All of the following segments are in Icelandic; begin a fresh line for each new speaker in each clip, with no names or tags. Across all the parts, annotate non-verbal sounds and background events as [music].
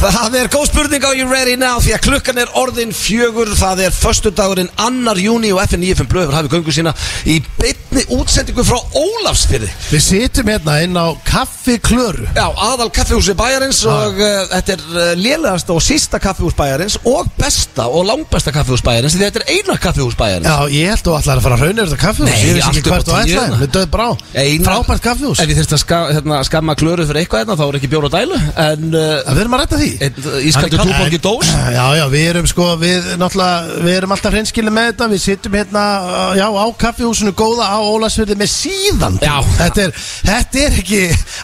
Það er góð spurning á You Ready Now því að klukkan er orðin fjögur það er föstudagurinn annar júni og FN95 Blöður hafi göngu sína í beinni útsendingu frá Ólafsfyrði
Við situm hérna inn á kaffi klöru
Já, aðal kaffihúsi bæjarins og uh, þetta er uh, lélegasta og sísta kaffihús bæjarins og besta og langbesta kaffihús bæjarins því þetta er eina kaffihús bæjarins
Já, ég held þú allar að fara að raunir þetta kaffihús
Nei,
Ég veist
allt upp
ekki
á
hvert þú
tíu
ætlaði
hérna.
Við döðum brá
Einar-
Frábært kaffihús
Ef ég þurfti að ska, hérna, skamma klöru fyrir eitthvað hérna þá er ekki bjór á dælu en uh,
Við erum að rætta því
einn, uh, ískaldur
Hann- Eh,
túborg í dós
Já, já, við erum sko, við náttúrulega, við erum alltaf hreinskilið með þetta Við sittum hérna, uh, já, á kaffihúsinu góða á Ólasfyrði með síðan
Já.
Þetta er, þetta er ekki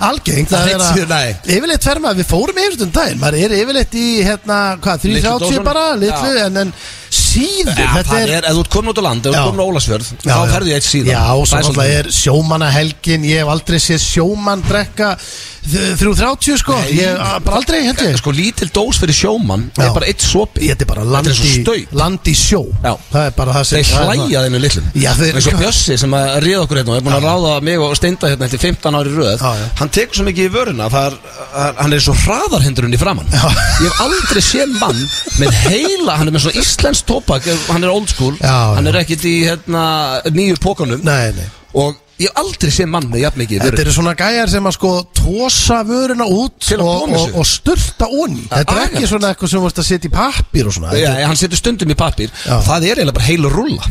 algengt
Það er
er
hreinn síðan, nei.
yfirleitt fer maður, við fórum yfirleitt um daginn Maður er yfirleitt í, hérna, hvað,
Litlu
330
dósunum.
bara, litlu,
Já.
en, en síður
Já,
Þetta
það er, ef þú ert komin út á land, ef þú
Já.
ert komin á Ólasfjörð
Já,
þá
já.
ferðu ég eitt síðan
Já, og svo
Það er
náttúrulega
svolítið.
er sjómanahelgin Ég hef aldrei séð sjómann drekka þ- 330 sko
Nei.
Ég a- bara aldrei, held ég
Sko lítil dós fyrir sjómann
Já.
er bara eitt sopi
Þetta er bara land
Þetta er
í,
svo staup.
land í sjó
Já.
Það er bara það sem
Þeir
það er
hlæja
það.
þennu litlum
Já, þeir-
eins og Bjössi sem að ríða okkur hérna og er búin að
Já.
ráða mig og steinda hérna eftir 15 ári röð
Já, já.
Hann tekur svo mikið í vöruna það er, að- Hann er svo hraðarhindurinn í framann
Já.
Ég hef aldrei séð mann með heila Hann er með svona íslensk tópak Hann er old school
Já,
Hann
já.
er ekkit í hérna, nýju pókanum
Nei, nei
Og ég hef aldrei séð mann með jafn mikið í
Þetta
vörun
eru svona gæjar sem að sko tósa vöruna út
Til að
og,
koma
og,
sér.
og styrta onni Þetta er
agar.
ekki svona eitthvað sem vorst að setja í pappir og svona
Já,
Þetta-
hann setur stundum í pappir
Já.
Það er eiginlega bara heil rúlla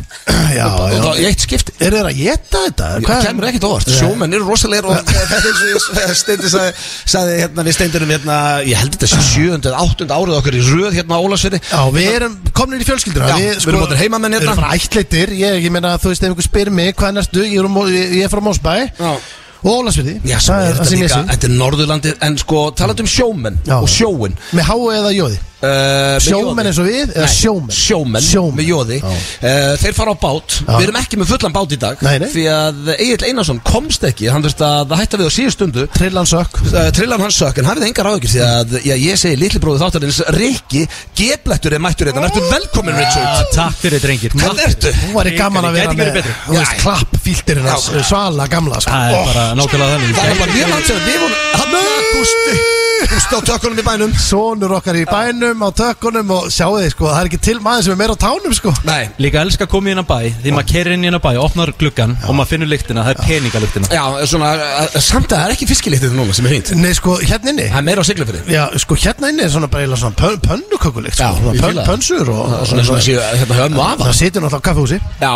já,
og
já.
það er eitt skipti
Er þeir að geta þetta?
Það kemur ekkert óvart,
Nei.
sjómenn eru rosalegir [laughs] og það er eins og ég steindi sagði, sagði hérna, við steindurum hérna, ég held þetta sé sjöönda eða áttunda árið okkar í röð hérna á Ólasfjörði
Já, við erum komnir í fjölskylduna
Já, við erum orðnir heimamenn
Við
hérna.
erum bara ættleittir, ég, ég meina þú veist ef einhver spyr mig hvað næstu, ég er, um, ég, ég er frá Mósbæ
Já.
Og Ólasviði
Já, svo er
það
þetta
sem ég
líka,
sé
þetta er Norðurlandi en sko, talað um sjómenn
Já.
og sjóin
Með háu eða jóði
uh,
Sjómenn eins og við, eða sjómenn?
Sjómenn,
Sjómenn.
með jóði
Já.
uh, Þeir fara á bát,
Já.
við erum ekki með fullan bát í dag
Nei, nei.
Því að Egil Einarsson komst ekki, hann þurfti að hætta við á síðu stundu
Trillan sökk
Uh, trillan hans sök, en hafið engar áhyggjur því að já, ég segi litli bróði þáttarins Rikki, geblettur er mættur hérna Ertu velkomin
Já,
Richard?
Takk fyrir drengir
Hvað ertu?
Hún var í gaman að vera
Gæti ekki verið
með
betri.
Þú veist,
Já.
klapp fíldirinn hans
Já.
Svala gamla sko.
Það er
Ó,
bara nákvæmlega þannig
Það er bara mjög langt sem við vorum Hanna, Gústi Gústi á tökunum í bænum
Sonur okkar í bænum á tökunum Og sjáu þið sko, það er ekki til maður sem er meira á tánum sko
Nei,
Líka elska að koma í hennar bæ Því maður kerir inn í hennar bæ, opnar gluggan Og maður finnur lyktina, það er peningalyktina
já, svona uh, Samt að það er ekki fiskilítið núna sem er fínt
Nei sko, hérna inni
Það er meira á siglufyrir
Já, sko hérna inni er svona bara eiginlega svona pön, pönnukökulikt sko,
Já,
svona
ég
pön,
fíla það.
pönsur og, og
Svona eins og það séu hérna höfum og afa
Það situr náttúrulega á kaffehúsi
Já,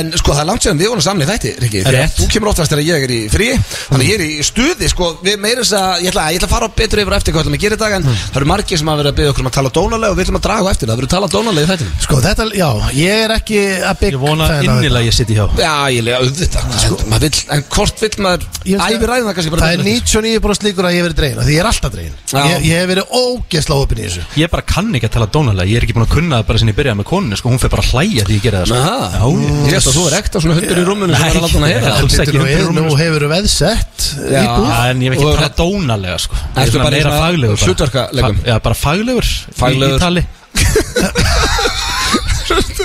en sko það er langt sem við vorum saman í þætti, Rikki Því að
Rétt.
Þú kemur oftast þegar ég er í frí Þannig að ég er í stuði, sko Við meira þess að, ég ætla, ég ætla að fara betur yfir á eftir hvað ætlum að gera í dag En það eru margir sem hafa verið að byggja okkur um að tala dónalega Og við ætlum að draga á eftir, það verður talað dónalega í þættinum
Sko þetta, já, ég er ekki að bygg
Ég vona
fan af
innilega ég sitt í hjá
Já, ég lega auðvitað sko, maður vill, En hvort vill maður
Ég veist
æfi ræðina kannski bara
Það er
betur eftir.
99 bara slíkur að ég hef verið dregin af Því ég er alltaf dregin
Já.
ég, ég hef verið ógeðsla opinn í þessu
Ég bara kann ekki að tala dónalega Ég er ekki búin að kunna það bara sinni ég byrjaði með konunni sko, Hún fer bara að hlæja því ég gera það sko.
Aha, Ég veist að þú er ekta svona hundur í rúmunu sem
Nei.
er að láta hann að heyra það.
Alls ekki
Þetta nú er,
hundruð
nú
rúmur.
hefur þú veðsett
Já.
íbúð
Já, En ég hef ekki
Og-
að tala dónalega sko.
Ertu
Ég er svona
bara í
meira
svona
faglegur bara.
hlutverkalegum?
Fa- Já, bara faglegur í-
Faglegur.
Í tali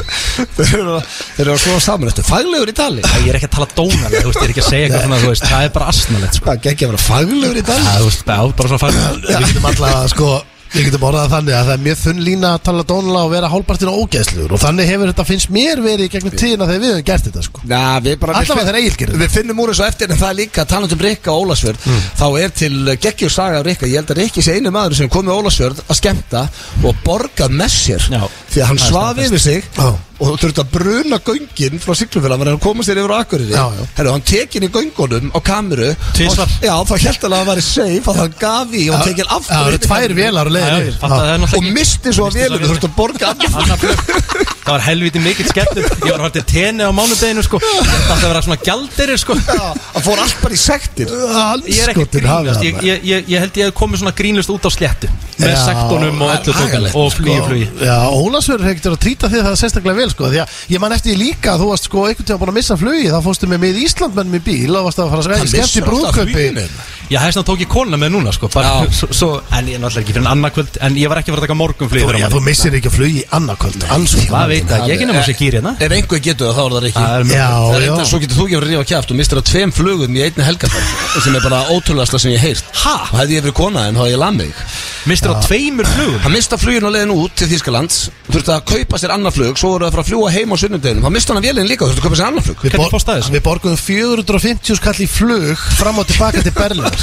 [laughs] Þeir eru að- þeir eru að slóa saman Þetta er faglegur í tali
Já, Ég er ekki að tala dónalega þú veist, Ég er ekki að segja eitthvað svona þú veist, Það er bara asnalegt sko.
Hvað, geggja að vera faglegur í tali?
Já, þú veist, já, bara svona
[laughs]
faglegur
Við getum alltaf að sko Við getum orðað þannig að það er mjög þunn lína að tala dónlega og vera hálpartin og ógeðslugur og þannig hefur þetta finnst mér verið í gegnum tíðina þegar við hefum gert þetta sko
Já, við bara
Allavega þegar Egill gerir það.
Við finnum úr þessu eftir en það er líka talandi um Rikka og Ólasvörð Þá er til geggjur saga af Rikka Ég held að Rikki sé einu maður sem komið Ólasvörð að skemmta og borgað með sér
Já.
Því að hann
Það er
svaf
staðfest.
yfir sig
Já.
og þurfti að bruna göngin frá siglufélag Þannig að hann komast þér yfir á Akureyri
Já, já.
Herru, hann tekin í göngunum á kameru
Tvisvar.
og- Já, þá held hann að það væri safe að hann gaf í og tekin aftur
Það
inn
eru
í
tvær
kameruna.
vélar á
Já,
leiðinni
ég fatta, það er náttúrulega
Og
ekki-
misti svo að
Missti svo
vélum,
vélina.
þurfti að borga aftur
Anna Björk Það var helviti mikill skemmtum Ég var haldið tenni á mánudeginu sko Ég ætti alltaf að vera svona gjaldirir sko
Já, hann fór allt bara í sektir
Ég er ekki að
Anskotin
grínast ég,
hafið
ég, ég, ég held ég hef komið svona grínlust út á sléttu Með
Já,
sektunum og öllu
agalegt,
tókum Og flugi flugi
Sko, Já, Ólasverður hefði að trýta því að það er sérstaklega vel sko, því að ég man eftir því líka að þú varst sko einhvern tíma búin að missa flugi, þá fórstu með mið Íslandmennum í bíl og varst að fara að
Hann
segja skemmt í
missir alltaf
brúðkaupi
fluginu.
Já, þess vegna tók ég konuna með núna sko bara,
Já.
svo, svo, En ég er náttúrulega ekki fyrir en annarkvöld En ég var ekki að vera að taka morgun
Þú, já, þú
flugi
missir ekki flugi annarkvöld, anskotin
Það veit að ég ekki nema sér gýr hérna
Ef einhver getur það, þá er það Rikki
Það er
eh, Já,
mjög
Það er
já,
eitthvað svo getur þú ekki að rífa kjæft og mistur að tveim flugum í einni helgarferð sem er bara ótrúlegasta sem ég heirt
Ha?
og hefði ég verið kona en þá hefði ég lamið þig
Mistur á tveimur flugum
Hann mista flugin á leiðin út til Þýskalands Þurfti að kaupa sér annað flug Svo voru það að fara að fljúa heim á sunnudeginum Hann mista hann að vélinn líka Þurfti að kaupa sér annað flug
Við,
Hvernig fórstu að þessu?
við borguðum 450 skall í flug fram og tilbaka til Berlín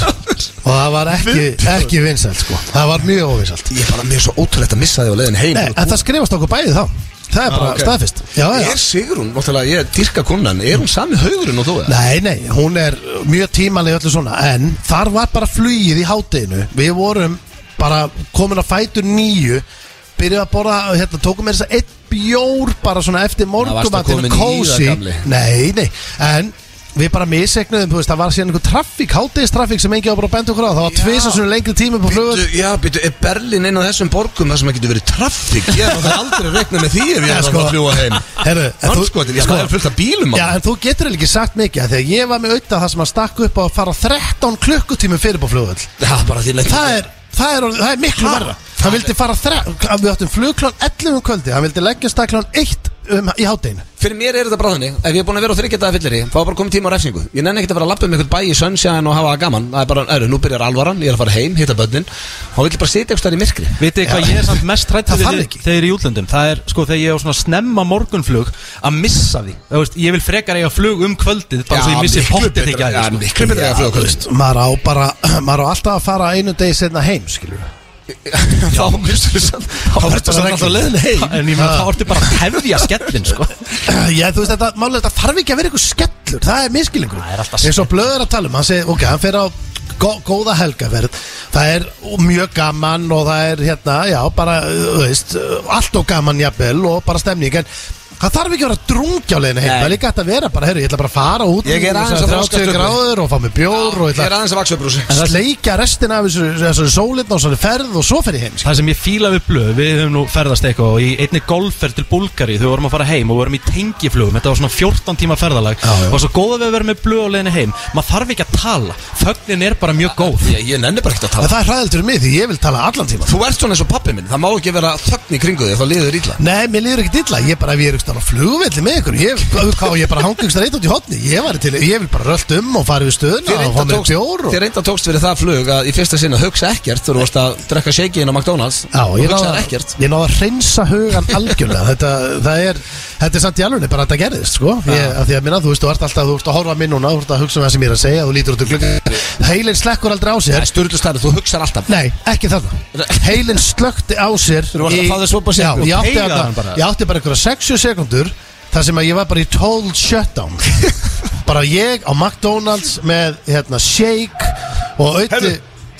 og það var ekki, ekki vinsælt sko. það var mjög óvinsælt
Ég er bara mér er svo ótrúlegt að missa þig á leiðin heim
Nei, en það skrifast okkur bæði þá það
Ah,
er bara
ok.
staðfist já, já.
Er Sigrún, náttúrulega, ég dyrka konan Er hún sami haugurinn og þú? eða?
Nei, nei, hún er mjög tímanlega öllu svona en þar var bara flugið í hátinu við vorum bara komin að fætur nýju byrjuð að borða, hérna, tókum með þess að eitt bjór bara svona eftir
varstu komin
morgumatinu
í það,
kósi,
gamli.
nei, nei en við bara misegnuðum, þú veist, það var síðan einhver traffík, hátegistraffík sem engi á bara að benda okkur á, það var
Já.
tvisa svona lengri tími på flugur,
Bíddu, já, býtu, er Berlín einn af þessum borgum þar sem það getur verið traffík? Ég er náttúrulega aldrei að rekna með því ef ég
Já,
er
sko.
að fljúa heim
[laughs] Herru, en þú-
Mannskotin, ég
sko.
maður er fullt af bílum
Já,
já,
en þú getur eiginlega ekki sagt mikið af því að ég var með auðvitað það sem að stakka upp á að fara 13 klukkutími fyrir på flugvöld
já, bara því lengt
það er, það er, orðið- það er miklu verra Hann vildi fara þre, hann- við áttum flugklán 11 um kvöldi, hann vildi leggja staklán 1 um, í hátdeinu
Fyrir mér er þetta bara þannig Ef ég er búin að vera á þryggjadaða fyllir í Þá er bara komið tíma á refsingu Ég nenni ekkert að vera að lappa um einhvern bæ í sunshine og hafa það gaman Það er bara, eru, nú byrjar alvaran Ég er að fara heim, hitta börnin Þá vill ég bara sitja eitthvað í myrkri
Vitið þið hvað ég er samt mest
Það
hrættur
þarf
þegar
ekki.
þegar ég er í útlöndum Það er sko þegar ég er á svona snemma morgunflug að missa því Þú veist, Ég vil frekar eiga flug um kvöldið bara svo ég missi pottið ekki að
Já,
því sko.
miklu betra að fljóða kvöld
maður á bara, [clears throat] maður á alltaf að fara einu degi setna heim, skilur
[laughs]
Þá mistur við sann Þá
Það er
verður
bara
það alltaf leiðin heim
En ég meina þá ertu bara að hefja skellin sko
[clears throat] Já, þú veist, þetta, málega þetta þarf ekki að vera eitthvað skellur, það er miskilingur
Það er alltaf
eins og blöður að tala um, hann segir, ok, hann fer á gó, góða helgaferð, það er mjög gaman og það er hérna, já, bara, þú veist allt og gaman jafnvel og bara stemning en það þarf ekki að vera drungja á leiðinu heim,
Nei.
það er líka hægt að vera bara, heyrðu, ég ætla bara að fara út
Ég er
í
aðeins
þessar
að þroskast
30
upp.
gráður og fá mig bjór og
Ég
ég
er
ætla
aðeins að vaksa upp rúsi
að sleika restina af þessu, þessu sólinn og svona ferð og svo fer ég heim,
Það sem ég fíla við blöð, við höfum nú ferðast eitthvað og í einni golfferð til Búlgari þau vorum að fara heim og vorum í tengiflugum þetta var svona 14 tíma ferðalag
Já, já.
og svo góða við að vera með blöð á leiðinni heim maður þarf ekki að tala, þögnin er bara mjög góð
Ég ég nenni bara ekkert að
en
tala
það er hræðildur mig því ég vil tala allan tíma
Þú ert svona eins og pappi minn Það má ekki vera þögn í kringu því Það liður ítla
Nei, mér líður ekkert illa, ég bara, ef ég er eitthvað á flugvelli með ykkur, ég, hvað, hvað, ég bara hangi eitthvað reynd út í hotni, ég var til, ég vil bara rölt um og fara við
Þér
stöðuna og fá
reynda
mér
tókst,
bjór og...
þér reyndar tókst fyrir það flug að í fyrsta sinna hugsa ekkert þú vorst að drekka shake inn á McDonalds
Já, ég
Þú
náði,
hugsaðir
að,
ekkert
ég náði að hreinsa hugan algjörlega þetta, það er, þetta er samt í alveg bara að þetta gerðist sko. ég, af því að minna, þú veist, þú ert alltaf, þú ert að horfa minn núna þú ert að hugsa um það sem ég er að segja, þú lítur út um gluggan heilin slekkur aldrei á
Það
sér
er styrlustæri, þú hugsar alltaf
Nei, ekki þarna Heilin slökti á sér
Þú varst að
í-
fá þér sopa
Já,
sigur.
ég átti,
Teygaði hann
að,
bara.
ég átti bara einhverja 60 sekundur þar sem að ég var bara í total shutdown
[laughs]
Bara ég á McDonalds með hérna shake og auði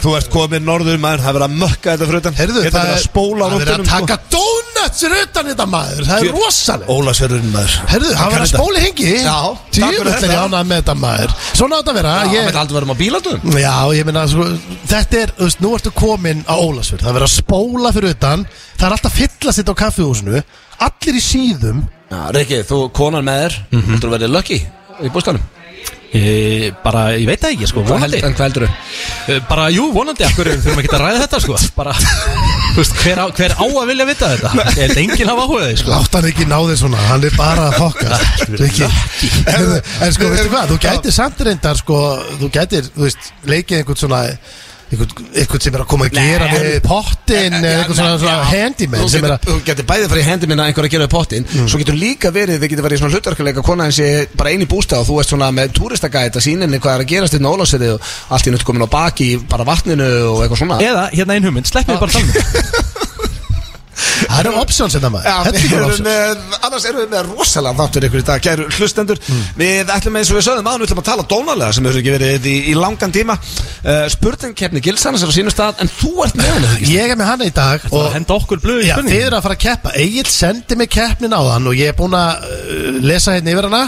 þú ert komið norður maður, það verið að mökka þetta Hérna frutan
Heyrðu, það er, það er að taka
sko.
donuts utan þetta maður, það er rosalega
Ólasverðurinn maður
Herðu, það var að spóli hengi
Já, takk fyrir
Týrullir
þetta.
ánað með þetta maður Svona átt að vera
Það
ég,
með aldrei verðum á bílandum
Já, ég meina, sko, þetta er, þú veist, nú ertu komin á Ólasfjörð, það er verið að spóla fyrir utan, það er alltaf fylla sitt á kaffihúsinu, allir í síðum,
Rikki, þú konan með þér, þú mm verðið lucky í búskanum
e, Bara, ég veit það ekki sko, vonandi
En hvað heldur
Eh, Bara, jú, vonandi, akkur þurfum ekki að ræða þetta sko Bara, [laughs] þú veist, hver á, hver á að vilja vita þetta? Er þetta enginn hafa áhuga á því sko?
látt hann ekki ná þér svona, hann er bara að
[laughs]
fokka, ekki, en, en sko, veistu hvað, þú gætir samt reyndar, sko, þú gætir, þú veist, leikið einhvern svona, einhvern, einhvern sem er að koma að gera
Nei.
við pottin, eða einhvern svona, svona handyman sem er að,
Þú getur bæðið farið í hendi minna einhver að gera við pottin Svo getur líka verið, þið getur verið í svona hlutarkuleika Konan sé bara einn í bústað og þú ert svona með túristagæt að síninni hvað er að gerast þetta óláserið og allt í nött komin á baki í bara vatninu og eitthvað svona
Eða, hérna einn hugmynd, sleppið bara talnum
það eru options þetta maður,
Já,
þetta
[laughs] við
er bara
erum
options.
með, annars erum við með rosalega þáttur ykkur í dag, kæru hlustendur Við ætlum eins og við sögðum aðan, við ætlum að tala dónalega sem hefur ekki verið í, í langan tíma uh, Spurningkeppni Gilsanas er á sínum stað en þú ert með hana ekki?
Ég er með hana í dag
og
og
henda okkur blöð í
Já,
spurningu
þið eru að fara að keppa Egil sendi mig keppnin á þann og ég er búin að uh, lesa hérna yfir hana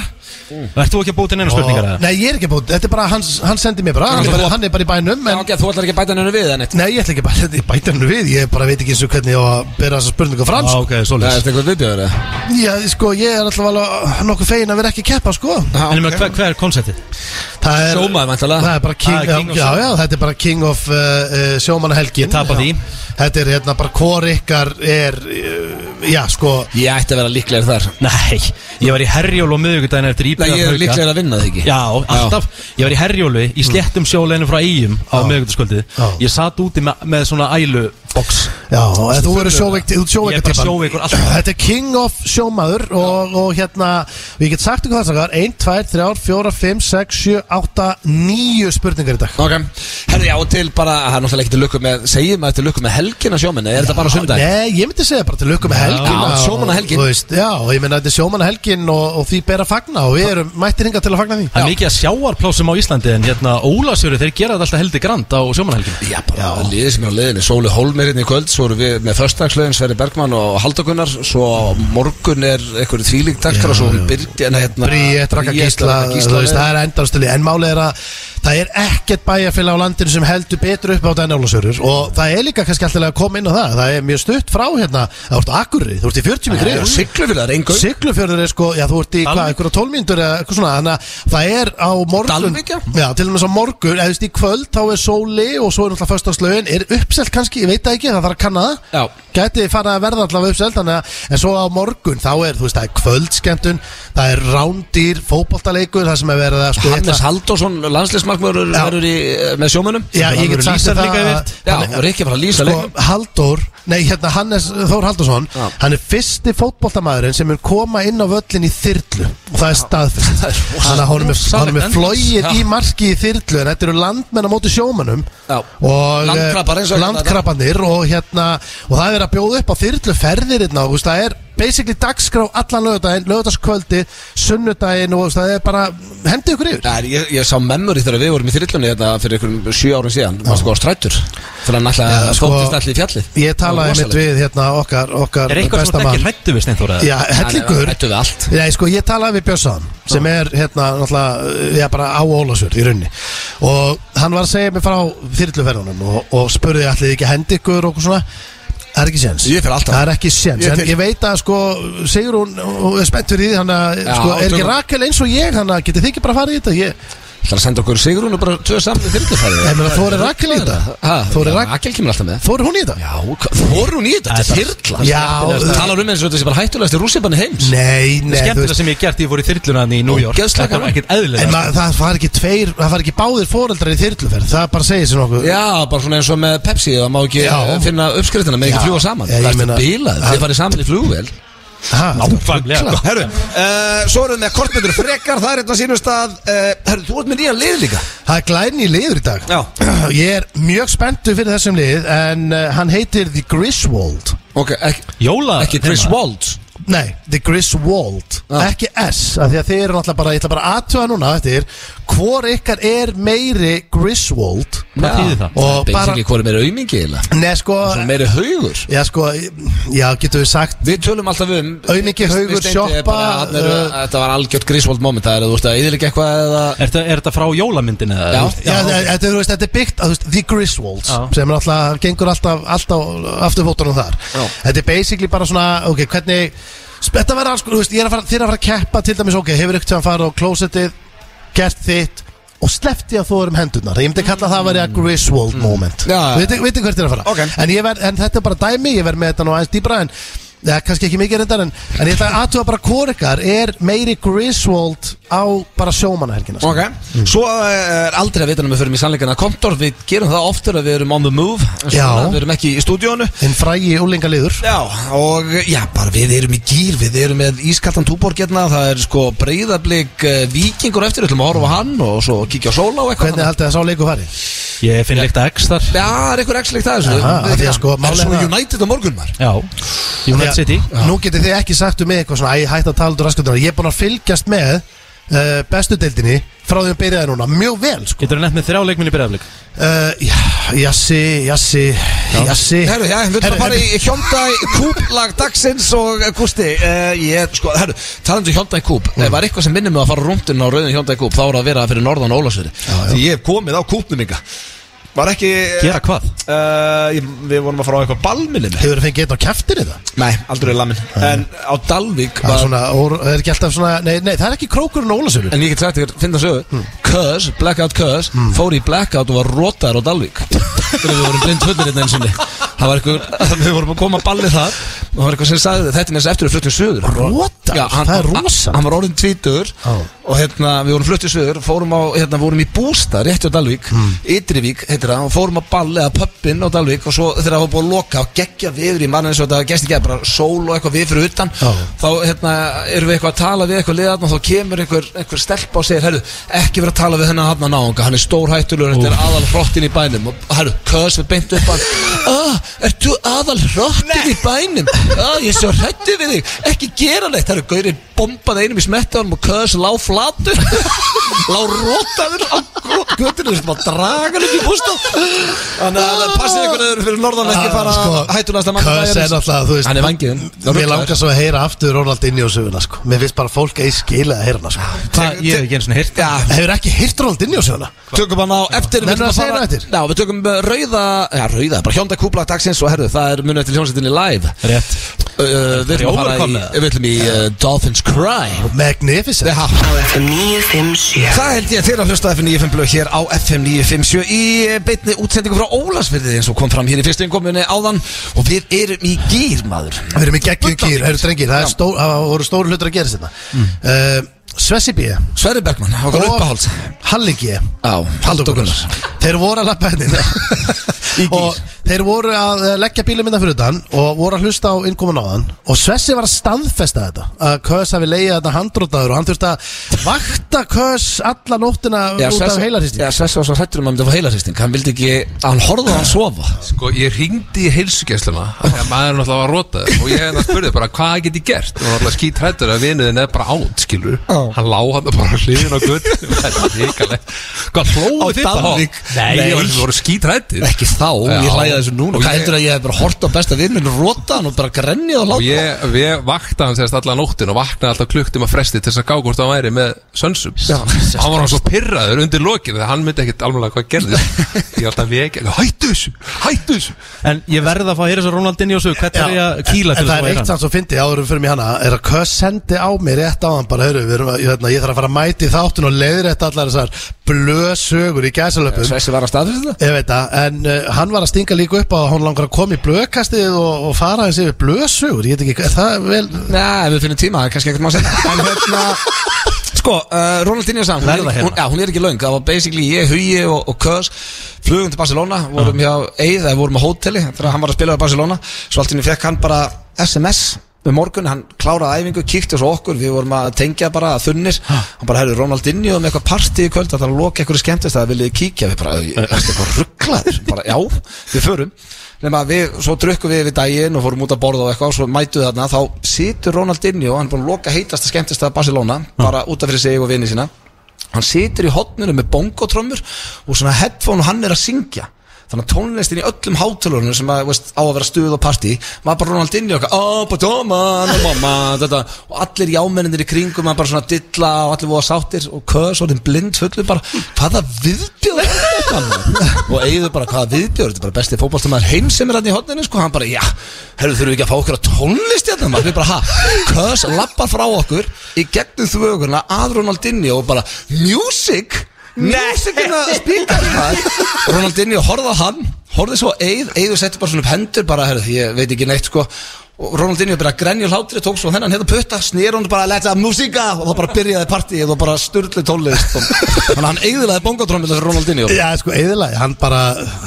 Ert þú ekki að búið til neina spurningar
og,
eða?
Nei, ég er ekki búin, þetta er bara, hann, hann sendi mig bara hann, bara, hann er bara í bænum
Já,
en,
ok, þú ætlar ekki að bæta henni við en eitt
Nei, ég ætla ekki bara, ég bæta hann við Ég bara veit ekki eins og hvernig ég á að bera þessa spurningu fram
Á,
sko.
Ah, ok,
Það er
svoleiðis
eitthvað viðbjöður eða?
Já, sko, ég er alltaf alveg uh, nokkuð fegin að vera ekki að keppa, sko
Já,
En ég
ok.
meina, hver, hver er konceptið?
Það er,
Sjómaður, væntanlega.
það er bara king,
Ah, king
já, já,
of sjómanna.
já, þetta er bara king of uh, uh, sjómanahelgin
Ég tapa
Já.
því.
Þetta er hérna bara hvor ykkar er, uh, já, sko
Ég ætti að vera líklegir þar
Nei, ég var í herjólu á miðvikudaginn eftir
Nei,
íbjöðan
ég er líklegir að vinna þig ekki
Já, alltaf, ég var í
Mm.
herjólu í sléttum sjóleinu frá Íjum á miðvikudagskvöldið
Já.
Ég satt úti með, með svona ælu box
Já, og þú verður sjóveik Þú ert
Ég er bara
sjóveik
sjóveikur alltaf.
Þetta er king of sjómaður og, og hérna, við getum sagt ykkur það sakar 1, 2, 3, 4, 5, 6, 7, 8 9 spurningar í dag
Ok, herri já og til bara, það er náttúrulega ekki til lukku með, segjum að þetta er lukku með helgina sjóminni, er þetta bara sundag?
Nei, ég myndi segja bara til lukku með helgin
Já, sjómannahelgin.
Já, og ég meina þetta er sjómanna helgin og, og því ber að fagna og við erum mættir hinga til að fagna því
Það er mikið að sjáarplásum á Íslandi en hérna Ólasjöru þeir gera þetta alltaf heldig grand á sjómanhelgin
Já, bara liðið sem er á liðinni, Sóli Hólmir hérna í kvöld, svo erum við með förstagslöðin Sverri Bergmann og Haldakunnar, svo á morgun er einhverju þvílingdakkar og svo hún byrja, en hérna
Bríett, Raka
Bríet,
Gísla, þú
Ragga
veist,
Gísla
það er endarstili En málið er að það er ekkert bæjarfélag á landinu sem heldur betur upp á þetta en Ólasörur Og það er líka kannski alltaf að koma inn á það Það er mjög stutt frá hérna, þú ert á Akurri, þú ert í 40 mjög
Já,
greið
Siglufjörðar, engu
Siglufjörður er sko, já þú ert í hvað,
Dalvík.
einhverja tólmyndur eða eitthvað svona Þannig að það er á morgun
Dalvík, já.
Já, til dæmis á morgun, eða þú veist í kvöld þá er sóli og svo er náttúrulega föstaslaugin Er uppselt kannski, ég veit það ekki, það þarf að kanna það
Já.
Gæti fara að verða allavega uppselt þannig að, En svo á morgun þá er, þú veist, það er kvöldskemtun Það er rándýr, fótboltaleikur, það sem er verið að sko
Hannes
hérna-
Halldórsson, landslismarkmörur,
Já.
verður í, með sjómunum
Já, ég
verður
get sagt
lýsar
þér
líka
það
yfir.
að-
Já, nei, og Rikki bara að lýsa
sko,
leiknum
Halldór, nei hérna Hannes Þór Halldórsson
Já.
hann er fyrsti fótboltamaðurinn sem er koma inn á völlin í þyrlu og það er staðfest
Það er rosa-
þannig að honum er,
rosalegt
honum er
endur.
flóið
Já.
í marki í þyrlu en þetta eru landmenn á móti sjómanum
Já.
og eh,
Landkrabbar eins og- hérna,
landkrabbarnir og hérna og það er að bjóða upp á þyrlu ferðir hérna, og, þú veist, það er basically dagskrá allan lögudaginn, lögudagskvöldi sunnudaginn og þú veist, það er bara hendi ykkur yfir
Nei, ég, ég sá memory þegar við vorum í þyrlunni þetta fyrir einhverjum sjö árum síðan Varstu góða strætur Þegar hann alltaf
Já, sko,
skóttist allir í fjallið
ég
Það var
talaði mitt
rosalegt.
við hérna okkar, okkar
Er eitthvað sem
besta
þetta
mann
ekki hrættu við Steinþór eða?
Já, hellingur
Hann er- Rættu við allt
Nei, sko, ég talaði við Björnsson sem er, hérna, náttúrulega, já, bara á Ólasur í rauninni og hann var að segja mig frá þyrluferðunum og, og spurði allir ekki að hendi ykkur og okkur svona Það er ekki séns
Ég fer alltaf.
Það er ekki séns
Ég
En
til.
ég veit að sko Sigrún hún er spennt fyrir því Þannig að
Já,
sko, er ekki
tökum.
Rakel eins og ég Þannig að getið þið ekki bara að fara í þetta Ég,
Það er að senda okkur Sigrún og bara tvö saman í þyrlufæri
ég meina, Þóri Rakel í þetta Þóri
Þóri
Rakel
Rakel kemur alltaf með
Þóri hún í þetta
Já, þóru hún í þetta, þetta er þyrla
Já,
Það talar um eins og þetta sé bara hættulegast í rússipanni heims
Nei, nei, þú
Skemmtilega
veist
sem ég hef gert, ég fór í þyrlunan í New York
Ógeðslega
Þetta var
gaman.
ekkert
En
sko.
eðlilega
maður, það far ekki tveir Það far ekki báðir fóreldrar í þyrluferð Það bara segir sér nokkuð
Já, bara svona eins og með Pepsi Það má ekki eh,
Já.
finna uppskriftina með
Já.
ekki fljúa saman
Já, ég
Það er
meina-
bilað,
Það-
þið farið saman í flugvél
Ha,
Nákvæmlega
Herru, uh, svo erum við með kortmyndur frekar Það er hérna sínum stað uh, Herru, þú ert með nýjan lið líka
Það er glæni í liður í dag
Já.
[clears throat] Ég er mjög spenntu fyrir þessum lið En uh, hann heitir The Griswold
Ok, ekki,
Jóla hérna.
ekki Chris Wald
Nei, The Griswold
Já.
Ekki S af Því að þeir eru náttúrulega bara Ég ætla bara að aðtöða núna eftir Hvor ykkar er meiri Griswold
Hvað
Já.
þýðir það?
Og bara-
Basically, hvað er meira aumingi eiginlega?
Nei sko
Svo meira haugur
Já sko Já getur við sagt
Við tölum alltaf um
Aumingi, haugur,
Við steindi
sjoppa,
bara, þarna eru-
uh,
Þetta var algjört Griswold moment Það er að þú veist að yðurlega eitthvað eða
Er þetta- er þetta frá jólamyndin eða?
Já.
Já, þetta- þetta, þú veist, þetta er byggt á, þú veist, The Griswolds
Já.
sem er alltaf, gengur alltaf, alltaf afturfótunum þar
Já.
Þetta er basically bara svona, ok, hvernig Þetta verður alls, þú veist, ég er að fara, þér að fara að keppa til dæmis, ok, hefur ykkur til að fara á klósettið gert þitt og sleppti að þú erum hendurnar ég myndi kalla það að vera Griswold moment
Mm. Já, já.
veitir veitir hvert þér að fara
Ok.
en, ég ver, en þetta er bara dæmi, ég verð með þetta nú aðeins dýbra en Ja, kannski ekki mikið reyndar en, en ég ætla að aðtuga bara hvor ykkar er meiri Griswold á bara sko. sjómanahelgina
Ok, svo eh, er aldrei að vita Nú við förum í sannleikana kontor Við gerum það oftur að við erum on the move en
Já.
svona Við erum ekki í stúdíónu
Þinn frægi úlingaliður
Já, og já, bara við erum í gýr Við erum með ískaltan túborg hérna Það er sko breyðablík uh, vikingur eftir Þú ætlum að horfa á hann og svo kíkja á sóla og eitthvað
Hvernig haldið það sá leiku fari?
Ég finn líkt að X þar
Já, það er einhver x-leikt aðeins
Aha, af því að sko,
Er
málið er
svo
það-
United á morgun maður
Já United City
Nú getið þið ekki sagt um mig eitthvað svona Æ, hætt að tala út úr raskundunar Ég er búin að fylgjast með uh, bestu deildinni Frá því að byrjaði núna, mjög vel sko
Getur það nefnt með þrjá leikminni byrjaflik
uh, já, Jassi, Jassi, Jassi
Herru, já, við erum að fara í Hyundai Coupe lag dagsins og eh, Gústi, uh, ég, sko, herru, talandi um Hyundai Coupe, ef var eitthvað sem minnir mig að fara rúndin á rauðin Hyundai Coupe, þá er það að vera fyrir norðan Ólasveri,
já.
því ég hef komið á Coupe minga, var ekki
Gera hvað?
Eh, ég, við vorum að fara á eitthvað balminni með
Hefur þið fengið einn á kæftir í það?
Nei, aldrei lamin En á Dalvík
Það er
var,
svona, ór, það er ekki alltaf svona Nei, nei það er ekki krókurinn og ólasunur
En ég get sagt ykkur, finna sögu
Hmm.
Cuz, Blackout Cuz, fór í Blackout og var rótaður á
[laughs]
[laughs] Dalvík Þegar við vorum blind höllir hérna eins og Það var ykkur, við vorum að koma að balli þar og það var eitthvað sem sagði þetta er næst eftir að við fluttum söður
Rótar?
Já, hann,
Það er rosa.
hann, hann var orðin tvítur
Já.
og hérna við vorum fluttum söður fórum á, hérna vorum í Bústa rétt á Dalvík
Hmm.
Ytrivík heitir það og fórum á balli eða pöppin á Dalvík og svo þegar það var búið að loka og geggja viður í mann eins og þetta gæst ekki að bara sól og eitthvað við fyrir utan
Já.
þá hérna erum við eitthvað að tala við eitthvað liðan og þá kemur einhver, einhver stelpa og segir herru, ekki vera að tala við hennar hann að náunga hann er stór hættulegur, þetta er aðal hrottin í bænum og herru, kös við
[laughs]
beint upp hann ah, ert þú aðal hrottin í bænum ah, ég er svo hrættu við þig ekki gera neitt, herru, gaurið bombaði einum í smettanum og kös lá flatur [laughs] lá rótaður á göttinu, þessum að draga hann upp í bústaf þannig að passið ykkur að þau eru fyrir norðan ekki fara hættulegasta mann
Ah, sko, Kös er náttúrulega, þú veist
Hann er vangiðinn.
Mér langar svo að heyra aftur Ronald inn í og söguna sko Mér finnst bara fólk eigi skilið að heyra hana
Ah.
sko
Það, ég hef ekki eins og hirt
Já,
Hefur ekki heyrt Ronald inn í og söguna?
Tökum hann á eftir
Nennirðu
ætlum
að segja
fara-
það eftir?
Já, við tökum uh, rauða Já, rauða, bara hjónda kúpla dagsins og herðu Það er munið eftir hljómsveitinni live uh,
Rétt
Við ætlum að fara í,
óverkomna.
við ætlum í uh, Dolphins Cry
Magnificent
Já,
á FM 957
Það held ég til að hlusta FM 95 blöð hér á FM 957 í eh, beinni útsendingu frá Ólasfyrði eins og kom fram hér í fyrstu inkomunni áðan og við erum í gýr maður
Við erum í geggjum kýr, hefur drengir Það er stór, það voru stóru hlutur að gera sérna mm. uh, Svessi B
Sverri Bergmann, okkar uppáhalds
Halli G
Já, Halldór Gunnars
Þeir voru að lappa
[laughs]
henni
gír.
Og þeir voru að eh, leggja bílum innan fyrir utan Og voru að hlusta á innkomin á hann Og Svessi var að staðfesta þetta Að Kös hafi leiðið þetta handrótaður Og hann þurfti að vakta Kös alla nóttina Út af heilarýsting
Já, Sverri var svo hrættur um að mynda á heilarýsting Hann vildi ekki, hann horfði á hann sofa
Sko, ég ringdi í heilsugjæsluna Þegar maður náttúrulega var rótað Og ég hérna spurði bara, hvað get ég gert? Og náttúrulega skítrættur að vinuðin er bara átt, skilur
Já.
Hann lá hann bara hliðin á gutt
[laughs]
Það er ríkalegt Hvað
Á
flóðu þið bara?
Dalvík?
Nei,
Nei.
ég var það voru skítrættur
ekki þá,
Já.
ég hlæði að þessu núna
Og
hvað
ég-
heldur að ég hef bara hort á besta vinnun róta hann og bara grennið og
Og
láta
ég, við vaktaði hann sérst allan nóttin og vaknaði alltaf klukktum að fresti til þess að gá hvort hann væri með sönsum Hann var hann svo pirraður undir lokinu þegar hann myndi ekkit alveg hvað gerði Ég var alltaf vekja, hættu þessu, hættu þessu
En ég verð að fá að heyra svo Ronaldinho sög Hvernig er ég að kýla
en
til
það er
þess að
eitt
heyra hann?
sann svo fyndi áður um fyrir mig hana er að Kös sendi á mig rétt á hann bara, heyru, við erum að, ég, ég þarf að fara að mæti þáttun og leiðir þetta allar þessar blösögur í gæsalöpum
Svessi var að staðfyrst þetta
Ég veit það, en uh, hann var að stinga líka upp á að hún langar að koma í blökastið og, og fara eins yfir blösugur, ég veit ekki, er það vel
Nei, ef við finnum tíma, það er kannski ekkert maður að segja En hérna, [laughs] sko, uh, Ronaldinho Sam hún, er
Verða
ekki-
hérna.
hún, já, hún er ekki löng, það var basically ég, Hugi og, og Kös Flugum til Barcelona, vorum hjá Eið, eða vorum á hóteli Þegar hann var að spila á Barcelona Svo allt í henni fekk hann bara SMS um morgun, hann kláraði æfingu, kíkti svo okkur við vorum að tengja bara að þunnir hann bara, herru, Ronaldinho með eitthvað partí í kvöld það þarf að loka eitthvað skemmtist að viljið kíkja við bara, "Ertu eitthvað rugglaður bara, já, við förum nema við, svo drukkum við við daginn og fórum út að borða og eitthvað og svo mætu við þarna, þá situr Ronaldinho hann er búin að loka heitast að skemmtist að Barcelona bara út af fyrir sig og vini sína hann situr í hotninu með bongotrömmur og svona headphone og hann er að syngja þannig að tónlistin í öllum hátölunum sem að, veist, á að vera stuð og partí var bara Ronaldinho okkar oh, Batoman, oh, mama, þetta, og allir jámenninir í kringum hann bara svona dilla og allir voða sáttir og kös og þeim blind fullu bara hvaða viðbjóð er þetta maður?" og eigðu bara hvaða viðbjóð þetta er bara besti fótballstamæður heim sem er hann í hotninu sko, hann bara já, herru þurfum við ekki að fá okkur að tónlist hérna maður, við bara ha, kös lappar frá okkur í gegnum þvöguna að Ronaldinho og bara music Músikina spíkar Ronaldinho horfði á hann Horfði svo á Eið Eiðu setti bara svona upp hendur bara herrðu Ég veit ekki neitt sko Og Ronaldinho bara grenja úr hlátri Tók svo þennan hérna putta Snýr hún bara Let's have músika Og það bara byrjaði partíið Og bara sturlu tónlist Og- Þannig að hann eigðilaði bongotrömmil Þessi Ronaldinho
Já, sko, eðilega, hann bara,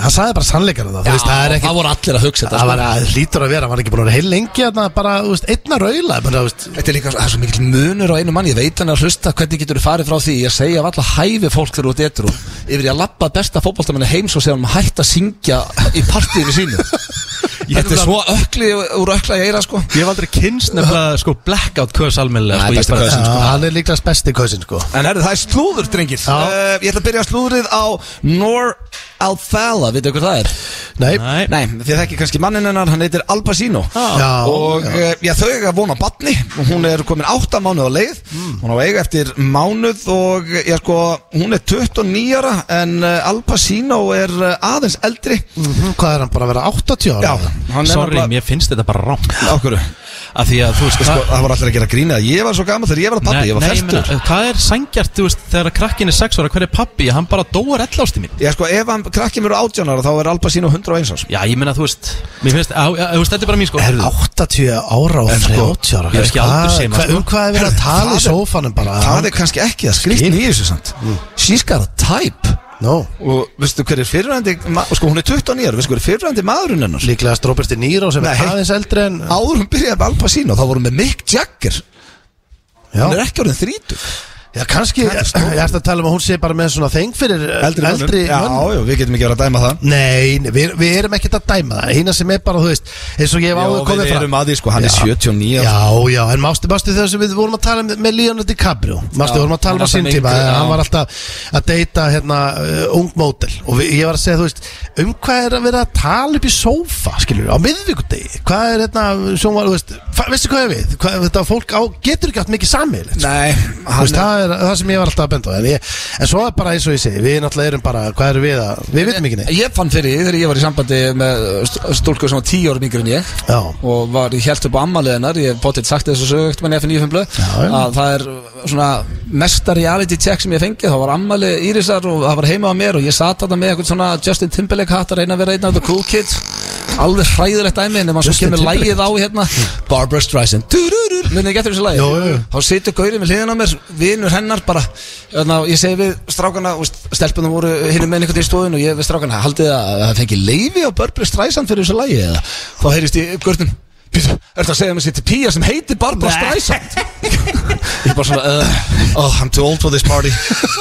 hann sagði bara sannleikar það, þú veist, það er ekki
Það voru allir að hugsa þetta
Það
sko.
var að hlýtur að vera, hann var ekki búin að vera heil lengi þarna, bara, þú veist, einna raula bara, þú veist,
Þetta er líka það er svo mikil munur á einu mann Ég veit hann er að hlusta Hvernig getur þú farið frá því Ég segja af alla hæfi fólk þegar þú ert etru Yfir í að labba besta fótboltamenni heims Og segja hann hætt að syngja í partíinu sínu Þetta er svo ökli Úr ökla ég eira sko
Ég hef aldrei kynst nefnilega sko blackout kös almennilega
Nei,
sko, ég
besti
bara-
kös.
Já, hann er líklega besti kausin sko
En herri, það er slúður, drengir
Já.
uh, Ég ætla að byrja slúðrið á Nor Alfala, veitu hvað það er?
Nei,
Nei,
Nei, þið þekki kannski mannin hennar, hann heitir Al Pacino
Já,
Og eh,
já.
já. Já, þau eiga vona batni og hún er komin átta mánuð á leið Hún á að eiga eftir mánuð og já, sko, hún er 29 ára En uh, Al Pacino er uh, aðeins eldri
Mhm, hvað er hann bara að vera 80 ára?
hann
Sorry,
nefnilega-
mér finnst þetta bara rám
Af hverju?
að því að þú veist
sko,
hvað-
það var allir að gera grína ég var svo gaman þegar ég var pappi, ég var
ég
fertur
meina, hvað er sangjart þú veist, þegar að krakkin er 6 ára, hver er pappi hann bara dóar ellásti mín
Já sko, ef hann krakkið mér á 18 ára þá er Alba sín á 101 árs
já ég meina þú veist, mér finnst, á, á, þú veist þetta er bara mín sko
Herðu, 80 ára
sko,
og 30 ára
ég er ekki
Hvað-
aldursseima,
hvað-
sko.
Um hvað er verið að tala í
það er-
sófanum bara
Það er kannski ekki það skriftin í þessu samt She's got a type
No.
Og veistu hver er fyrirvændi Sko hún er 29 ára, veistu hver er fyrirvændi maðurinn hennar
Líklega strópist í Nýró sem er
Nei.
aðeins eldri en
Áður hún byrjaði með Alba sín og þá voru með Mick Jagger Hún
Já,
er ekki orðin 30
já kannski Ég ég ætti að tala um að hún sé bara með svona þeng fyrir eh,
mönnum.
eldri
Já,
mönnum.
já, við getum ekki verið að dæma það
Nei, nei, við, við erum ekkert að dæma það Eina sem er bara, þú veist, eins og ég hef áður
Já, við
komið fram
erum að því sko, hann er 79 ára.
Já, já, en mástu, mástu þess að við vorum að tala með, með Leonardo DiCaprio Mástu,
Já,
vorum að tala
hann
um
er
á sín
alltaf
tíma
yngri,
eh,
já.
Hann var alltaf að deyta hérna uh, ung mótel Og við, ég var að segja, þú veist, um hvað er að vera að tala upp í sófa, skiljum við, á miðvikudegi Hvað er hérna, sem var, þú veist, fa- veistu hvað er við? Hvað, þetta fólk á, getur ekki átt mikið samil
Nei,
Þú
hann
veist, það er það sem ég var alltaf að benda á en, ég, en svo er bara eins og ég segi, við náttúrulega erum bara Hvað erum við að, við vitum ekki neitt
Ég fann fyrir því þegar ég var í sambandi með st- stúlku sem var 10 árum yngri en ég
Já,
og var ég held upp á ammaliðinar ég hef potið sagt þessu sögut með FN95 blöð
Já, já.
að það er svona mesta reality check sem ég fengið þá var ammalið Írisar og það var heima á mér og ég sat þarna með eitthvað svona Justin Timberlake hatt að reyna að vera einn af the cool kids alveg hræðilegt dæmi en ef maður svo
Justin
kemur
Timberlake.
lægið á hérna Barbara Streisand Du-du-du, munið ekki eftir þessu lægi
Jú, jú, jú.
þá situr gaurið með hliðin á mér vinur hennar bara Þannig ég segi við strákana og stelpunum voru hinn með einhvern í stóðin og ég við strákana haldið að það fengi leifi á Barbara Streisand fyrir þessu lægi eða þá heyrist ég gurnum Býtu, ertu að segja mér sér til pía sem heitir Barbara Streisand? ég bara svona, uh, oh, I'm too old for this [laughs] party.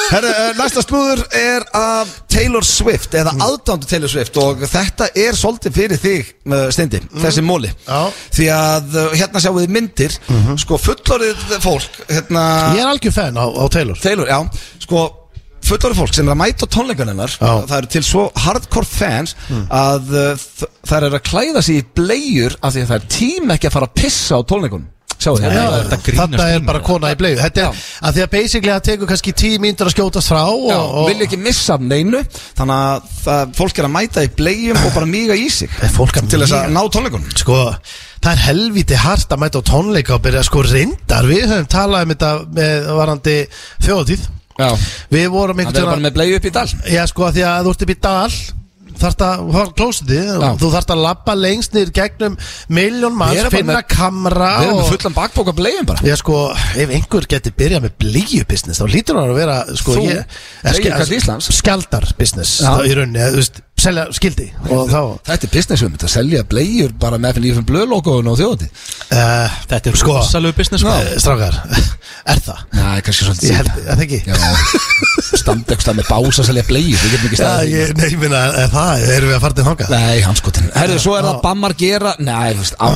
Herru, uh, næsta slúður er af Taylor Swift, eða aðdándu Taylor Swift og þetta er svolítið fyrir þig, uh, Steindi, þessi móli.
Já.
Því að uh, hérna sjáum við myndir, sko fullorðið fólk, hérna...
ég er algjör fenn á, á Taylor
Taylor, já, sko fullorðið fólk sem er að mæta á tónleikanennar
Já.
það eru til svo hardcore fans að uh, þ- þær eru að klæða sig í blegjur af því að það er tíma ekki að fara að pissa á tónleikunum Sjáðu
Já,
hérna
þetta grínast
þetta er
í mér.
bara kona í bleiðu Þetta er að því að basically það tekur kannski tíu mínútur að skjótast frá og,
Já,
og,
vilja ekki missa af neinu þannig að það, fólk er að mæta í blegjum og bara míga í sig
Er fólk að
til þess að
míga?
ná tónleikunum
Sko, það er helviti hart að mæta á tónleika og byrja sko reyndar Við höfum talað um þetta með varandi þjóðatíð
Já,
Við vorum
það er
einhvern
bara með blegju upp í dal
Já sko að því að þú ert upp í dal þarft að fara klósitið
Já.
og þú þarft að labba lengst niður gegnum miljón
Við
manns,
erum bara
finna
með-
kamra
Við erum með
og-
fullan bakbók á blegjum bara
Já sko, ef einhver getur byrjað með blíju business, þá lítur hann að vera sko,
Þú,
ég, eh,
bleiu
ske-
kall Íslands.
skjaldar business
Já.
þá, í rauninni, eða, þú veist, selja skildi og þá,
Þetta er business um þetta, selja blegjur bara með fyrir lífum blöðlogoðun og þjóði
uh,
þetta er
Sko.
rosalegu business sko.
strákar [laughs] er það?
Næ, kannski svolítið
Ég held, er það ekki?
Já, standa ekki stað með bása að selja blegjur, við getum ekki
Já,
staðið
ég, nei, ég minna, það erum við að fara til þangað
Nei, hanskotin Herðu, svo er það bammar gera Nei, þú veist, á,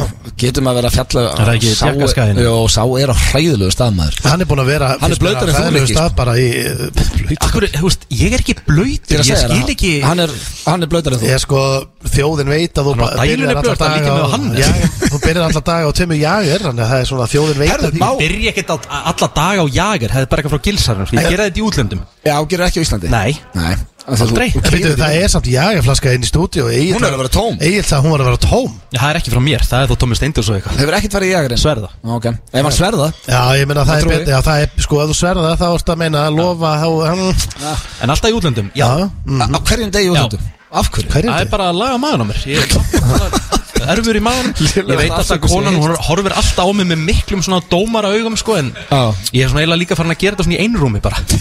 getum að vera að fjalla
Er það ekki í
Sá er-
jakkaskaginu?
Jó, sá er á hræðilegu staðmaður
Hann er búin að vera
Hann er blautari en þú, Rikki,
Það bara í eh,
Akkur, húst, ég er ekki blöytur, ég skil ekki
Hann er, hann er blöytar en þú
Ég sko, þjóðin veit að þú
Hann á
bara- byrjar
dælunni
alla
blautar,
daga
líka með
á-
hann.
Já, Þú byrjar alla daga á tömmu jágur Þannig að það er svona þjóðin veit
Herðu,
að-
má
byrja ekkert á- alla daga á jager hefði bara eitthvað frá gilsarinn sko. ég gera þetta í útlöndum
Já, gerir ekki á Íslandi
Nei.
Nei Af því að þú-
Aldrei.
þú
En
keyrir
Býtu, það er samt jagaflaska inn í stúdíu
Hún er að vera tóm.
Egil sagði hún var að vera tóm
Já, það er ekki frá mér, það er þó Tómi Steindurs og eitthvað
Hefur ekkert farið í jagarinn
Sverða.
Ok Ef hann sverða
Já, ég meina
Það
það er
trúi ég.
betið Já, það er, sko, að þú sverða það þá ertu að meina að lofa þá, hann,
en alltaf í útlöndum, já,
Já,
á-
Mhm.
Á hverjum degi
Já.
útlöndum Af hverju?
hver
það
er
er
þetta?
bara að laga maðurinn á mér ég er erfur í maðurinn ég veit alltaf að
afsökun sé
konan
heilt.
hún horfir alltaf á mig með miklum svona dómara augum sko, en
Já.
ég er svona eiginlega líka farin að gera þetta svona í einrúmi bara svo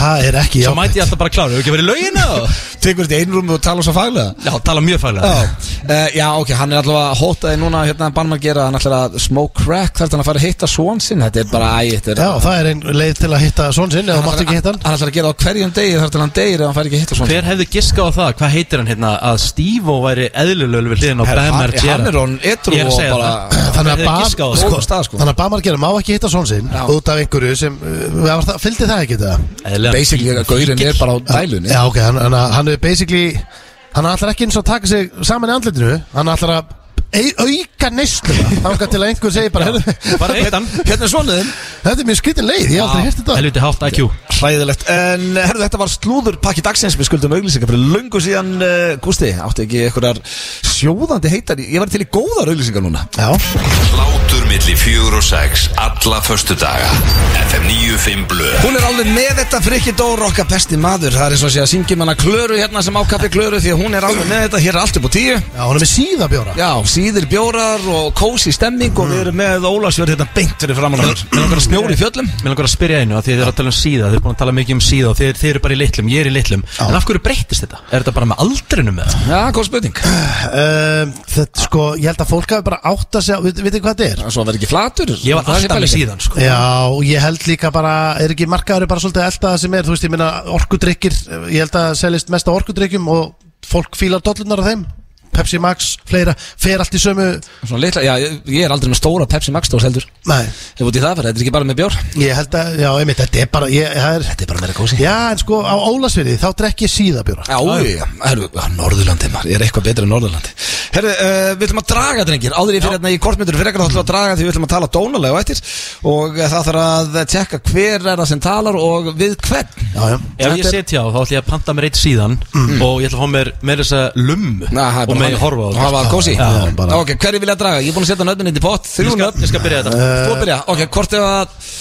Það er ekki já
mæti ég alltaf bara klára, hefur ekki verið í laugina og-
Tekur þetta einrúmi og tala svo faglega
já, tala mjög fælega
Já, uh, já, ok, hann er allavega hótaði núna hérna bannum að gera, hann ætlar að smoke crack þar þannig að fara að hitta svon sinn, þetta er bara æ, þetta er
Já, það er einn leið til að hitta svon sinn eða þú mátt ekki hitta hann
Hann ætlar að gera á hverjum degi þar til hann deyir ef hann fær ekki að hitta svon
hver hefði giskað á það, hvað heitir hann hérna að Steve væri eðlilölu við hliðin á
Herra,
Bam
hann-
Margera
hann er orðinn edrú
Ég er að
og
segja
bara-
það.
Þannig að
Hefði
Bar-
giskað á það.
sko. Góðum stað, sko.
Þannig að Bamargera má ekki hitta svon sinn
Já.
út af einhverju sem uh, var það- fylgdi það ekki það?
Eðlilega.
Basically, að gaurinn er bara á dælunni
Já, ok, hann- hann hann er basically hann ætlar ekki eins og að taka sig saman í andlitinu hann ætlar að ei- auka neysluna þá til að einhver segir bara "Heyrðu,
bara eitt Ah, hann
Hérna er svonuðin
Þetta er mjög skrittin leið, ég hef aldrei hérst þetta
helviti hátt IQ
Hræðilegt, en herðu þetta var slúðurpakki dagsins Við skuldum auglýsingar fyrir löngu síðan uh, Gústi, átti ekki einhverjar sjóðandi heitar Ég var til í góðar auglýsingar núna
Já,
Hlátur milli fjögur og sex alla förstu daga FM 95 Blöð
Hún er alveg með þetta frikki Dóra okkar besti maður Það er eins og að sé að syngjum hana klöru hérna sem ákappi klöru Því að hún er alveg með þetta, hér er allt upp á tíu
Já, hún er með síðabjóra
Já, síðir bjórar og kósi stemming Og við erum með Ólafsverð hérna beint fyrir framann okkur. Með okkar snjór í fjöllum
Mér langar að spyrja einu að því að þið eru að tala um síða Þið eru búin að tala mikið um síða og þið, þið eru bara í litlum, ég er í litlum En af hverju breytist þetta? Er þetta bara með aldrinum með það?
Já, góð spurning
um, Þetta sko, ég held að fólk hafi bara átt að segja Vitið veit hvað þetta er?
Svo verður ekki flatur
Ég var
Það sé
alltaf með
pælingin.
síðan sko
Já, og ég held líka bara, er ekki markaður bara svolítið eldaða sem er, þú veist, ég minna orkudrykkir, eh, ég held að seljist mest á orkudrykkjum og fólk fílar dollunar á þeim Pepsi Max, fleira, fer allt í sömu
Svona litla, já, ég ég er aldrei með stóra Pepsi Max dós heldur
Nei,
Ef út í það verður, þetta er ekki bara með bjór
ég held að, já, einmitt, þetta er bara ég, það er,
Þetta er bara meira kósi
Já, en sko, á Ólasviði, þá drekk ég síðabjóra
Já, já, herru, Norðurlandi maður, ég er eitthvað betur en Norðurlandi Herru, uh, við ætlum að draga drengir Áður ég fyrir hérna í kortmyndur fyrir ekkert þá ætlum við að draga því við ætlum að tala dónalega og eftir Og eh, það þarf að tekka hver er það sem talar og við hvern
Já, já,
Ef ég setja á þá ætla ég að panta mér eitt síðan Og ég ætla að fá mér með þessa lummu
Na,
Og með
Mm. það er bara þannig.
horfa á
Og hafa kósi
Já,
já, bara.
Ok, hverju vilja draga? Ég er búin að setja nöðminni í pott
Ég
Þrjú
skal,
nöfn
ég skal byrja þetta
Þú að byrja, ok, hvort ef að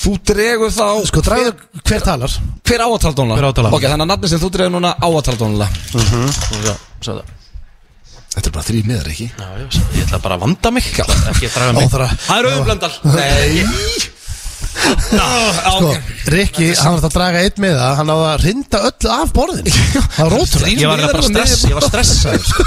Þú dregur þá
sko, dræðu hver talar
Hver á að tala dónalega?
Hver á að tala?
Ok, þannig að nafni sem þú dregur núna á að tala dónalega
Svo- svo-
Þetta er bara þrý miðar, ekki?
Já, já, svo- Ég ætla bara að vanda mig Ég ætla Ekki að draga mig
Óþarfa.
Það er auðvblöndal
Nei
Sko, Rikki, hann var að draga einn með það Hann áða að rinda öllu af
[laughs]
borðin Það var ótrúlega
Ég var eiginlega bara stress Ég var stressaður sko.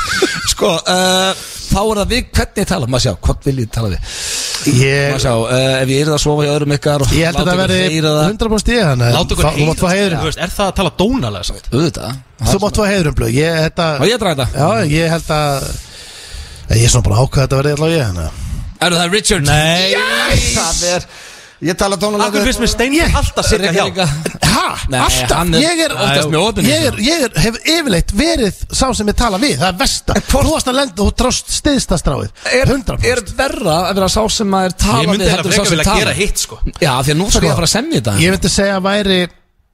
Sko, uh, þá er það við hvernig ég tala Maður sjá, hvort vil ég tala við Maður
Ég,
sjá, uh, ef ég er að sofa hjá öðrum ykkar og
ég held að
láta
þetta
ykkur
verði
heyra það
100% ég hann
Láta ykkur
Þú mátt fá heiðurinn
heiðrast. Þú veist, Er það að tala dónalega samt?
Auðvitað Það
Þú mátt fá heiðurinn blöð Ég,
Má
þetta,
ég draga þetta?
já, ég held að Ég er svona bara ákvað að þetta verði allavega ég hann
Er það Richard?
Nei
Það er Ég tala tónulega
Akkur finnst mér steinir alltaf sitja hjá
Ha?
Nei,
Alltaf?
hann er-
Ég er
Nei, oftast með opinni.
Ég, er, ég er, hef yfirleitt verið sá sem ég tala við Það er versta Þú varst að lenda og drást stiðsta stráið
Er,
100%
er verra að vera sá sem maður tala
Ég myndi
við
þetta
heldur en sá
frekar
sem
vilja
tala?
gera hitt sko
Já, því að nú þarf ég að fara að semja þetta
Ég myndi segja að væri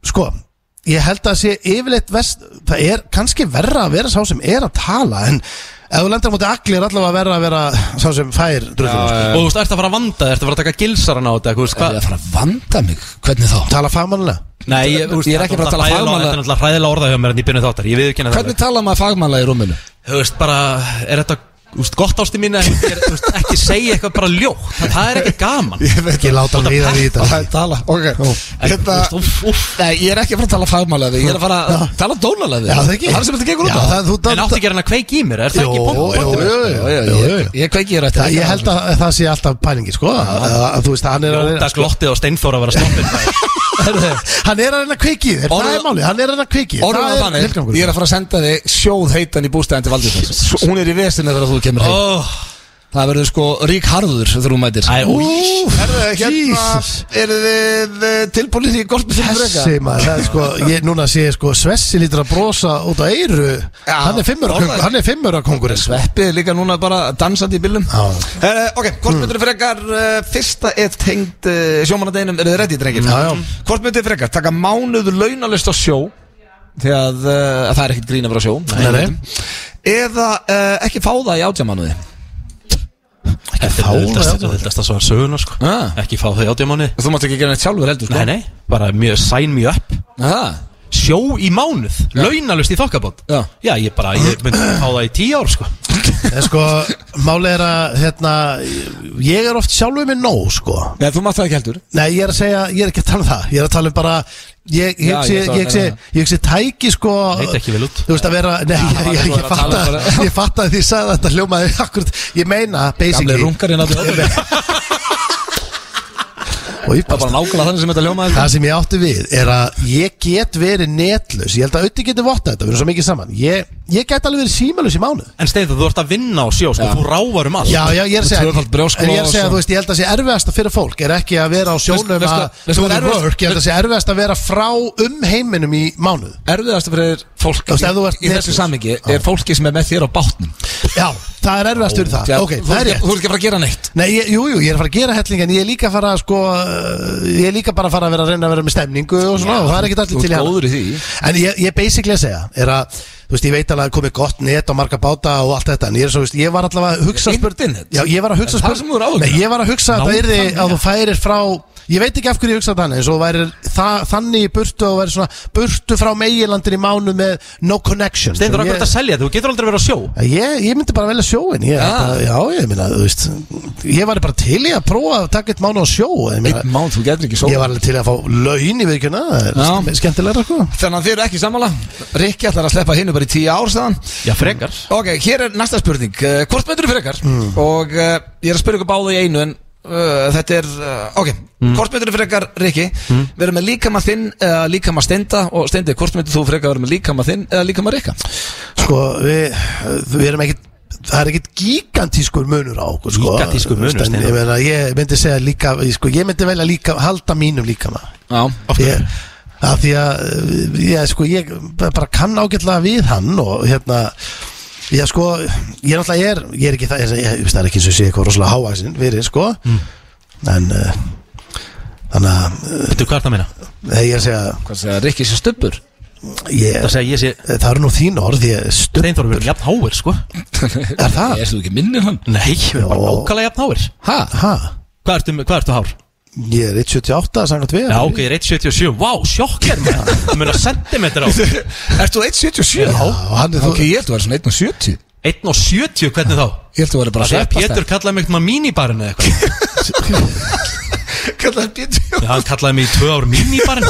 Sko Ég held að sé yfirleitt vest Það er kannski verra að vera sá sem er að tala En ef þú lendir á móti agli er allavega verra að vera Sá sem fær drullum sko.
Og þú veist, ert að fara að vanda, ert að fara að taka gilsaran á þetta þú veist,
Það er
hvað-
að fara að vanda mig Hvernig þá?
Tala fagmannlega
Nei, ég, þú veist,
Ég er ekki bara að
þetta
tala
er náttúrulega hræðilega-
fagmannlega.
Þetta er náttúrulega hræðilega orða hjá mér en ég byrnu þáttar Ég viðurkenna það
Hvernig tala maður fagmannlega í rúminu?
alveg. Þú veist, bara, er þetta þú veist, gott ástu mín en er, þú veist, ekki segja eitthvað bara ljótt Það- Það er ekki gaman
Ekki láta hann líða við þetta
tala, ok Þetta
Þú veist, úff, úff.
Nei, ég er ekki að fara að tala fagmálega við, ég er að fara að tala dónalega við
Já, það ekki
Það er sem þetta gengur út
Já,
á
það- þú-
En átti ekki að reyna að kveiki í mér, er
Jó,
það ekki
jó,
bótt?
jó,
Já,
jó,
já,
jó,
ég-
jó.
Ég kveiki þér
Það,
eftir
ég held að það sé alltaf pælingi sko að, að, að, Þú veist að hann er að
sko.
Jóta glottið á steinþóra að vera snoppin
Hann [laughs] er að reyna að kveiki þér, það
Orðað-
er máli, hann er að reyna að kveiki þér,
Orðum
það
það
er
þannig,
tilgangur.
ég er að fara að senda þig sjóð heitan í bústæðan til Valdís Hún er í vesinu þegar þú kemur heim
Ó,
Það verður sko rík harður þegar þú mætir
Æ, új
hérna-
Jesus.
eru þið tilbúinir í golfið
Þessi maður, það er sko, ég, núna sé ég sko Svessi lítur að brosa út á eyru
Já,
Hann er fimmur
orðaði.
hann er fimmur að kongurinn sko.
Sveppið er líka núna bara dansandi í bílum
Já.
Herre, Ok, hvort myndir frekar uh, Fyrsta er tengd uh, sjómanadeginum Eru þið ready, drengir?
Já, já.
Hvort myndir frekar taka mánuð launalist á sjó Því að uh, það er ekkert grín að vera á sjó
Nei, nei.
Eða uh, ekki fá það í átjámanuði
Þetta er
fá
auðvitað-
þau
þetta er auðvitast að svara söguna sko
Ah.
Ekki fá þau átjámáni
Þú mátt ekki gera neitt sjálfur heldur sko
Nei, nei, bara mjög sign me up
Aha.
Sjó í mánuð, launalust í þokkabót
Já.
Já, ég bara, ég myndi fá það í tíu ár sko
En sko, máli er að hérna, Ég er oft sjálfur með nóg sko
Nei, þú mátt það ekki heldur
Nei, ég er að segja, ég er ekki að tala um það Ég er að tala um bara Ég
Já,
hugsi,
ég
ég
ætla að
hugsi,
meina
ég hugsi tæki sko
Leit ekki vel út.
Þú veist að vera, nei, ég, ég,
þú
ég
er að
fatta
tala um bara-
Ég fatta því ég sagði þetta hljómaði akkurat Ég meina,
Gamli
basically
rungarinn að það er [laughs]
Og ég bara
bara nákvæmlega þannig sem þetta ljómaði
Það sem ég átti við er að ég get verið netlaus Ég held að auðvitað geti votta þetta, við erum svo mikið saman Ég, ég get alveg verið símalus í mánuð
En Steinþór, þú ert að vinna á sjó sko, þú rávar um allt
Já, já, ég er að segja
tvöfalt brjósklos
En ég er að segja,
og-
þú veist, ég held að sé erfiðasta fyrir fólk Er ekki að vera á sjónum
veistu-
að
veistu
do
hvað
the
erfiðast-
work Ég held að sé erfiðast að vera frá um heiminum í mánuð
Erfiðast fyrir fólk
Þú veist, ef þú ert
í, í þessu
netlaus.
samingi er fólki sem er með þér á bátnum
Já, það er erfiðast fyrir það
Því að
Ok,
þú
það er
ert ekki-
rétt
Þú ert ekki að fara að gera neitt
Nei, ég, jú, jú, ég er að fara að gera helling En ég er líka að fara að sko uh, Ég er líka bara að fara að vera að reyna að vera með stemningu Og svona, og það er ekkert
þú
allir til
ert
hana.
góður í því.
En ég, ég basically að segja Er að þú veist, ég veit alveg að það er komið gott net og marga báta og allt þetta en ég, er svo, þú veist, ég var allavega að hugsa
Internet?
Já, ég var að hugsa
Er það sem þú er áhyggjur
Nei,
af?
ég var að hugsa að það yrði að þú færir frá Ég veit ekki af hverju ég hugsaði þannig eins og væri það, þannig í burtu og væri svona burtu frá megilandin í mánu með no connection
Steindur
Svo
akkur þetta að
ég,
selja þetta, þú getur aldrei verið að sjó
ég, ég myndi bara velja sjóin ég, ja. Já, ég meina, þú veist Ég var bara til í að prófa að taka eitt mánu á sjó ég, meina,
Einn mán, þú getur ekki
ég
sóla
var alveg til að fá laun í vikuna það er
Já.
Skemmtilega, sko
Þannig að þið eru ekki sammála Rikki ætlar að sleppa hinnu bara í tíu ár staðan
Já, frekar
Ok, hér er næsta spurning uh, Hvort myndur þú frekar? Og uh, ég er að spyrja ykkur báðu í einu en uh, þetta er uh, Ok, hvort myndur þú frekar, Rikki? Mm. Verður með líkama þinn eða líkama steinda Og steindi, hvort myndur þú frekar verður með líkama þinn eða líkama Rikka?
Sko, við, við erum ekkit Það er ekkit gigantískur munur á okkur sko.
Gigantískur munur,
En ég,
Steinar.
meina, ég myndi segja líka sko, Ég myndi velja líka, halda mínum líka maður
Já
Ég Af því að eh, ég, sko, ég bara kann ágætlega við hann og hérna ég sko, ég náttúrulega er ég er ekki það, ég, ég, það er ekki eins og sé eitthvað rosalega hávaksinn verið sko
Mm.
en uh, þannig að eh,
Veitu hvað er það að meina?
nei, ég er að segja
Hvað segja, Rikki sé stubbur?
Það
ég,
segja ég sé
það eru nú þín orð ég stund,
Steindur verður jafn háir, sko
er það?
Erst þú ekki minni hann?
Nei, við erum bara
Jó.
nákvæmlega jafn háir
Ha?
Ha?
Hvað ertu, hvað ertu hár?
Ég er 1.78 samkvæmt við
Já,
[laughs]
ok, ég er 1.77 Vá, sjokker maður Það muna sentimetra á
Erst þú 1.77?
Já, og hann er þú-
Ok, ég held þú væri svona 1.70
1.70, hvernig þá?
Ég held þú væri bara
Það er
sveppast
Pétur kallaði mig eitthvað mínibarinn eða
[laughs]
eitthvað
Kallar Pétur
Já, hann kallaði mig í tvö ár
[laughs]
mínibarinn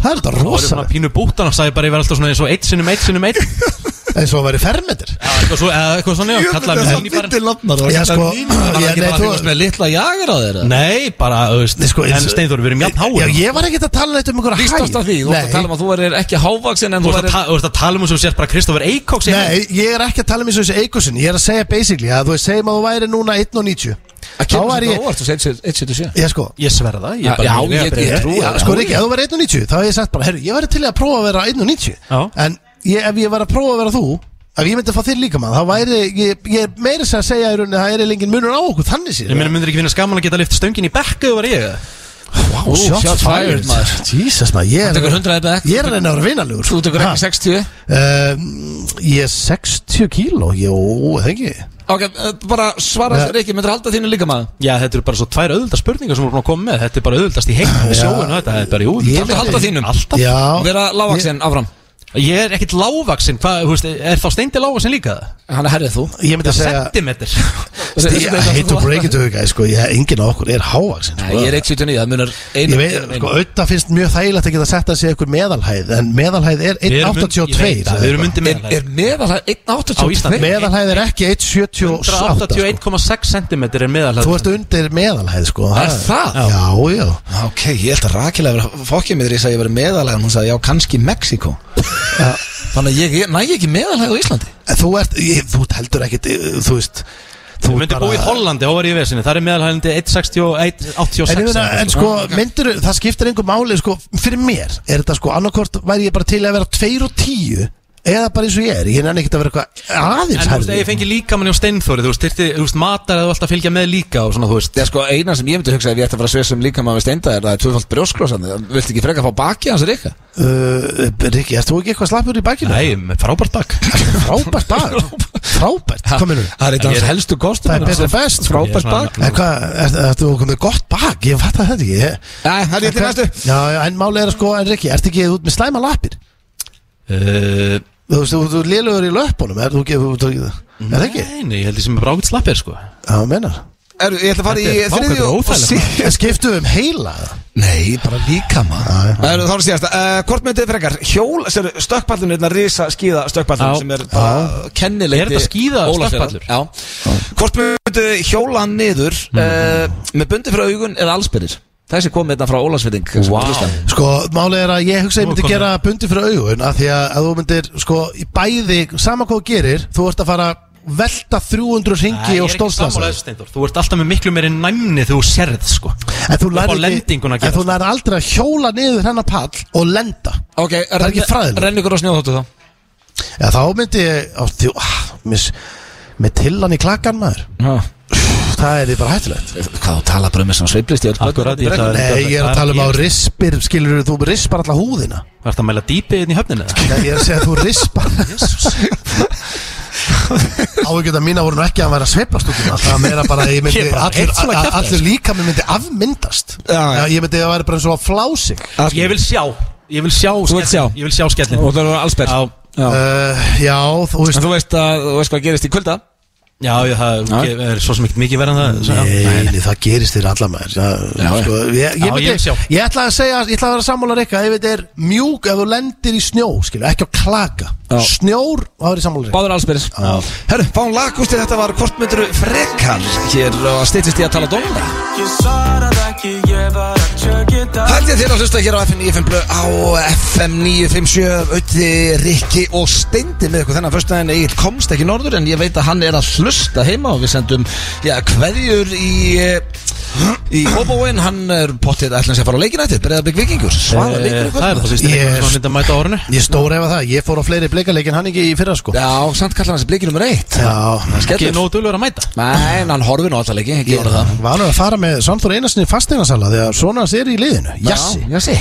Það er þetta
Það var ég svona
rosa
pínu búttan Það sagði bara ég verði alltaf svona eins og eitt sinnum, eitt
[laughs]
sinnum, eitt
eins og að vera fermetir
Já, eitthvað svo, eða eitthvað svona, já, kallaði mig mínibarinn
lofnar
Já, sko, já,
Þannig
nei,
að
þú-
þú varst með litla jagar á þeirra
Nei, bara, þú veist
Nei, sko,
En
eins-
Steindur, við erum jafn
Já,
háir
ég var ekkert að tala neitt um einhverja hæð
Lýstast að því, þú varst að tala um
Nei,
að þú er ekki hávaksin en
Þú
þú
veist
er
að ta- þú ert að tala um þess að þú sért bara Kristoffer Eikóks
nei, ég er ekki að tala um eins og þessu eikusin Ég er að segja basically að þú veist segjum að þú væri núna 1.90
að
Þá
kemur
var
þetta
ég,
óvart og segir 1.77
ég sko
Ég sverða
Já,
ég bara-
já, ég-
bara-
ég- trúi
Já,
það.
sko Riki, ef þú væri 1.90 þá hef ég sagt bara, herru, ég væri til í að prófa að vera 1.90
Já.
En ég, ef ég var að prófa að vera þú Ef ég myndi að fá þér líka maður, þá væri, ég, ég er meira sem að segja í rauninni að það er lengin munur á okkur, þannig sér
Ég meina, myndir ekki finna skaman að geta lift stöngin í bekku var ég
Wow,
shots fired, maður.
Jesus maður, ég
tekur
er,
100 eða ekki.
ég er að reyna að vera vinalegur
Þú tekur
Ha?
ekki 60
Um, ég er 60 kíló, jó, það ekki
Ok, eh, bara svara
Nei.
þér ekki, myndir halda þínu líka maður
Já, þetta eru bara svo tvær auðvölda spurningar sem við erum búin að koma með Þetta er bara auðvöldast í heim við
Já.
sjóinu Þetta er bara, jú,
Ég
þetta
myndi-
er alltaf þínum Alltaf
Já,
Vera lágvaksin áfram
Ég er ekkit lágvaxin, hvað, þú veist, er þá steindi lágvaxin líka?
Hann er herrið þú
ég myndi að segja [laughs]
Sentimeter
Ég I hate to break it to you guys, sko, ég, enginn á okkur er hávaksin
Nei,
sko.
Ég er 1.79, það munar
Ég
einu
veit, sko, auðvitað finnst mjög þægilegt að geta sett að segja ykkur meðalhæð En meðalhæð er
Við erum und- ég
1,82
veit það,
eða
Við erum
eitthvað.
undir
Er, er
meðalæg
meðalag
Á Íslandi.
1.82
Meðalhæð er ekki 1,78 sko.
181,6 cm er meðalæg
Þú ert undir meðalhæð, sko
Er það?
Já, já
Ok, ég held að Rakilega verið fokkið með því að ég verið meðalæðan Hún sagði, já, kannski Mexiko Þannig að ég, ég næ ekki meðalæð á Íslandi
En Þú ert, ég, þú ert heldur ekkit, þú veist Þú
Þú
ert
myndir
bara-
búið í Hollandi, þá var ég í vesinu Það er meðalhælindi 1,86
En, ég meina,
eða
en
eitthvað.
sko, myndir, það skiptir einhver máli sko, fyrir mér, er þetta sko annarkort væri ég bara til að vera 2 og 10 eða bara eins og ég er, ég nenni ekkert að vera eitthvað
En
aðeins
þú veist, ef
herri
ég fengi líkamann hjá Steinþóri Þú veist, þyrfti, þú veist, matar eða þú alltaf fylgja með líka og svona, þú veist
Það er sko eina sem ég myndi hugsa ef ég ætti að fara að sveisa um líka maður steinda er það er tvöfald brjósklosan Viltu ekki freka að fá baki hans reyka?
uh, Rikki, erst þú ekki eitthvað slappur í bakinu?
Nei, með frábært bak
Frábært bak, frábært kominu,
Það er eitt af hans helstu kostum
það er betra best sko.
Frábært bak
En hvað, ert ert þú komið gott bak, ég fatt að þetta ekki ég-
Nei, það er ég til næstu
Já, já, en máli er að sko, en Rikki, ert ekki út með slæma lappir?
Uh,
Þú veist, þú, þú lélugur í löpunum, er þú ekki, þú- þú- er það ekki?
Nei, nei, ég held ég sem er bara ágætt slappir, sko Já,
Já, menar
Eru, Ég ætla að fara í
Þetta er
þriðju
fákvæmt
og
óþægilegt,
sí-
Skiptu um heila eða?
Nei, bara líka maður Það eru þá er síðast Hvort myndið þið frekar? Hjól, sér, stökkpallinu, þetta hérna, risa skíða
Já.
stökkpallinu sem er bara kennileiti
Er þetta skíða
Ólafsfjarðar.
stökkpallur?
Já Hvort myndið þið hjóla niður eh, með bundi frá augun eða allsbyrðir? Þessi kom hérna frá Ólafsfyrðing
Vá.
Sko, málið er að ég hugsa að ég
Nú er
myndi
komið.
gera bundi fyrir augun að því að, að þú myndir, sko, í bæði sama hvað þú gerir, þú ert að fara að velta 300 ringi og stólstansa
Steinþór Þú ert alltaf með miklu meiri næmni þegar þú serð, sko
En þú
Upp
lærir
á
ekki,
lendinguna að
en
gerast.
þú lærir aldrei að hjóla niður hennar pall og lenda
Ok,
er ekki fræðilegt.
Renn ykkur á snjóþóttu þá
Já, þá myndi ég, á, þjó, ah, mis, með tillan í klakkan maður
Já.
það er því bara hættilegt
Hvað þú tala bara um þessum sveiflist í öll börn?
Akkurat, ég ætla að-
Nei, ég er að tala um á rispir, skilur þú rispar alltaf húðina
Var þetta að mæla dýpið inn í höfninu? eða?
Nei, ég er að segja að þú rispar [laughs] Áhugjönda mína voru nú ekki að vera að sveipast út um það Það meira bara, að ég myndi,
Ég bara
allur,
heyrt svona
a- a-
kjaftæði,
allur líka mér myndi afmyndast
Já, já.
Ég myndi að vera bara eins og að flásig
Ég vil sjá Ég vil sjá
Þú vilt
skellin.
sjá?
Ég vil sjá skellin
Og það var allsberg
Já,
Já.
uh, Já, þú
En
veist
þú veist að þú veist hvað gerist í kvölda
já, já, það
Já.
er- er svo sem ekkert mikið verðan það svo- já.
Nei, nei, það gerist þér allar maður það,
Já,
sko, ég,
Já,
ég,
ég vil
myndi,
sjá.
ég, ætla að segja, ég ætla að vera sammála reyka Ef þetta er mjúk, ef þú lendir í snjó skilu, Ekki á klaka,
Já.
snjór og það er í sammála reyka
Báður allsberg Já
Herru, fáum lagkústi, þetta var hvort myndur frekar hér og stýttist í að tala dómara Haldið þér að hlusta hér á FM 95 blöð á FM 957 Ötti, Rikki og Steindi með ykkur þennan föstudaginn Egil komst ekki norður en ég veit að hann er að hlusta heima og við sendum já, kveðjur í eh, í Hoboinn, hann er pottið ætlum sé að fara á leikina eftir, breyða bygg vikingur svara
Eh,
leikur
Það er bara
ykkur
fyrst
Ég-
leikur sem hann myndi að mæta á orðinu
Ég stóra ef það, ég fór á fleiri bleikaleikin hann ekki í fyrra sko
Já, samt kallar hans blikið nummer eitt
Já,
Ekki
Skellur.
nógu dölur að mæta
Nei, en hann horfir nú alltaf leiki, ekki voru það
Vanur að fara með Svanþór Einarsson í fasteinarsala Þegar svona hans er í liðinu Jassi Mm.
Já, Jassi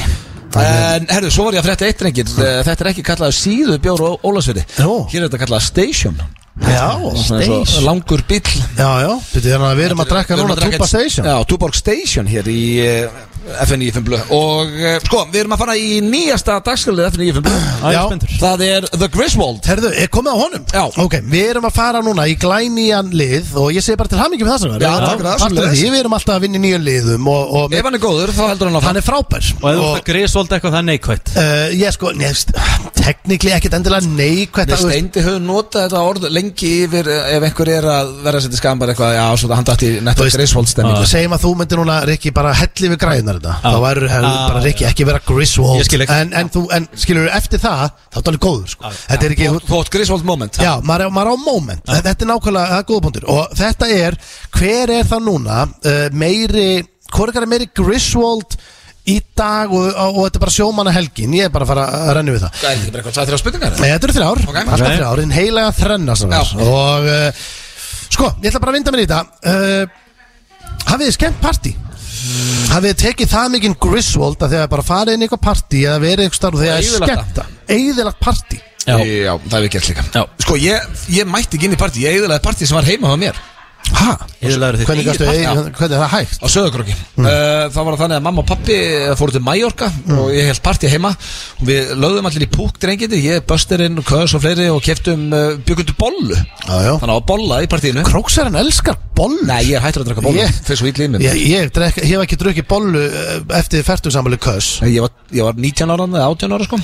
En herðu, svo var ég að frétta eitt rengir Þetta er ekki kallaður síðu bjór og Ólafsfjörði
Jó.
Hér er þetta kallaður station
Já,
Svona eins og
stage
Langur bíll
Já, já, þetta er hann að við erum að drekka
Við erum
núna
að drekka-
Tupa Station
Já, Tuborg Station hér í eh, FNI 5 blöð Og eh, sko, við erum að fara í nýjasta dagskalið FNI 5 blöð
Það
Já.
er spendur
Það er The Griswold
Herðu, er komið á honum?
Já.
Ok, við erum að fara núna í glænían lið Og ég segi bara til hamingi með það sem
Já, takk fyrir
fyrir
það, sömuleiðis.
því Við erum alltaf að vinna í nýjan liðum Og, og
Ef hann er góður, þá heldur hann á
hann er frábær
Og ef þú ert að grísvolda eitthvað það er neikvætt
Uh, ég sko, nefst, teknikli ekkert endilega neikvætt
Við
að-
steindi höfum notað þetta orð lengi yfir eh, ef einhver er að vera að setja skambar eitthvað Já, svo það hann dætti
Þú
nettopp
veist- Ah.
Griswold stemmingu
segjum að þú myndir núna Rikki bara helli við græðunar þetta
Já.
þá verður ah,
Já.
bara Rikki ekki vera Griswold
Ég skil ekki.
en, en, þú, en skilur eftir það þá er það alveg góður sko. þetta er ekki
Þú átt Griswold moment
Já, maður er, maður er á moment Þetta- Þetta er nákvæmlega, það er góða punktur Og þetta er, hver er það núna uh, Meiri, hvor er meiri Griswold í dag og, og, og þetta er bara sjómanna helgin Ég er bara að fara að renna við það
Það er ekki bara eitthvað, það er þrjá spurningar
Nei, þetta eru þrjár,
Ok.
alltaf
Ok.
þrjár En heilega þrenna sem
Já.
er Og uh, sko, ég ætla bara að vinda mér í þetta uh, Hafið þið skemmt partí? Hafið þið tekið það mikinn Griswold að þegar bara farið inn í eitthvað partí eða verið eitthvað starf og þegar
Og
það er
eyðilagt
skemmta Eðilagt partí
Já. það hefur gert líka
Já.
Sko, ég, ég mætti ekki inn í partí, ég eigðilega partí sem var heima á mér
Ha?
Eyðilagður þitt
Hvernig,
eigið
gastu,
partí?
eigið, hvernig er það hægt?
á Söðakröki mm. Það var þannig að mamma og pappi fóru til Mallorca
Mm.
og ég held partí heima og við lögðum allir í púk drengindi, ég, Bösterinn, Kös og fleiri og keftum uh, byggundu bollu
Já, já.
Þannig að bolla í partíinu
Króksarinn elskar bollu
Nei, ég er hættur að draka bollu,
Ég-
yeah. fyrir svo ítli í mér
Ég, ég, drek, ég hef ekki drukkið bollu eh, eftir færtugsamali kös
Ég var, ég var 19 ára eða 18 ára sko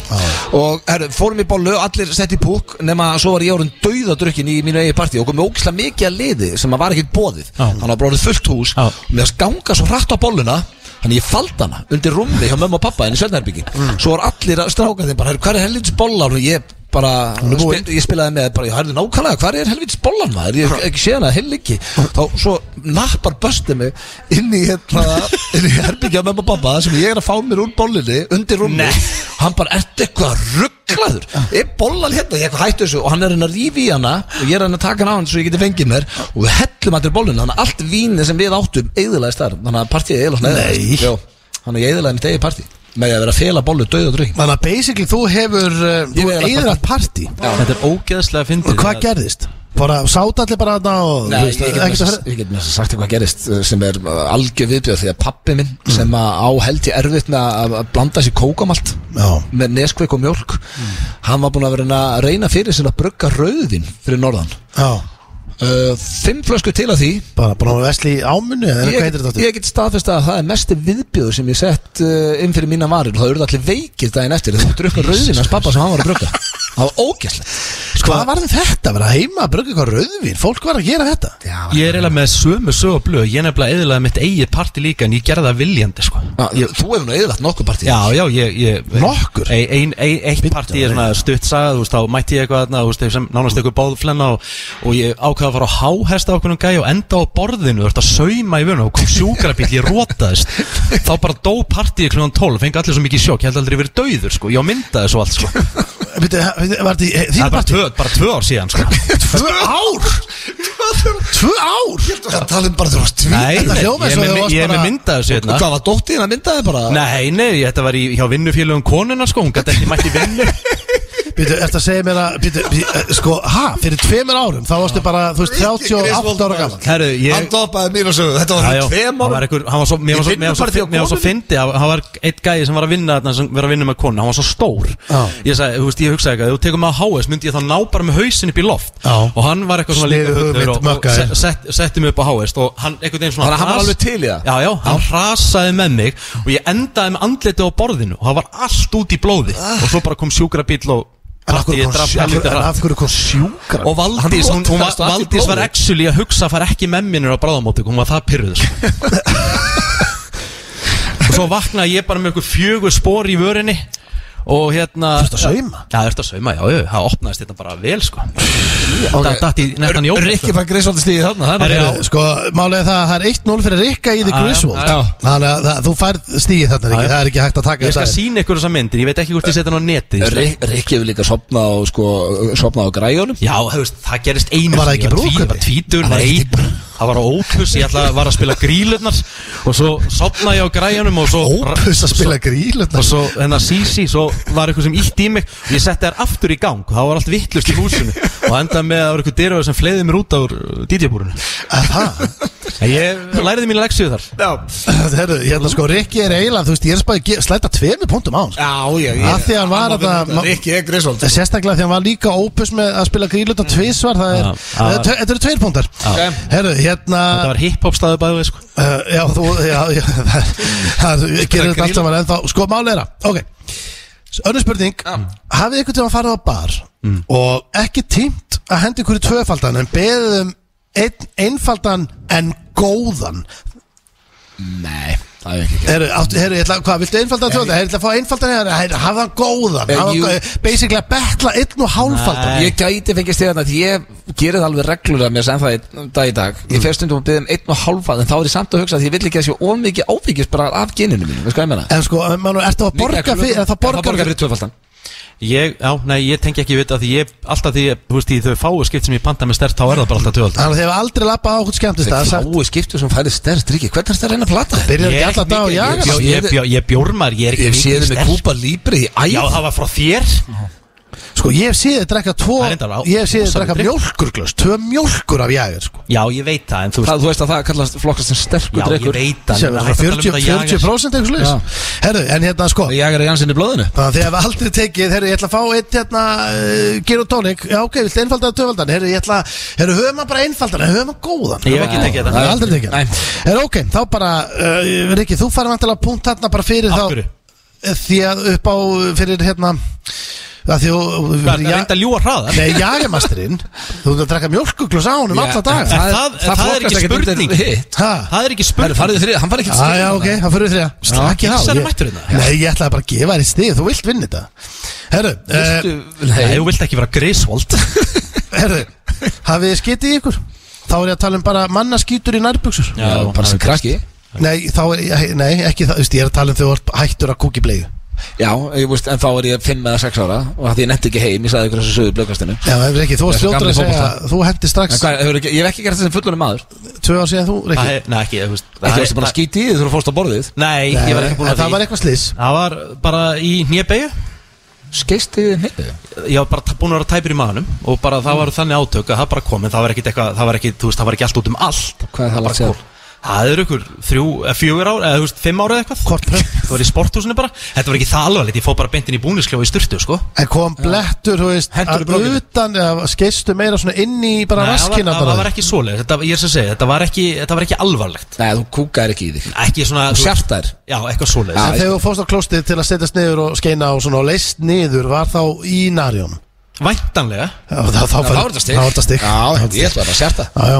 Og herru, fórum í bollu, allir sett í púk Nefna svo var ég orðin dauðadrukkin í mínu eigi partí Og komið ógislega mikið að liði sem að var ekkert bóðið
Já.
Þannig að bróðið fullt hús
Já.
Og mér fannst ganga svo hratt á bolluna Þannig ég faldi hana undir rúmi hjá mömmu og pappa henni í Sveinherbyggi
Mm.
Svo var allir að stráka þeim bara "Herru, Hvar er helvits bollan? Og ég bara,
er búin.
spil, ég spilaði með bara, ég hærði nákvæmlega, hvar er helvits bollan maður ég hef ekki séð hana, heil ekki þá svo nappar bösti mig inn í hérna, inn í herbyggja með mamma og pappa sem ég er að fá mér úr bollinni undir rúmi, hann bara, ertu eitthvað rugglaður, er bollan hérna ég eitthvað hættu þessu og hann er hérna að rífi í hana og ég er hérna að taka hann á hann svo ég geti fengið mér og við hellum allir bollinni, þannig að allt víni sem við áttum eigðilegist þar, þannig að partíið
Nei.
eigðilegist þannig að ég eigðilegði mitt eigið partí með því að vera að fela bollu döð og drögg
Þannig að basically þú hefur uh,
Ég
Þú
er
er
eyðilagt
eðilagt partí
Þetta er ógeðslega
Og
fyndir
hvað gerðist? Bara sátt allir bara þarna og
Nei,
þú
ég
veist,
get
ekkert að
með-
höra-
ég get með þess að sagt eitthvað gerist uh, sem er uh, algjör viðbjöð því að pappi minn sem að á held ég erfitt með að- að blanda sér kókamalt
Já.
með neskveik og mjólk hann var búin að vera að reyna fyrir sér að brugga rauðvin fyrir norðan
Já,
uh, Fimm flösku til að því
bara búin að vesli í ámunni eða hvað heitir
Ég,
þetta aftur?
ég get staðfest að það er mesti viðbjöður sem ég sett uh, inn fyrir mína varir og það eru allir veikir daginn eftir þegar þú drukka rauðin hans pappa sem hann var að brugga það var ógæslegt
Sko, Hvað var þetta? Verða heima að brugga eitthvað rauðvín? Fólk var að gera þetta
Ég er eiginlega með sömu sögu blöð Ég er nefnilega eðilega mitt eigið parti líka En ég gerði það viljandi sko
Þú hefur nú eðlagt nokkuð partíð
Já, já, ég, ég
Nokkur?
Ein, ein, ein, Eitt partí er svona stutt sagði, Þú veist, þá mætti ég eitthvað þarna Þú veist, þeir sem nánast eitthvað báðflenna og, og ég ákvaði að fara á háhesta okkur um gæja Og enda á borðinu, þú veist, að sauma í vönu Og kom sjúkrabíl, ég rótaðist Þá bara dó partíi kl. 12 Fengi allir svo mikið sjokk, ég held aldrei verið dauður, sko Ég á myndaði svo allt, sko Það
Veitu, Var þetta í- eh, þín
er bara
partí?
tvö, bara tvö ár síðan, sko
Tvö ár? Tvö ár?
Það talum bara þú varst tví
Nei,
Þetta
nei,
hljóma
ég
eins og
er með-
þú varst
ég er með
bara-
myndað þessu hérna
Hvað var dóttið að myndaði bara?
Nei, nei, þetta var í, hjá vinnufélögum konuna sko, hún gæti ekki mætti vinnu
Býtu, eftir að segja mér að býtu, býtu, Sko, ha, fyrir tveimur árum Þá varstu bara, þú veist, 38 ára gammal
Herru,
Hann
ég
dopaði mín og sögðu Þetta var
Já, já,
fyrir tveim
hann var
ára
einhver, hann var svo, mér var
Ég
svo,
finn
mér var
bara því
svo,
á
mér var svo
konunni.
fyndi, hann hann var eitt gæði sem var að vinna þarna, sem var að vinna með konu, hann var svo stór
Já.
ég sagði, þú veist, ég hugsaði eitthvað, ef þú tekur mig á HS myndi ég þá ná bara með hausin upp í loft
Já.
og hann var eitthvað svona
Sniðug
líka fullur
hugmynd,
og, og
mökkaður.
se- sett, setti mig upp á HS og hann einhvern veginn svona
Þannig að hann var
hras-
alveg til í það?
Já, já, hann hrasaði með mig og ég endaði með andlitið á borðinu og það var allt út í blóði og svo bara kom sjúkrabíll og
En af hverju
Patti, ég
kom
drap
sjú- af
helvítið
hverju- en
hratt.
af hverju kom sjúkra?
Og Valdís, hún, hún,
rótaðist og
var-
allt í
Valdís var
blóði.
actually að hugsa að fara ekki með minnir á bráðamóttöku, hún var það pyrruð
[laughs]
sko. Og svo vaknaði ég bara með ykkur fjögur spór í vörinni Og hérna
Þurftu að sauma?
Já, þurftu að sauma, já, já, það opnaðist þetta bara vel, sko okay.
Ok.
Datt í nettan jók
Rikki fær greiðsvöldi stíði þarna það er
Herri,
bara-
já.
Sko, málið er það að það er 1-0 fyrir Rikka í The
Já, já,
Griswold
já.
Þannig að það- þú færð stíði þarna
Já,
Rikki
já.
Það er ekki hægt að taka
Ég skal
þetta
sína ykkur þessa myndir, ég veit ekki hvort ég setja hann á netið sko.
Rik- Rikki hefur líka sopnað á, sko, sopnað á græjunum
Já, þú veist, það gerist einu
Var það
sinni,
ekki
ég tví-
brúðkaupi?
Ég var tvítur, nei Það var á ópus, ég ætla var að spila grílurnar Og svo sopnaði ég á græjanum Og svo
Ópus að spila gríl
og
þetta.
svo hennar Sisi, svo var eitthvað sem ítti í mig og ég setti þær aftur í gang og það var allt vittlust í húsinu og endaði með að það var eitthvað dyrfur sem fleiði mér út á DJ-búrinu
Er Það
ég læriði mínu leksíu þar
[laughs] Herru, hérna sko, Rikki er eiginlega, þú veist, ég er spæðið að ge- slæta tveimu punktum á hans
Já, já, já
Af því að hann var að-
hérna Rikki er sko. Mm. greiðsvöldi
Sérstaklega því að hann var líka ópus með að spila grílut og tvísvar, það er,
Já, já.
þetta þetta eru tveir punktar
Já.
Herru, hérna
það var hip-hop staðu bæðu sko.
uh, Já, þú, já, já [laughs] það- Það gerir þetta allt saman ennþá Sko, máli er að, ok Önnur spurning, hafið ykkur til að fara á bar
Mm.
og ekki tímt að hendi ykkur í tvöfaldan en beðið um einn einfaldan en góðan
Nei, það er ekki
Herru, áttu, herru, ég ætla, hvað, viltu einfaldan tjóðan? Herru, ég ætla að fá einfaldan hérna, herru, hafa hann góðan
Eh,
hafa hann
jú.
góðan, basically að betla einn og hálfaldan
Ég gæti fengið stíðan að ég gerir það alveg reglur að mér sem það í um dag í dag Ég fer stundum að byrja um einn og hálfa en þá er ég samt að hugsa að ég vill ekki að sé of mikið áfengis bara af geninu mínu, veist hvað ég meina?
En sko, mann, ertu að borga fyrir, er það borga fyrir
fyrir tvöfaldan
ég, já, nei, ég tengi ekki við þetta því ég, alltaf því, þú veist, í þau fáu skipt sem ég panta með stert, þá er það bara alltaf tvöld
Þannig að þið hefur aldrei lappað á okkur skemmtist að sagt,
Fáu skiptu sem færið stærst ríki, hvernig er þetta að reyna að plata þig?
byrjar ekki alltaf dag og
ég,
jaga
bjó- ég, bjó- ég bjórmar, ég er ekki
Ég sé
mikið
þið með
sterk.
kúpa líbri í æð
já, það var frá þér
Sko, ég hef séð þið drekka tvo,
Það er reyndar á-
ég hef séð þið
rosaleg
drekka
drykk.
mjólkurglöst, tvö mjólkur af jager, sko
já, ég veit það, en þú
Það,
veist
þú veist að það kallast flokkast sem sterkur
já, ég
drekkur
veit það
Sem
en
er
það er hægt að tala um
40
þetta jagar.
40% eitthvað
Já.
slags Herru, en hérna, sko
Jagar er Jansson í blóðinu
Þannig að þið hefur aldrei tekið, herru, ég ætla að fá eitt hérna, uh, gera tónik, já ok, viltu einfaldan eða töfaldan, herru, ég ætla, herru, höfum maður bara einfaldan, en höfum maður góðan.
Ég hef ekki tekið þetta.
Það er aldrei tekið
Nei.
þetta. Herru, ok, þá bara, uh, Rikki, þú farið vantilega punkt hérna bara fyrir
Af
þá. Eh,
hverju?
Því að upp á, fyrir hérna, að því að,
Hvað, það er reynd að ljúa hraðar
nei, jagamasturinn, þú ert að drekka mjölkuglus á honum alla
en
daga.
það- það er ekki spurning.
Það
Ha?
það er ekki
er
spurning
farið þrið, hann farið ekki
Ah, Já, já, ok, það fyrir þrjá Slakið á
Ísar er
ég-
mættur hérna.
Nei, ég ætlaði bara að gefa þér í stið Þú vilt vinna þetta Herru, eh,
Nei, þú vilt ekki vera Griswold
Herðu, hafið þið skitið í ykkur? Þá er ég að tala um bara manna skýtur í nærbuksur
Já,
Bara sem krakki
Nei, þá er ég, nei, ekki það, þú veist, ég er að tala um þau vart hættur að kúki bleiðu
Já, ég veist, en þá er ég 5 eða 6 ára og það ég nefndi ekki heim, ég sagði ykkur þessu sögur blöðkastinu
Já, það er ekki, þú varst
Þessi
fljótur að
gamli
segja
fótbolta.
Þú hendi strax,
En hvað, hefur ekki, ég hef ekki gert þetta sem fullunum maður Ekki
tvö ár síðan þú, Rikki
Nei, nei, ekki, þú veist það-
varstu bara að skýti í því þú fórst á borðið
Nei, ég var ekki búin
En
að
það
því
var eitthvað slis
Það var bara í nýjabæju
Skeist í nefnið
Ég var bara t- búin að vera tæpur í maðunum Og bara það var þannig átök að það bara kom En það var ekkit eitthvað, það var ekki, þú veist, það var ekki allt út um allt
Hvað er það langt
bara
síðan?
kom. Það er ykkur þrjú, eh, fjögur ár, eða þú veist, fimm ára eða eitthvað [laughs] Hvort Það var í sporthúsinu bara Þetta var ekki það alvarlegt, ég fó bara beintin í búningskljóð í sturtu, sko
En kom blettur, þú veist,
Hentur í
að
brókina.
utan eða Skeistu meira svona inn í bara
Nei, það var-
raskina
það það var ekki svoleið, þetta, ég er sem segið, þetta var ekki, þetta var ekki alvarlegt
Nei, þú kúkaðir ekki í þig
Ekki svona
Þú
þú-
sjartaðir
Já, eitthvað svoleið
En þegar þú fórst á klóstið til að setjast niður og skeina og svona og leist niður var þá í nærjón
Væntanlega
Já, þá þá
Það
fer-
var þetta stig
Þá var þetta stig
Já, ég ætla bara að sjarta
Já, já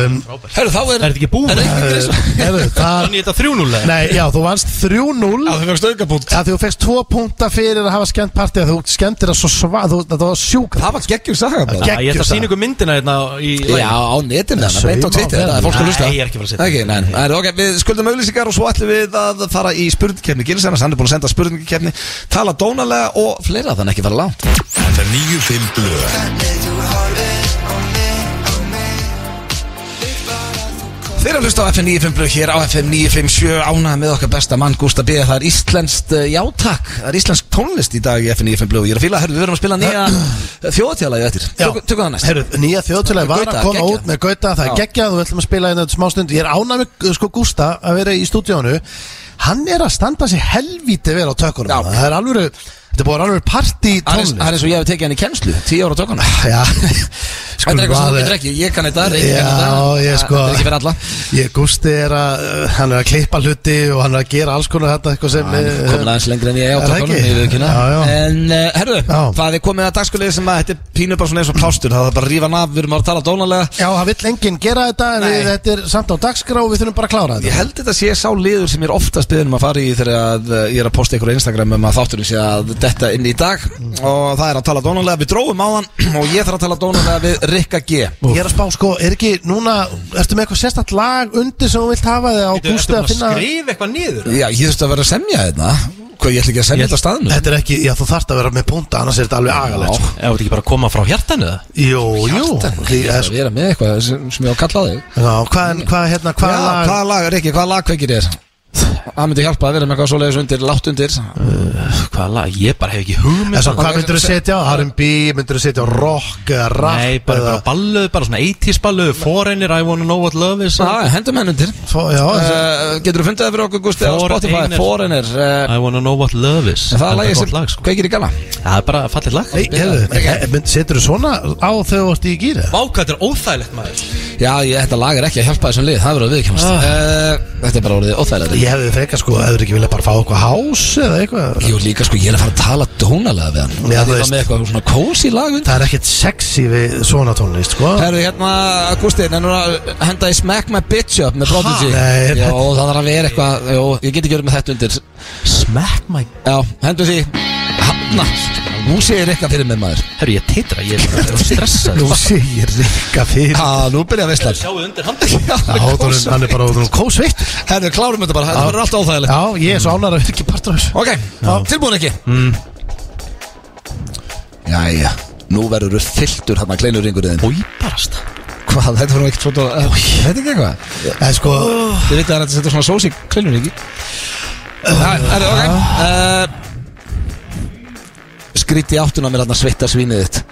um,
Hörru, þá er
Er þetta ekki búið?
Er ekki greiðsvöld
Herru, það
Þannig þetta 3-0 eða?
Nei, já, þú vannst 3-0
Já, þú fegst aukapunkt
að þú fegst tvo punta fyrir að hafa skemmt partí að þú skemmtir það svo svá þú, það var sjúk
Það var geggjum saga bara
Já, Ég ætla að sína ykkur myndina hérna í
Já, á netinu þannig,
Sauma
beint á Twitter,
á
það er fólk að
Nei,
lusta
ég er ekki að fara að setja.
Ok, nei, nei, ok, við skuldum auðlýsingar og svo ætlum við að fara í spurningkefni Gilsennars, hann er búin að senda spurningkefni Tala dónalega og fleira, þannig ekki fara langt
FM 95 Blöð
að hlusta á FM 95 blöð hér á FM 957 ánað með okkar besta mann Gústa B. Það er íslenskt eh, játak, það er íslensk tónlist í dag í FM 95 blöð Ég er að fíla, herru, við verðum að spila
[clears throat]
nýja þjóðatjálagi eftir Tökum tökum það næst
Herru, nýja þjóðtölu var að
Gauta,
koma
geggjað.
út með Gauta, það er
Já.
geggjað og við ætlum að spila einu smá stund Ég er ánæmi, sko, Gústa að vera í stúdíónu Hann er að standa sér helvíti vel á tökunum
Já.
þarna. Það er alvöru, þetta er búin alvöru partí
Það er- það
tónlist Ah,
er eins og ég hef tekið hann í kennslu, 10 ára tökana
Já, Sko,
Þetta er eitthvað sem þú
maður-
getur ekki, ég kann þetta, Reyk kann
Já,
þetta
ég sko
Það er ekki fyrir alla
Ég Gústi er að, uh, hann er að klippa hluti og hann er að gera alls konar þetta eitthvað sem
Það er komin
uh,
aðeins lengri en ég
Er það
áttakonum
ekki?
ég við kynna
Já, já.
En uh, herru,
Já.
það er komið að dagskulegi sem að þetta er pínu bara svona eins og plástur Það er bara að rífa hann af, við erum að tala dónalega
Já, það vill enginn gera þetta en
Nei.
við, þetta er samt á dagskrá og við þurfum bara að klára
Ég
þetta
held þetta sé sá liður sem ég er oftast byggðin um að fara í þegar að eh, ég er að posta ykkur á Instagram um að þátturinn sé að detta inn í dag og það er að tala dónalega við dróum á þann [clears throat] og ég þarf að tala dónalega við Rikka G
Ég er að spá, sko, er ekki núna ertu með eitthvað sérstætt lag undir sem þú vilt hafa þig á Gústi að finna
skrifa eitthvað niður
Já, ég þurfti að vera að semja þetta Hvað, ég ætla ekki að semja
Ég-
þetta á staðnum
Þetta er ekki, já, þú þarft að vera með punta annars er þetta alveg agalegt sko.
Ef þetta ekki bara að koma frá hjartanu það
Jú, jú Því, eh,
Að
sko,
vera með eitthvað sem, sem ég á að kalla þig
Já, hvað, hvað, hérna,
Já,
hvað lag
hvaða lag, Rikki, hvaða lag kveikir þér? Það myndi hjálpa að vera með eitthvað svoleiðis undir, látt undir
Hvað lag, ég bara hef ekki hugmynd
En Eh, svo,
Ok,
hvað myndir þú
se-
setja á R&B, myndir þú setja á rock, eh, rap
Nei, bara, bara balluð, bara svona 80s balluð Foreigner, I wanna know what love is
Já, hendum henn undir
bara Já,
uh, Getur þú fundið það fyrir okkur, Gusti, á
Foreigner.
Spotify, Foreigner uh,
I wanna know what love is
Það er lagið
gott
sem
lag, sko.
kveikir í gala
Það er bara fallið lag sko.
Nei, hefðu, setur þú svona á þegar þú ert í gýri?
Vákvæmt er óþægilegt maður
Já, ég, þetta lag er ekki að hjálpa þessum lið, það verður að viðkjæmast
Ah.
uh, Þetta er bara orðið óþægilega
Ég hefði frekar sko, hefur ekki viljað bara fá eitthvað hás eða eitthvað
Jú, líka sko, ég er að fara að tala dónalega við hann
Já,
Það
þú
er
veist.
með eitthvað svona kósi lag undir
Það er ekkert sexy við svona tónlist sko
Herru, hérna, Gusti, nennur að henda í Smack My Bitch Up með Prodigy
Nei,
Jó, það þarf að vera eitthvað, jó, ég get ekki verið með þetta undir
Smack my
Já, hendur því Hanna, nú segir eitthvað fyrir mig maður
Herru, ég teitra, ég er bara stressað
Nú sé ég rikka fyrir
Já, nú byrja að veistla
Sjáu undir handið
Hátónum, hann er bara út um kósveitt
Herru, klárum þetta bara, þetta verður allt óþægilegt
Já, ég er svo ánar að vera ekki partur af þessu
Ok, tilbúin ekki Jæja, nú verður þú fylltur hann að kleinur ringurinn
Bói barast
Hvað, þetta var nú ekkert svona uh, Þetta er ekki eitthvað
En sko,
Þið vitið að þetta setja svona sós í kleinur ekki Það er ok uh, Skrýtt í áttuna mér hann að sveita svínið þitt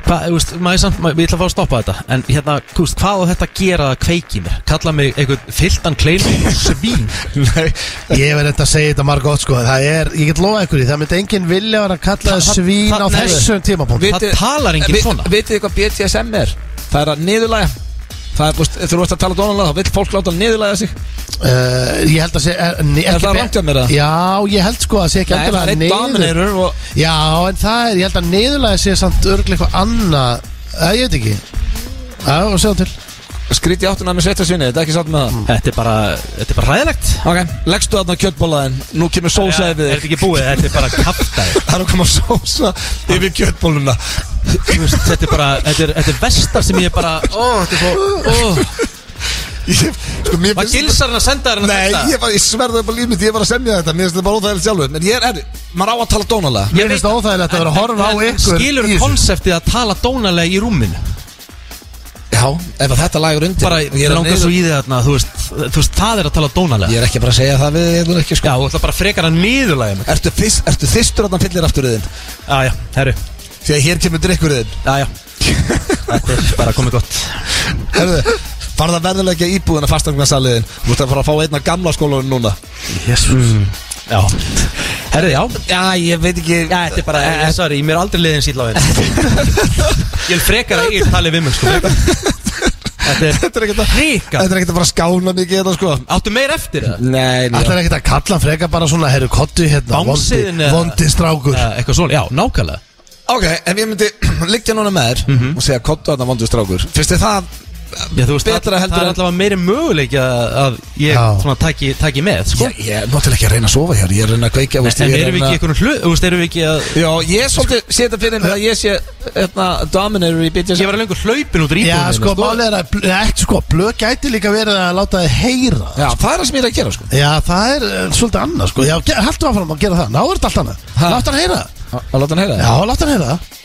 Hvað, þú veist, maður samt, maður, ég ætla að fá að stoppa þetta En hérna, kúst, hvað á þetta að gera að kveiki í mér? Kalla mig einhvern fylltan klein Svín
[laughs] Nei
ég verði þetta að segja þetta margótt sko Það er, ég get lofa ykkur í, það myndi enginn vilja vera að kalla
Það- það-
svín á
það- nei.
þessum tímapunkt
Við- talar enginn svona.
Eh, Vitið þið hvað BTSM er? Það er að niðurlæga Það er, þú veist, þú veist að tala dónalega þá vill fólk láta niðurlæga sig
Uh, Ég held að segja Er, ne-
Er
ekki
það
be-
rangt hjá mér, eða?
Já, ég held sko að segja ekki
Nei,
endilega
það er
niður-
dominator og-
Já, en það er, ég held að niðurlega sé samt örglega eitthvað annað Það ég veit ekki Já, og sjá til
Skrýtt í áttuna með sveita svínið, þetta er ekki sátt með það
Þetta er bara, þetta er bara ræðilegt
Ok, leggstu þarna á kjötbólaðin Nú kemur sósa
Er
yfir
þetta
þig
ekki búið, þetta er bara kaftaði
[laughs] Það er að koma sósa yfir Sko, kjötbóluna
Þú veist, þetta er bara, þetta er, þetta er vestar sem ég er bara Ó, þetta er bara, ó
Ég- Sko, mér
Var
finnst
gilsarinn að senda þér en að
Nei,
þetta?
ég, bara, ég sverðu upp á líf mitt, ég var að semja þetta Mér finnst þetta bara óþægilegt sjálfur En ég er, er, maður á að tala dónalega
Mér finnst það óþægilegt að vera að horfa á ykkur
Skilur
í þessu.
konseptið að tala dónalega í rúminu
Já, ef að þetta lagur undir
Bara,
ég, er að
langar
niður-
svo í þig þarna, þú veist, þú veist, það er að tala dónalega
ég er ekki bara að segja það við ég er ekki,
Já,
sko.
þú ætla bara frekar að niðurlægja mig
ertu, fyrst, ertu þystur að það fyllir afturriðin
Æja, herru,
Því að hér kemur drikkuriðin
æja Þetta er bara komið gott
Herðu, farð að verðilega íbúðina fastangarsaliðin Þú ert að fara að fá einna gamla skólanum núna Mm.
Já, herru, já
Já, ég veit ekki
Já, þetta er bara, eh, sorry, mér er aldrei liðin síðla á henni Ég er frekar að ég tali við mig, sko Þetta
Þetta er ekkert
er
að,
frekar
þetta er ekkert að fara að skána mikið þetta sko
Áttu meir eftir það?
Nei,
Ætlar ekkert að kalla hann freka bara svona Herru kottu hérna, vondi,
Bangsiðin eða-
vondi strákur
Eh, Eitthvað svona, já, nákvæmlega
Ok, ef ég myndi liggja núna með þér og segja kottu að það vondur strákur Fyrst þið það
Já, þú veist,
Betra
það,
heldur
það er
en-
allavega meiri möguleik að að ég
Já.
svona taki, taki með, sko
Ég, ég er náttúrulega ekki að reyna að sofa hér Ég hérna- er að reyna að kveikja
En, en erum við ekki einhvern hlut, þú veist, erum við ekki að
Já, ég svolítið sé þetta fyrir mig að ég sé hérna, Dominator í BTS
Ég var að lengur hlaupin út úr
Já,
íbúðinu
sko, málið er að bl- Ekki sko, blöð gæti líka verið að láta þið heyra
Já, það er það sem ég er að gera sko
Já, það er eh, svolítið annað sko Já, ge- haltu áfram að gera það, náður þetta allt annað
Ha.
Látt hann heyra það
Að láta hann heyra
Já, látt hann heyra það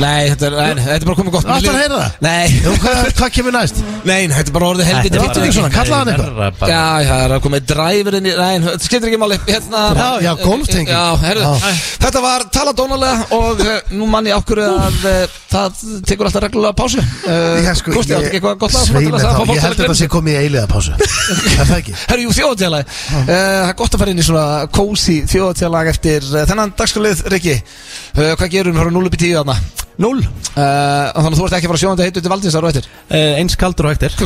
Nei, þetta er, nei, þetta er bara komið gott
Ætlar
Mér
að heyra
líður-
það?
Nei,
Jú, hvað, [laughs] hvað kemur næst?
nei, þetta er bara orðið helviti
Þetta er bara-
vitlaust.
svona, kallaði hann eitthvað?
eitthvað
Já, já, það er að koma í driverinn í Nei, þetta skiptir ekki máli hérna,
Já, já, golftenging.
Já, herðu
Já.
Þetta var tala dónalega og uh, nú manni ákvöru að uh, það tekur alltaf reglulega pásu uh,
Já, sko,
Gústi, áttu ekki eitthvað gott lag svona til
Sveinir
þess að fá
þá,
fólk
ég
til
held að þetta
gleymast?
sé komið í eiliða [laughs] pásu Er það ekki?
Herru, jú, þjóðatjálag uh, Það er gott að fara inn í svona kósi þjóðatjálag eftir uh, þennan dagskalið, Rikki uh, Hvað gerum, hörum 0 upp í 10 þarna uh,
Núl
Þannig að þú ert ekki að fara sjóðandi heitu til valdins ára eftir
Eh, Eins kaldur og ektir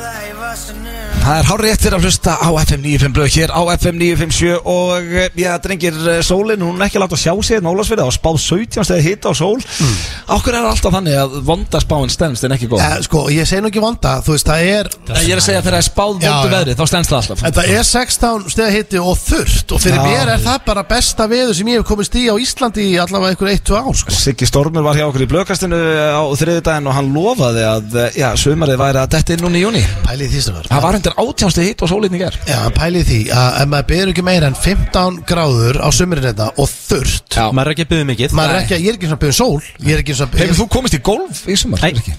Það er hár réttir að hlusta á FM 95 blöð hér á FM 957 og eh, já, drengir, eh, sólin, hún er ekki látt að sjá sig hérna Nólasfyrða og spáð 17 stegið hita á sól mm. Ákveð er það alltaf þannig að vonda spáin stendst en ekki góð
Ja, sko, ég segi nú ekki vonda, þú veist, það er
Nei, Ég er að segja þegar það er spáð
Já,
vondu
já.
veðri, þá stendst það alltaf
En það er 16 stegar hitti og þurft Og fyrir mér er það bara besta veður sem ég hef komist í á Íslandi í allavega einhver 1-2 ár sko.
Siggi Stormur var hjá okkur í blöðkastinu eh, á þriðudaginn og hann lofaði að eh, já, sumarið væri að detta inn núna í júni
Pælið því sem var
Það var undir átjánstu hitt og sólinni ger
Já, pælið því að ef maður byrður ekki meira en 15 gráður á sömurinn þetta og þurft
Já.
Maður er ekki að byggja mikið
maður er ekki, að- Ég er ekki eins og að byrða sól Ég er ekki eins og að
Hefur þú komist í golf í sumar?
Nei,
Rikki?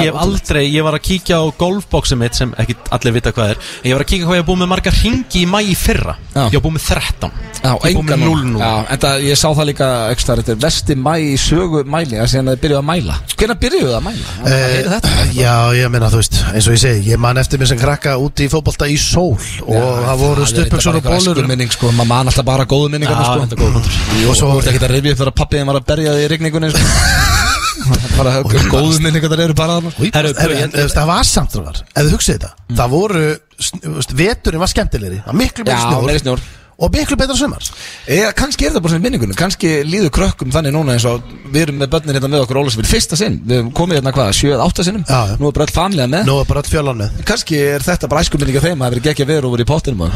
ég hef aldrei, ég var að kíkja á golfboxið mitt sem ekki allir vita hvað er Ég var að kíkja hvað ég hef búið með marga ringi í mæ í fyrra
Já.
Ég hef búið með 13
Já,
Ég hef búið
engan
með 0
núna.
nú
Já, en það, ég sá það líka ekstra, þetta er vesti mæ í sögu mæli að síðan að þið byrjuðu að mæla Hvernig byrjuðu það að mæla? Það heyri þetta
Eh, Já, ég meina, þú veist, eins og ég segi Ég man eftir mér sem krakka úti í fótbolta í sól Og það voru stuppöksun og bólur
Það er minning, sko, maður man alltaf bara góðu minningar
Já,
sko.
þetta er góður punktur.
Jú, og svo voru ekki að rifja upp þegar pappiðin var að berja þig í rigningunni [laughs] sko. bara, Góðu minningar það eru bara þarna. sko.
Herru,
Herru,
ég-
en, þú veist, það var samt það var Ef þú hugsið þetta Það voru sn- þú veist, Veturinn var skemmtilegri Það var miklu
Mm. Já,
meiri
meiri
snjór
snjór.
Og miklu betra sumar
Eða, Eh, kannski er það bara sem minningunum Kannski líður krökkum þannig núna eins og Við erum með börnin hérna með okkur Ólasvíl Fyrsta sinn, við hefum komið hérna hvað, 7-8 sinnum
Já, já.
Nú er bara all fanlega með
Nú er bara all fjölan með
Kannski er þetta bara æskuminninga þeim að það verið gekkja veður og verið í pottinum og-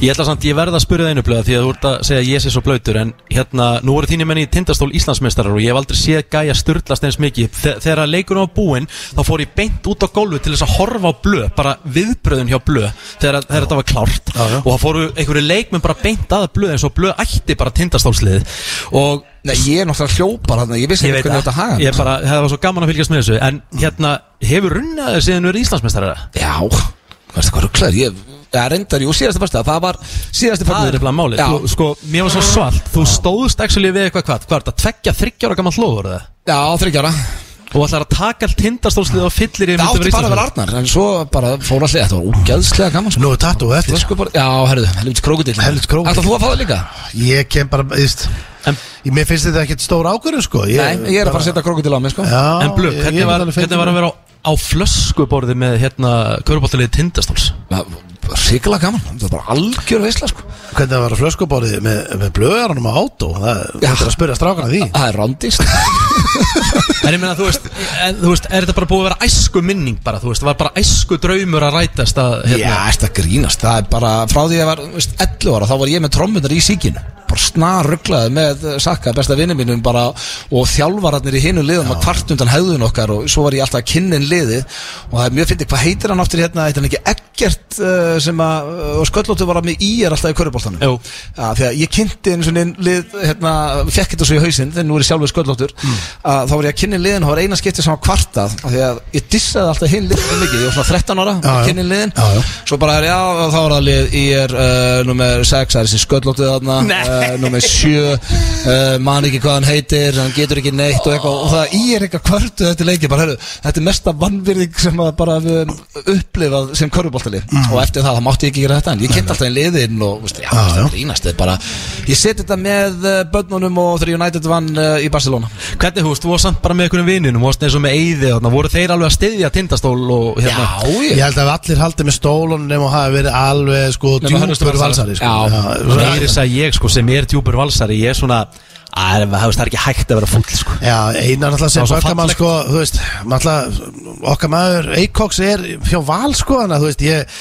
Ég ætla samt, ég verða að spyrja það einu blöða því að þú ert að segja að ég sé svo blöytur en hérna, nú voru þínir menn í tindastól Íslandsmeistarar og ég hef aldrei séð gæja styrlast eins mikið Þe Þegar að leikunum var búinn þá fór ég beint út á gólfu til þess að horfa á blöð bara viðbröðun hjá blöð þegar, að- þegar þetta var klárt
Já, já.
og það fóru einhverju leikmenn bara beint að blöð eins og blöð ætti bara tindastólslið og
Nei, ég er náttúrulega hljópar þarna, ég vissi
ég
ekki
veit
hvernig þetta haga
að ég bara, það var svo gaman að fylgjast með þessu en hérna, hefur runnaðið síðan verið Íslandsmeistarar?
Já, veist það hvað rugglar, ég Já, reyndar, jú, síðasta fyrsta, það var síðasta
Það er
fyrsta
eitthvað málið,
Já,
þú, sko, mér var svo svalt Þú stóðust actually við eitthvað hvað, hvað er þetta, tveggja, þryggjára gammal hlóður það?
já þryggjára
og ætlar að taka all tindastólslið og fyllir í
Það átti bara að vera Arnar, en svo bara fór allir Þetta var úgeðslega gaman sko.
Nú er tattu eftir
Sko bara, Já, herðu, helvits krókudill
Helvítis krókódíll.
Ætlar þú að fá það líka?
Ég kem bara þú veist,
En-
ég- Mér finnst þetta ekkert stór ákvörðu sko
Nei, ég er að fara að setja krókudill á mig, sko
Já,
en blöð,
ég- ég
hvernig,
get
var-
alveg fengið
hvernig var að vera á, á flöskuborði með hérna köruboltalið tindastóls
Sikla gaman, það var bara algjör veisla, sko
Hvernig var að flöskubórið með, með blöðarunum á átó Það
Já.
þetta er að spyrja strákana því
Það er randist
en ég meina þú veist, en, þú veist er þetta bara búið að vera æsku minning bara, þú veist, var bara æsku draumur að rætast að
Já,
hérna,
þetta grínast, það er bara frá því að ég var veist, 11 ára, þá var ég með trommunar í síkinu bara snaruglaði með eh, Sakka, besta vinnu mínum bara og þjálfararnir í hinu liðum að kvart undan hefðun okkar og svo var ég alltaf að kynna inn liðið og það er mjög fyndið, hvað heitir hann aftur hérna, heitir hann ekki ekkert uh, sem að, og sköllóttu var að með í er alltaf í köruboltanum
Jú.
Já, því að ég kynnti einu svona lið, hérna, fekk þetta svo í hausinn þegar nú er ég sjálfur sköllóttur
Mm.
að þá var ég að kynni liðin og það var eina skipti sem var kvartað af því að ég dissaði alltaf hinn liðin mjög mikið, ég var svona 13 ára,
Já, já.
kynni liðin
Já, já.
svo bara er já, þá er það lið í er uh, nummer 6, það er þessi sköllóttu þarna uh, nummer 7 uh, man ekki hvað hann heitir, hann getur ekki neitt og eitthvað, og það í er eitthvað kvörtu þetta leiki, bara herru, þetta er mesta vannvirðing sem að bara við höfum upplifað sem körfuboltalið, og eftir það, það mátti ég ekki gera þetta en ég kynnt alltaf í liðin og, veist, já,
Já,
veist,
já.
það grínast, þetta er bara ég seti þetta með uh, börnunum og þegar United vann uh, í Barcelona
hvernig, þú veist, þú varst samt bara með einhvern vininum, þú varst eins og með eyði þarna, voru þeir alveg að styðja tindastól og hérna
ég
Ég held að allir haldið með stólunum nema hafa verið alveg sko
Nema hörðustu
djúpur valsari
Valsarar.
sko.
Já.
svona-
meiri að ég sko sem er djúpur valsari ég er svona, að, það er ekki hægt að vera fúll sko
Já, einar náttúrulega sem
Það var svo
bökkamann
fallegt.
sko, þú veist, náttúrulega okkar maður, Eikoks er fjá val sko, þannig að þú veist, ég,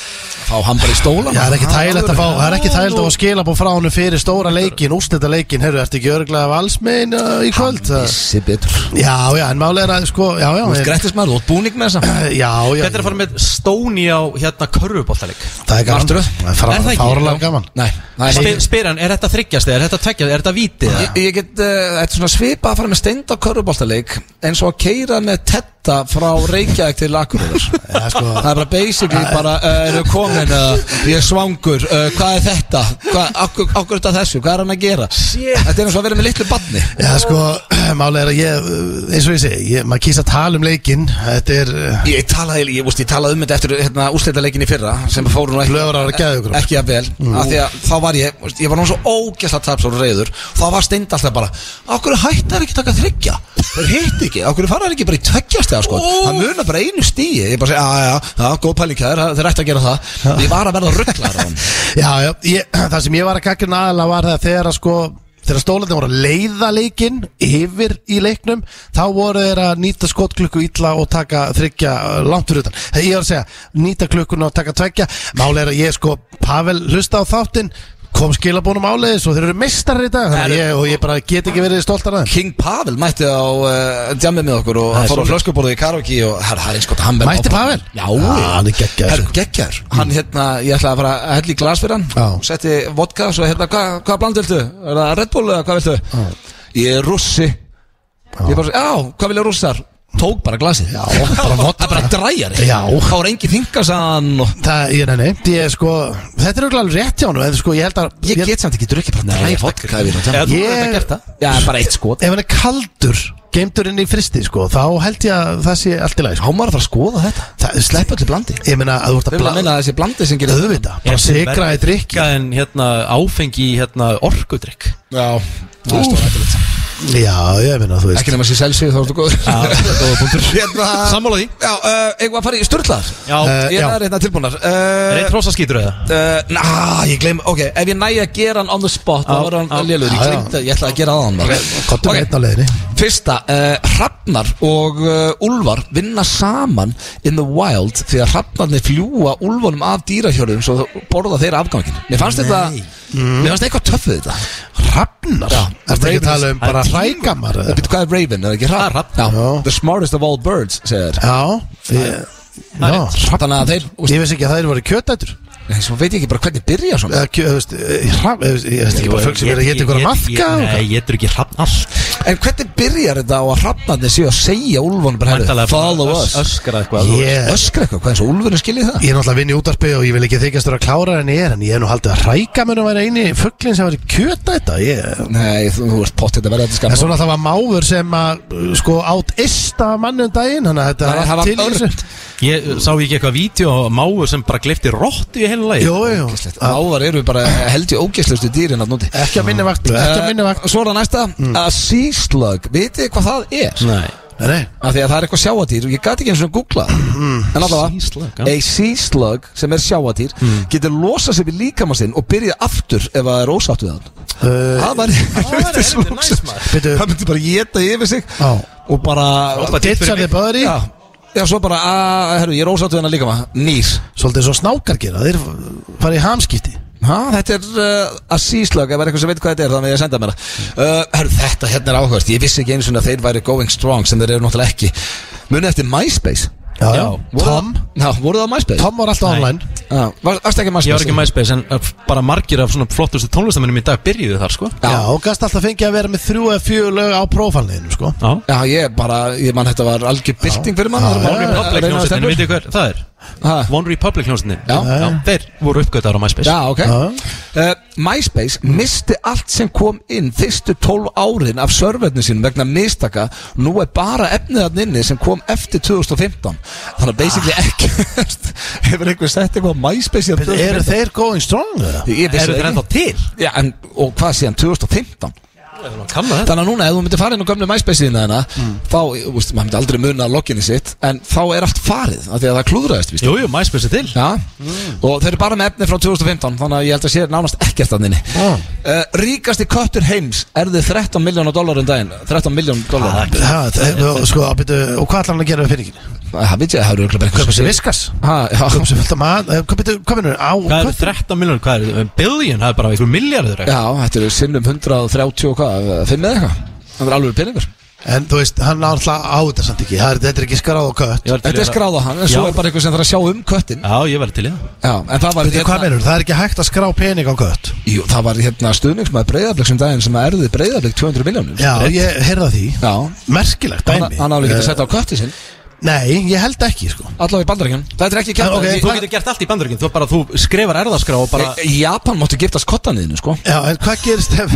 fá hann bara í stólan
já, það er ekki þægilegt að fá, það er ekki
Já,
þægilegt að
nú-
fá skilabóð frá honum fyrir stóra leikin, úrslita leikin, heyrðu, ertu ekki örglega valsmein uh, í kvöld? Það-
Vissi betur
Já, já, en málega er að sko, já, já,
Þú veist
ég-
grættis maður, þú ert búning með þessa
já, já,
Hvernig er að fara með Stóni á hérna körfuboltalik?
það er gaman,
Martröð?
það er
Er það
fara-
ekki?
fáralega gaman.
Nei, það er
Spyr, spyr hann, er þetta þryggjast eða er þetta tveggjast, er þetta vítið?
Ég, ég get ekkit, uh, þetta er svona svipað að fara með steind á körfuboltaleik eins og að keira með tetta frá Reykjavík til Akureyrar
Já, sko.
það er bara basically bara, uh, eru komin uh, ég er svangur, uh, hvað er þetta hvað, akkur, akkur er þetta þessu, hvað er hann að gera þetta er eins og að vera með litlu badni
Já, sko, [clears throat] málega er að ég, uh, eins og ég segi, ég, maður kýsa að tala um leikinn, þetta er uh,
ég talaði, ég, ég, ég talaði um þetta eftir hérna, úrslitaleikin í fyrra sem fóru nú ekki
Lögur ára geðugrum.
ekki að vel af því að þá var ég, veist, ég var nú svo ógæsla tapsóru reyður þá var steind alltaf bara okkur hættar ekki taka þryggja þeir hitt ekki, okkur farar ekki bara í tveggjastega sko. það munar bara einu stíi ég bara segi, já, já, já, góð pælíkæður, þeir ætti að gera það ég var að verða rugglar á hann
Já, já, ég, [clears throat] það sem ég var að kakka aðalega var það þegar að sko Þegar stólarnir voru að leiða leikinn yfir í leiknum Þá voru þeir að nýta skotklukku illa og taka þryggja uh, langt fyrir utan Þegar ég var að segja nýta klukkuna og taka tveggja Málega er að ég sko, Pavel hlusta á þáttinn Kom skilabónum áleiðis og þeir eru mistar í dag Þannig að ég, og ég bara get ekki verið stoltar að þeim
King Pavel mætti á uh, djamið með okkur og hann fór á flöskuborðið í karaoke og herr, það er eins gott hann verður
Mætti
áfram.
Pavel?
Já,
Já, hann er geggjaður,
Herru,
sko.
geggjaður Hann hérna, ég ætlaði að fara að hella í glas fyrir hann
Já.
Setti vodka og svo hérna, hva, hvað bland viltu? Er það Red Bull eða hvað viltu? Ég er russi Ég bara, já, hvað vilja russar? Tók bara glasið Já, bara vodka [laughs] Það er bara dræjar
Já.
Þá er engin þingasann og
Það, ég, nei, nei, ég sko, þetta er auðvitað alveg rétt hjá hann En sko, ég held að
Ég get samt ekki drukkið bara dræjar vodka ef ég er á djammið.
Eða þú
Ég-
hefði þetta gert það?
Já, bara eitt skot
Ef hann er kaldur, geimdur inn í fristi, sko Þá held ég að það sé allt í lagi,
Há maður að fara að skoða þetta
sko Slepp
Sleppa öllu blandi
Ég meina að þú ert
Þau
að
vilja meina
blanda
að þessi blandi sem gerir
Öðvita, bara
Er til
sigra í
verra
drikki
En hérna áfengi í hérna orkudrykk
Já, það er stóra
Já, ég meina þú veist
Ekki nema sér selsi þá ertu góður Hérna
Sammála því
[laughs] Já, uh, eigum við að fara í sturlaðar
Já.
Ég
já.
er hérna tilbúnar
Reynd
uh,
hrósa skýtur eða
uh, Na, ég gleym, ok Ef ég næja að gera hann on the spot þá
Já,
verður
já.
hann lélur Ég
Já, já.
glemta, ég ætlaði að gera það hann okay.
Kottum okay. einn á leiðinni
Fyrsta, uh, Hrafnar og uh, Úlfar vinna saman in the wild því að Hrafnarnir fljúa Úlfunum af dýrahjörðum svo borða þeirra afgangin Mér fannst þetta, mér fannst eitthvað töff við þetta
Hrafnar?
Já,
Ertu ekki að tala um bara
Ravens-
hrækamar?
Það byrja hvað er Raven, er það ekki hrafn?
hrafn.
Já.
Já.
The smartest of all birds, segir
Já ég- Já,
Þannig að þeir, úst,
ég veist ekki að þær voru kjötætur
ég, svo veit ég ekki bara hvernig byrja svona
Eða, kjö- þú veist, eh, hrafn- eh, Ég veist ekki bara fólk sem er að geta ykkur að maðka
Nei, ég getur ekki hrappn allt
En hvernig byrjar þetta á að hrafnarnir séu að segja úlfunum bara herri,
Væntanlega
follow
ös-
us
Öskra eitthvað
Ég
Öskra eitthvað, hvað eins og úlfunum skiljið það?
Ég er náttúrulega vinn í útarpi og ég vil ekki þykjast vera klárar en ég er en ég hef nú haldið að rækamunum væri eini fugglin sem væri kjöta þetta ég...
Nei, þú, þú ert pott þetta verða þetta
En
skam
svo náttúrulega var máfur sem að uh, sko átt ysta af mannum daginn þannig að þetta er
Nei,
allt
það var
til í
örn.
þessu.
Ég sá ekki eitthvað vídeo á máu sem bara gleyfti rottu í heila lagi
Jú, jú,
Ávar eru bara held í ógeðslustu dýrin að núti
ekki að minni vakt ekki að minni vakt
Svo er það næsta Að sea slug, vitið þið hvað það er?
Nei
Nei, nei.
Af því að það er eitthvað sjáadýr og ég gæti ekki eins og googla það
Sea slug,
En
já.
allavega, a sea slug sem er sjáadýr getur losað sér við líkamansinn og byrjað aftur ef það er ósátt við hann
Uh,
[laughs] Það var
helviti næs, maður.
Bíddu.
Það myndi bara geta yfir sig
Já.
og bara
Hoppa dýrt
Ditsa þið
fyrir mig.
böðri
Já, já svo bara, að, herru, ég er ósátt við hann líkama Nýr
svolítið svo snákar gera þeir fara í hamskipti
Ha, þetta er uh, að síslög, ef það er eitthvað sem veit hvað þetta er, þannig að ég senda mér það uh, Herru, þetta hérna er áhverst, ég vissi ekki einu svona að þeir væri going strong sem þeir eru náttúrulega ekki Munið eftir MySpace
já, já.
voru
Tom
það- Já, voru það á MySpace?
Tom var alltaf
Nei.
online
Já, var, varstu ekki
Ég
MySpace?
var ekki MySpace en uh, bara margir af svona flottustu tónlistaminnum í dag byrjuðu þar sko
Já.
já, og gast alltaf fengið að vera með þrjú eða fjögur lög á prófalniðinu sko
Já
Já, ég bara, ég man þetta var algjör bylting fyrir mann
Já,
þegar
já,
maður
One
var að
Republic
reyna að
hljónsettinu,
stemma.
veitir hvað það er?
Ha?
One Republic hljónsettinu
Já.
Þeir voru uppgötar á MySpace
Já, ok
Já.
uh, MySpace misti allt sem kom inn fyrstu 12 árin af servernu sín vegna mistaka nú er bara efnið þarna inni sem kom eftir 2015 þannig að basically [laughs] ekkert hefur einhver sett eitthvað á MySpace í að
eru þeir going strong eða?
Ég vissi
Eru þeir
það
ennþá
ekki
til?
Já, en, og hvað síðan, 2015
Kannu þetta
Þannig að núna ef þú myndir fara inn á gömlu MySpace-ina þarna þá, þú veist, maður myndi aldrei muna loginni sitt en þá er allt farið, af því að það klúðraðist víst.
Jú, jú, MySpace er til
Já, og þeir eru bara með efni frá 2015 þannig að ég held að sé nánast ekkert að nynni
Ah.
uh, Ríkasti köttur heims er þið 13 miljónar dólar um daginn 13 miljónar dólar
Já, þeir- og sko, að byrju, og hvað ætlar hann að gera við finningin?
Það veit ég að það eru örugglega bara
Kaupa
einhver
sér viskas
Ha, já.
Kaupa sér fullt af mat eh, Hvað byrju, hvað minnur? Á,
Hvað
hvað?
er 13 miljónur? Hvað er um billion? Það er bara einhver miljardur
Já, þetta eru sinnum 130 og hvað, 5 eða eitthvað Það er alveg peningur
En þú veist, hann er alltaf á þetta samt ekki Það er- Þetta er ekki skráð og kött
Þetta er skráða hann, en svo
Já.
er bara einhver sem þarf að sjá um köttin
Já, ég verði til í það
Já, en það var hérna-
Byrju, hvað minnur? Það er ekki hægt að skrá pening á kött
Jú, það var hérna stuðningsmaður breyðarblik sem daginn sem erði breyðarblik 200 miljónum
Já, ég heyrða því
Já.
Merkilegt
Hann,
dæmi
hann hafði ekki að
Eh,
setja á kötti sinn
Nei, ég held ekki sko
Allavega í bandarækjan Þetta er ekki
En,
kæft
ok,
Þú getur gert allt í bandurinn Þú bara, þú skrifar erðaskrá og bara
Í Japan máttu giftast kottaniðinu sko
Já, en hvað gerist ef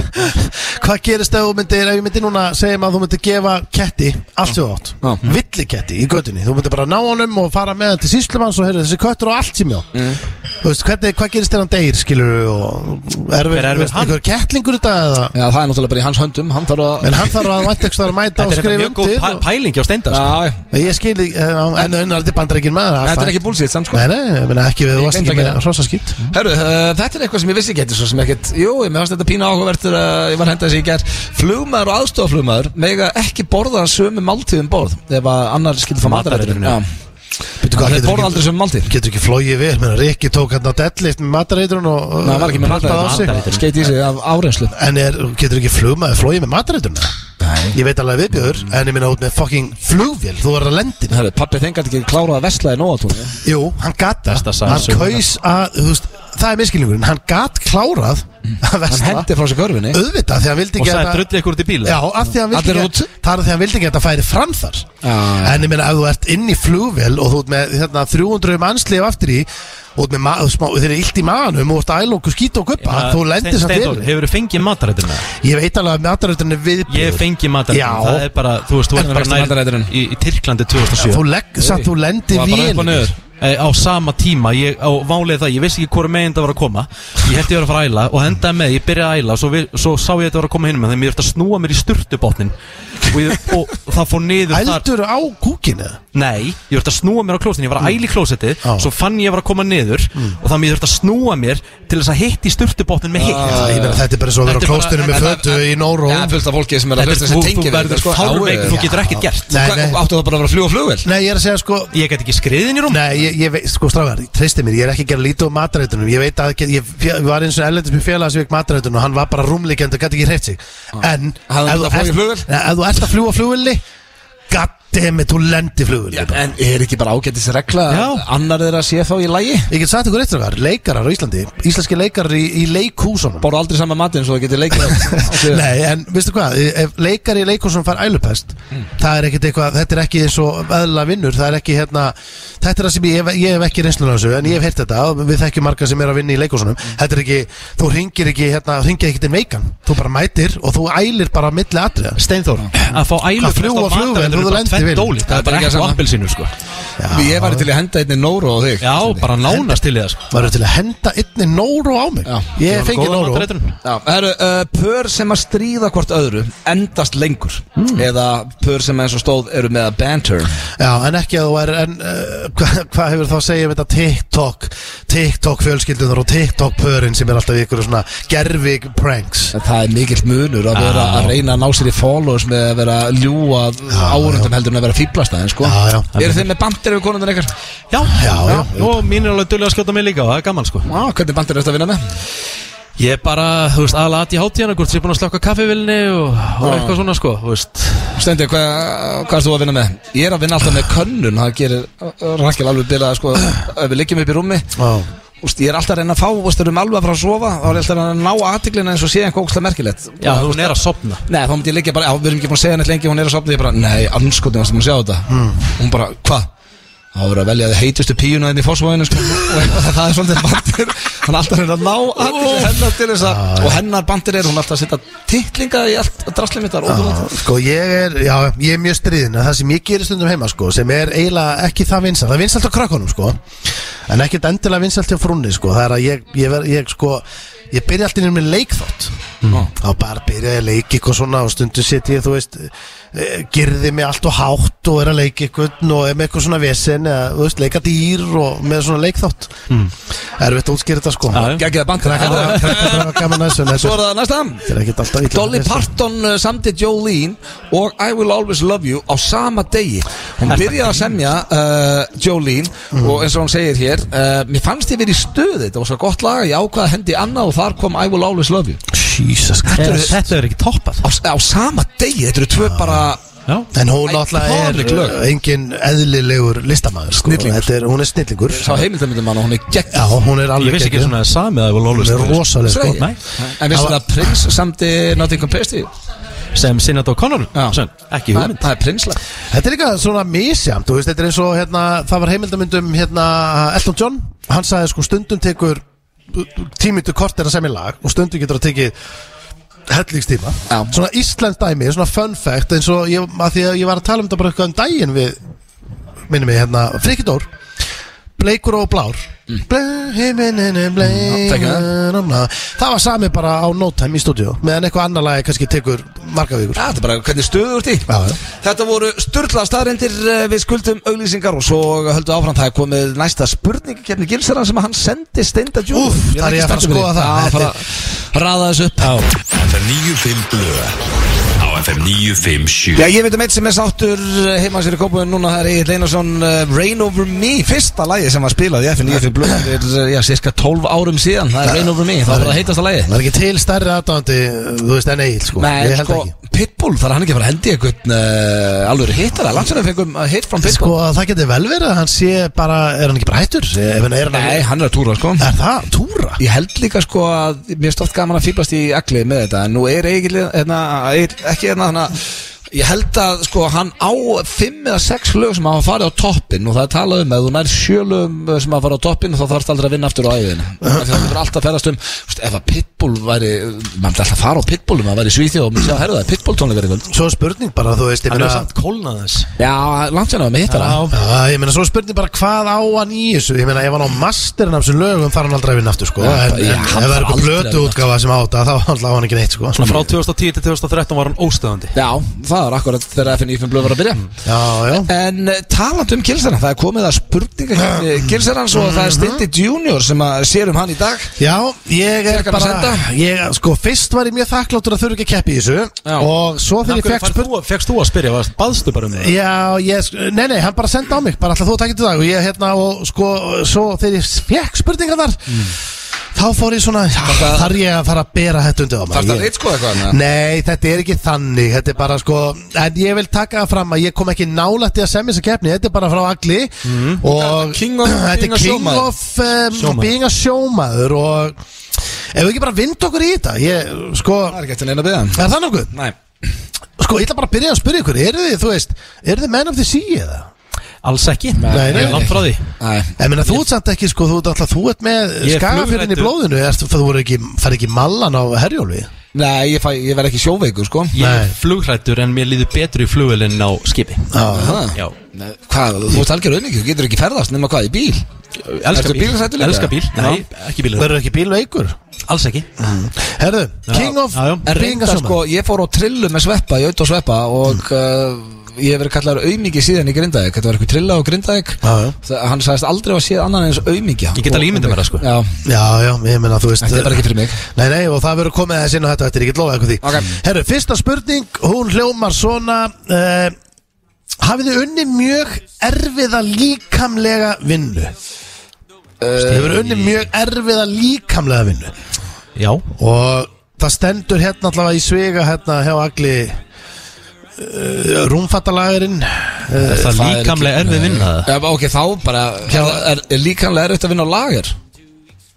Hvað gerist ef þú myndir Ef ég myndi núna segjum að þú myndir gefa ketti Allt sem þú átt
Já.
Villi ketti í göttinni Þú myndir bara ná honum og fara með hann til síslumann Svo heyrðu þessi köttur og allt sem ég á Þú veist, hvernig, hvað gerist ef hann deyr skilur og Erfið,
Hver erfir
þú veist,
hann?
einhver kettlingur þetta eða
Já, það er náttúrulega bara í hans höndum Hann þarf að
En hann þarf að mæta eitthvað að mæta og
Þetta er þetta
skrifa
mjög góð
undir
pæ,
og-
pælingi á steinda sko.
Já, já.
Ég skil, eh, en unnar þetta bandar ekki með það
þetta er ekki búlsýtt samt sko
Nei, nei, ég meina ekki við þú varst
gleymdi
ekki
að
með
gera.
hrossaskýtt
Herru, uh, þetta er eitthvað sem ég vissi ekki eitthvað svo sem ekkert Jú, ég meðast þetta pína áhugavertur að ég var að henda þessi í gær Flugmaður og aðstofaflugmaður mega ekki borða sömu máltíðum borð Ef að annar skilur það
Matareitrun,
matarætturinn
já.
Býttu hvað,
Þeir
getur
borða
ekki,
aldrei sömu máltíð
getur ekki flóið vel Menna, Rikki tók hérna deadlift með matareitrun og
Nei, hann var ekki með
prappaði á sig.
matareitrun.
matarætturinn Skeit í sig af áreynslu
En er, getur ekki flugmaður flóið með matareitrun
Nei.
Ég veit alveg viðbjöður En ég minna út með fucking flugvél Þú verður að lendin
Herru, pappi þeim gæti ekki klárað að vesla í nóatúni
Jú, hann gat
Besta
það
saga
Hann
sögunnar.
kaus að, þú veist, það er miskilningurinn Hann gat klárað að
Mm. Hann
vesla
hendi frá sér körfinni
Auðvitað, því hann vildi
Og
ekki
sagði
að-
drullið ykkur út í bíl eða?
Já, af því að hann vildi
Allir
ekki Það er af því að hann vildi ekki að þetta færi fram þar
Já.
En ég meina, ef þú ert inn í flugvél og þú ert með hérna, 300 mannslif aftur í og þú ert með ma- og smá, þeir eru illt í maganum og þú ert ælokku skýta og guppa
Bara,
þú lendir
Stein-
samt
Steindór,
vel
Hefur þú fengið matarætturinn með það?
Ég veit alveg að matarætturinn er viðbjör
Ég fengi
Já.
matarætturinn Það er bara, þú veist, þú ert
Hvernig
bara
fékkstu mataræturinn?
nær í, í Tyrklandi 2007
Þú legg, samt þú lendir
Var bara upp og
vél
niður.
Eh, á sama tíma ég, á válið það, ég vissi ekki hvora meginn það var að koma ég held ég var að fara að æla og endaði með, ég byrjaði að æla og svo, við, svo sá ég þetta var að koma hinn með þeim ég þurfti að snúa mér í sturtubotnin og, ég, og það fór niður þar
Ældur á kúkinu
Nei, ég þurfti að snúa mér á klósetin, ég var að æla í klóseti
Mm. Já. Mm.
svo fann ég að ég var að koma niður og þannig ég þurfti að snúa mér til þess að hitt í sturtubotnin með hitt
Það, ég meina, Þetta er bara svo að vera á
Þetta er bara-
klóstinu með
en- en-
fötu í Nóró
Já, fullt af fólki sem er að
Þetta er
hlusta
þú,
sem
þú
tengir við
verður
þetta, sko.
fárveik, þú
Já.
getur ekkert gert
Nei,
Hvað-
nei.
Áttu það bara að vera að fljúa flugvel
Nei, ég er að segja sko
Ég get ekki skriðið inn í rúm
Nei, ég, ég veit, sko strafgar, treysti mér, ég er ekki að gera lítið á matarætunum Ég veit að, get- ég, ég var eins og ellendis með félaga sem veik matarætunum og hann var bara rúmlíkjandi og gæti ekki hreift sig En,
Ah. Hafði hann
ef þú
getað flogið
ert-
flugvél?
Nei, ef þú ert að fljúa flugvölni Goddammit, þú lendir flugvölni
Já, En er ekki bara ágætis regla
Já.
Annar þeirra sé þá í lagi
Ég get sagt ykkur eitt strafgar, leikarar á Íslandi, íslenski leikarar í, í leikhúsunum
Bára aldrei saman matinn svo það getur leikið
Nei, en veistu hvað, ef leikari í leikhúsunum fær ælupest
Mm.
Það er ekkit eitthvað, þetta er ekki eins og eðla vinnur Það er ekki hérna, þetta er það sem ég, hef- ég hef ekki reynslun á þessu En ég hef heyrt þetta, og við þekkjum marga sem er að vinna í leikhúsunum
Mm.
Þetta er ekki, þú ringir ekki, hérna, ringir ekki til veikan Þú bara mætir og þú ælir bara á milli atriða
Steinþór, að fá ælu
Að fljúga flugvél, þú lendir vel.
Það er bara
ekki
ekki
sama.
appelsinu sko
Ég væri til að henda einni Nóru á þig
Já, bara nánast til í það sko. hérna
Varu til að henda einni nóru á mig
Já.
Ég hef fengið
Góðan
nóru
matareitrun.
Já, það eru uh, pör sem að stríða hvort öðru endast lengur eða pör sem eins og stóð eru með að banter
Já, en ekki að þú er en, uh, hvað, hvað hefur þá að segja um þetta TikTok TikTok fjölskyldunar og TikTok pörin sem er alltaf í ykkur svona gerfig pranks
En það er mikill munur að vera að reyna að ná sér í followers með að vera að ljúa árundum heldur en að vera fýblast aðeins sko
Já, já.
Eru þið með banter við konundan ykkar?
Já,
Já, já,
og mín er alveg dölja að skjóta mig líka og það er gaman sko
Já, hvernig banter er þetta að vinna með?
Ég er bara, þú veist, aðla aðt í hátíðana hvort sem ég er búin að slökka kaffivilni og, og eitthvað svona sko, þú veist
Stendi, hvað, hvað er þú að vinna með? Ég er að vinna alltaf með könnun, það gerir Rakel alveg bilað sko ef við liggjum upp í rúmi
Já,
Úst, ég er alltaf að reyna að fá, úst, erum alveg um að fara að sofa þá er ég alltaf að reyna að ná aðtiklina eins og sé einhver ógstlega merkilegt
Já, hún er að sopna
Nei, þá myndi ég liggja bara, já, við erum ekki búin að segja neitt lengi hún er að sopna, ég bara, nei, anskotin varst að sjá þetta hún bara, hva? þá verður að velja að heitustu píuna þinn í fósvóðinu sko, [laughs] og eitthvað, það er svolítið bandir hann er alltaf að reyna að ná aðtiklina hennar til þess að, og hennar bandir er hún er alltaf að setja titlinga í allt drastlið mitt þar, ótrúlega.
sko ég er, já, ég er mjög stríðin að það sem ég gerir stundum heima sko sem er eiginlega ekki það vinsalt, það er vinsalt á krakkonum sko en ekkert endilega vinsalt hjá frúnni sko, það er að ég, ég, ver, ég sko ég byrja alltaf inn með leikþátt þá bara byrja ég að leika eitthvað svona og stundum setja ég, þú veist eh, girði mig allt og hátt og er að leika eitthvað og er með eitthvað svona vesen eða, þú veist, leika dýr og með svona leikþátt mm. erfitt að útskýra þetta sko [laughs]
Já, já.
Geggjaður bandir.
Krakkar hafa- krakkar hafa gaman að þessu en
Svo
þetta
er það næsta
þetta er ekkert alltaf illa
Dolly Parton uh, samti Jolene og I Will Always Love You á sama degi hún byrjaði að semja uh, Jolene og eins og hún segir hér uh, mér fannst ég verið í stöði þetta var svo gott lag ég ákvaði hendi annað og þar kom I Will Always Love You
Jesus
Þetta
Christ
er- Þetta er ekki toppað
á, á sama degi, þetta eru tvö bara
Já.
En hún náttúrulega
iconic
er
lög.
uh, engin eðlilegur listamaður sko.
Snillingur.
Þetta er, Hún er snillingur
Sá heimildamöndum hann og hún er gegn
Já, hún er
Ég
alveg
vissi ekki
geggjuð.
svona að samið að það var
Hún
lólust
er rosaleg sko.
Nei. En vissi það að prins samti Nothing Compares to You?
Sem Sinnat O'Connor
Já.
sem- Ekki
Það
hugmynd
það er prinsla
Þetta er líka svona misjamt þú veist, Þetta er eins og hérna, það var heimildamundum hérna, Elton John, hann sagði sko stundum tekur tímyndu kort er að semja lag og stundum getur að tekið hellingstíma
Já.
svona Íslands dæmi, svona fun fact eins og ég, að því að ég var að tala um þetta bara eitthvað um daginn við minnum mig hérna, Frikidór Bleikur og Blár Blei- himinninn, blei-
þekkjum
na- na- Það var sami bara á no time í stúdíu meðan eitthvað annar lagi kannski tekur marga vikur
Já, þetta er bara hvernig stöðu úr því
Já, já.
Þetta voru sturla staðrendir við skuldum auglýsingar og svo höldu áfram það er komið næsta spurning kemni gilsara sem hann sendi steinda djúl
Úff, þar er ég að fara að skoða það. Þetta
bara raða þessu upp Já.
FM 95 Blöð Á FM 957
Já, ég veit um eitt sem er sáttur eh, heima sér í kópunum núna, það er Egil Einarsson eh, Rain Over Me, fyrsta lagi sem var spilað í FN í FN Blöð, fyrir, eh, já, cirka 12 árum síðan, það er Rain Over Me, það var það heitast að lagi
Það er ekki til stærri aðdáðandi, þú veist, en Egil, sko.
Nei,
ég held
sko,
ekki.
Pitbull, þar er hann ekki að fara að hendi einhvern uh, alveg hittara, landsinni fengum eh, hit from
Sko,
Pitbull
það geti vel verið að hann sé bara, er hann ekki bara hættur? Ef hann er hann
Nei, hann er að túra, sko
Er það? Túra?
Ég held líka sko að mér er stótt gaman að fýblast í agli með þetta en nú er Egil hérna, Egill- ekki hérna hana, ég held að sko hann á fimm eða sex lög sem hafa farið á toppin og það er talað um að þú nær sjö lögum sem hafa farið á toppin þá þarfst aldrei að vinna aftur á æðinu það er alltaf að ferast um þú veist, ef að Pitbull væri maður myndi alltaf að fara á Pitbull um að væri svíti og myndi sjá að herða það er Pitbull tónleikar í kvöld
Svo er spurning bara, þú veist, ég
Hann
meina...
er samt kólnað þess
Já, langt sérna var með hittara
Já, ég meina, svo er spurning bara hvað á hann í þessu Ég meina, ef hann á masterinn af þessum lögum þarf hann aldrei að vinna aftur, sko
Já,
En, en
já,
ef
hann
það er
þarf
eitthvað
aldrei að vinna
blötu útgafa sem á þetta, þá alltaf á hann ekki neitt, sko
Svona frá 2010 til 2013 var hann óstöðandi
Já, það er akkurat þegar FN Ífum blöð var að byrja
Já, já
En eh, talandi um Gilsaran, það er komið að spurninga hérna Gilsarans og það er
Mhm.
Stindi Junior sem að sér um hann í dag
Já, ég er
Fékk hann að
bara
senda?
ég, Sko, fyrst var ég mjög þakkláttur að þurfa ekki að keppi í þessu
Já.
Og svo þegar ég fekk spurning
Fekst þú að spyrja, varst- baðstu bara um það
Já, ég, sk- nei, nei, hann bara sendi á mig bara alltaf þú að taka þetta í dag og ég hérna og sko, svo þegar ég fekk spurningar þar
Mm.
þá fór ég svona já, þarf ég að fara að bera þetta undir á
Þarf það
maður ég,
reitt skoða eitthvað hann?
Nei, þetta er ekki þannig þetta er bara sko, en ég vil taka það fram að ég kom ekki nálætti að semja þessa keppni þetta er bara frá agli og
Mm. King of-
[clears throat] þetta
being a
er king
sjómaður.
of um,
Sjómaður.
being a sjómaður og ef við ekki bara vind okkur í þetta ég, sko,
Það er ekki eftir neina að byggja hann
er það nokkuð?
Nei
Sko, ég ætla bara að byrja að spyrja ykkur, eru þið, þú veist, eru þið menn af því síði eða?
Alls ekki,
nei,
Ég er
nei.
langt frá því
Nei
En meina, þú ert samt ekki, sko, þú ert alltaf, þú ert með
Ég er
skagafjörðin í
flugræddur.
blóðinu, erst, þú voru ekki, fari ekki mallan á herjólfi?
Nei, ég, fæ, ég verð ekki sjóveikur sko
Ég
Nei.
er flugrættur en mér líður betur í flugvelin á skipi
Já.
Ha?
Já.
Nei, Hvað, þú ert algjör auðvitað, þú getur ekki ferðast nema hvað, í bíl
Elskar
Ertu
bíl,
bílhræddur líka?
elskar bíl Nei, ekki bíl,
Verður ekki bílveikur?
alls ekki
Herðu, King of
Mm. já, já.
En reynda
Bringasjóman.
sko, ég fór á trillu með sveppa, ég auðvitað á sveppa
Mm.
og uh, ég hef verið kallar auðmiki síðan í Grindavík Þetta var eitthvað trilla á Grindavík
Já, já.
Það- Hann sagðist aldrei að séð annan eins auðmiki
Ég get alveg ímyndað mér það, sko.
Já,
Já, já, ég meina, þú veist.
þetta er bara ekki fyrir mig
Nei, nei, og það verður komið aðeins inn á þetta, þetta er ekki lofað eitthvað því.
Ok.
Herru, fyrsta spurning, hún hljómar svona, uh, hafið þið unni mjög erfiða líkamlega vinnu? Uh, hefur unni
Eh,
mjög erfiða líkamlega vinnu?
Já,
og það stendur hérna allavega í svega hérna hjá agli uh, rúmfattalagurinn Eh,
er það
það er
líkamlega erfið vinna það?
Já, ok, þá bara er, er líkanlega erfitt að vinna á lager?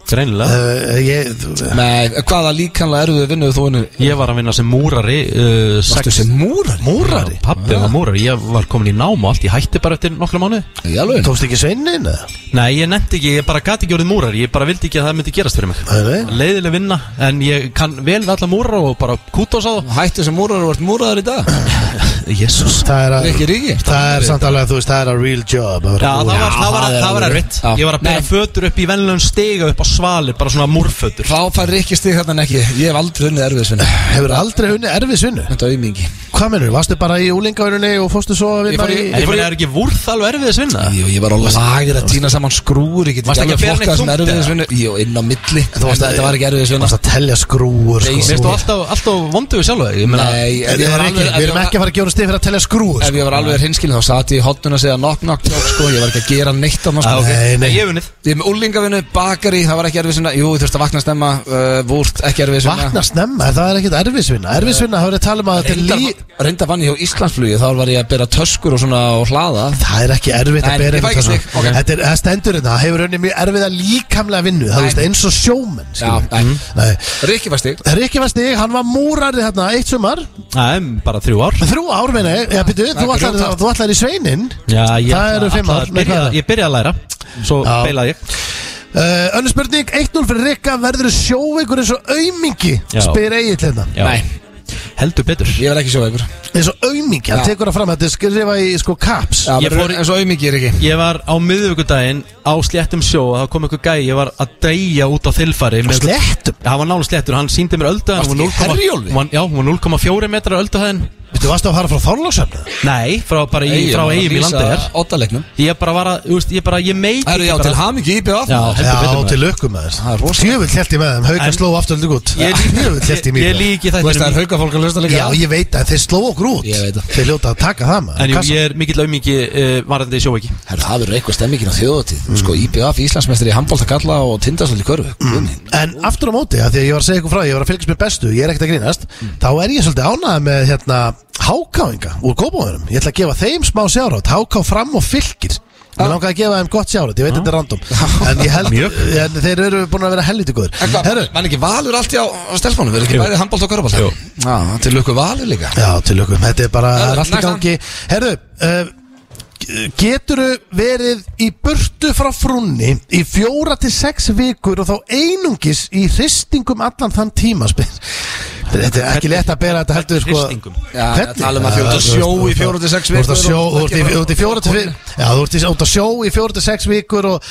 Greinilega
uh, ég, þú-
Nei, hvaða líkanlega erfitt vinnuð þú vinnu?
Ég var að vinna sem múrari uh,
Varstu
sex-
sem múrari?
múrari
Já, Pabbi var múrari, ég var komin í nám og allt Ég hætti bara eftir nokkra mánu
Í alveg?
tókst ekki sveinin eða?
Nei, ég nefndi ekki, ég bara gati ekki orðið múrari Ég bara vildi ekki að það myndi gerast fyrir mig
Nei, nei.
Leiðileg vinna, en ég kann vel við alla múrar og bara kútos á þá
Hættu sem múrari og vart múraðar í dag?
Jésús
það er að
Rikki Ríki?
það er samt alveg að þú veist það er að real job að vera
Já, það
múrari.
var, það var,
það er
það var
alveg.
erfitt
Já.
Ég var að bera
Nei.
fötur upp í venlun stiga upp á svalir Bara svona múrfötur
Þá fær Rikki stig þarna en ekki Ég hef aldrei unnið erfitt vinnu
hefur aldrei unni erfið svinnu
Þetta auðmingi
hvað mennur, varstu bara í úlingaurunni og fórstu svo að
Ég
vinna
fór
í
í-
En ég meina, er ekki vúrð alveg erfið að svinna?
Jú, ég var á lager að týna saman skrúur Ég get
Varstu
ekki
ekki að
alveg
bera
flokkað
neitt þungt,
sem erfitt vinnu Jú, inn á milli En
varst að-
Þetta var ekki erfitt vinnu
varstu að telja skrúur sko.
Nei,
Mér stóð alltaf, alltaf vondu við sjálf Ég meina,
Nei,
En
ef ég
það
var
er ekki,
alveg
við erum ekki að fara að gjóra stið fyrir að telja sko. skrúur
Ef ég var alveg hinskilin þá sat ég í hotnuna og segja knock knock knock sko, ég var ekki að gera neitt sko. annars
að,
Nei,
okay.
nei.
Ég hef unnið
Ég er með úlingavinnu, bakari, það var ekki erfið sinna Jú, þú þurft að vakna snemma, uh, vúrt, ekki erfið sinna
Vakna snemma, er það er ekkert erfisvinna Erfisvinna, það verður að tala um að þetta er lí...
reynda vann ég á Íslandsflugi þá var ég að bera töskur og svona og hlaða
Það er ekki erfitt
Nei,
að bera
ég fæ ekki
einhvern
stig, ok.
svona. Þetta er það stendur þetta, það hefur unni mjög erfiða líkamlega vinnu Það veist eins og sjómenn
Já,
skilur.
nei.
Nei.
Rikki var stig
Rikki var stig, hann var múrarði þarna eitt sumar
Nei, bara þrjú ár
Þrjú ár meina ég, já byrju, þú
er
ætlar-
grjótart.
þú ætlar í sveinin
Já, ég,
Það eru fimm ár,
ætlaði að
nei,
byrja,
hvað er það?
Ég byrjaði að læra Svo
Já.
beilaði ég
uh, Önnu spurning, 1-0 fyrir Rikka Verður sjóveikur eins og aumingi
Já.
Spyr Egil hérna
Já.
Nei.
Heldur betur
Ég var ekki sjóveikur
Eins og aumingi, hann
Já.
tekur það fram Þetta er skrifa í sko kaps
Já,
Ég
ég fór
fór í-
eins og auðmikið Rikki
Ég var á miðvíkudaginn á sléttum sjó og Það kom einhver gæi, ég var að deyja út á þilfari með-
Slettum
Já, hann var nála sléttur, hann síndi mér öldaðan
Varstu
hún var
í
0,4
Herjólfi?
hún var- Já, hún var 0,4 metrar öldaðan
Þú varst að fara frá Þorlóksöfn
Nei, frá bara í, frá eigum í landið
Óttalegnum
Ég bara var að, þú veist, ég bara, ég meik
Það eru já
ekki
til
bara-
hamingi í BF
Já,
Já,
heldur betur maður.
til lökum með
Það er
þér
rosa.
Tjöfull held ég með þeim, hauka
En-
sló aftur held [laughs] út
Ég lík-
Tjöfull held ég
Ég-
mjög
Ég líki
Þú veist það er
þetta
hauka fólk að lösta líka
Já, ég veit að þeir sló okkur út
Ég veit það.
Þeir ljóta að taka það
En
maður
jú,
Kassa.
ég er mikill aumingi uh, varandi í sjóveiki
Herra, það verður eitthvað stemmingin á þjóðatíð Sko, IBF, Íslandsmeistri, handbólta kalla og tindasvöld í körfu mm.
En aftur á móti, að því að ég var að segja ykkur frá Ég var að fylgjast með bestu, ég er ekkert að grínast Þá er ég svolítið ánægð með hérna Hákáinga úr kópáðurum Ég ætla að gefa þeim smá sjárat, háká fram og fylgir Mér langaði að gefa þeim gott sjárat Ég veit þetta er random En ég held, en þeir eru búin að vera helviti góður Herru,
Mann ekki valur allt í á á stelpunum Verður ekki bæði handbólta og körfbólta Já, til lukku valur líka
já, til lökum, þetta er bara
Herru,
er allt í
næsta.
gangi Herru, uh, geturu verið í burtu frá frunni Í fjóra til sex vikur Og þá einungis í hristingum allan þann tíma spyr Þetta er ekki lett að bera þetta heldur sko
Hristingum?
Já,
Hvernig?
tala um að þú ert að
Já,
sjó
þú
í
veist,
fjóra til sex
þú ert að
vikur
sjó-
og-
Þú ert í- þú ert í fjóra til fimm Já, þú ert í- þú ert að sjó í fjóra til sex vikur og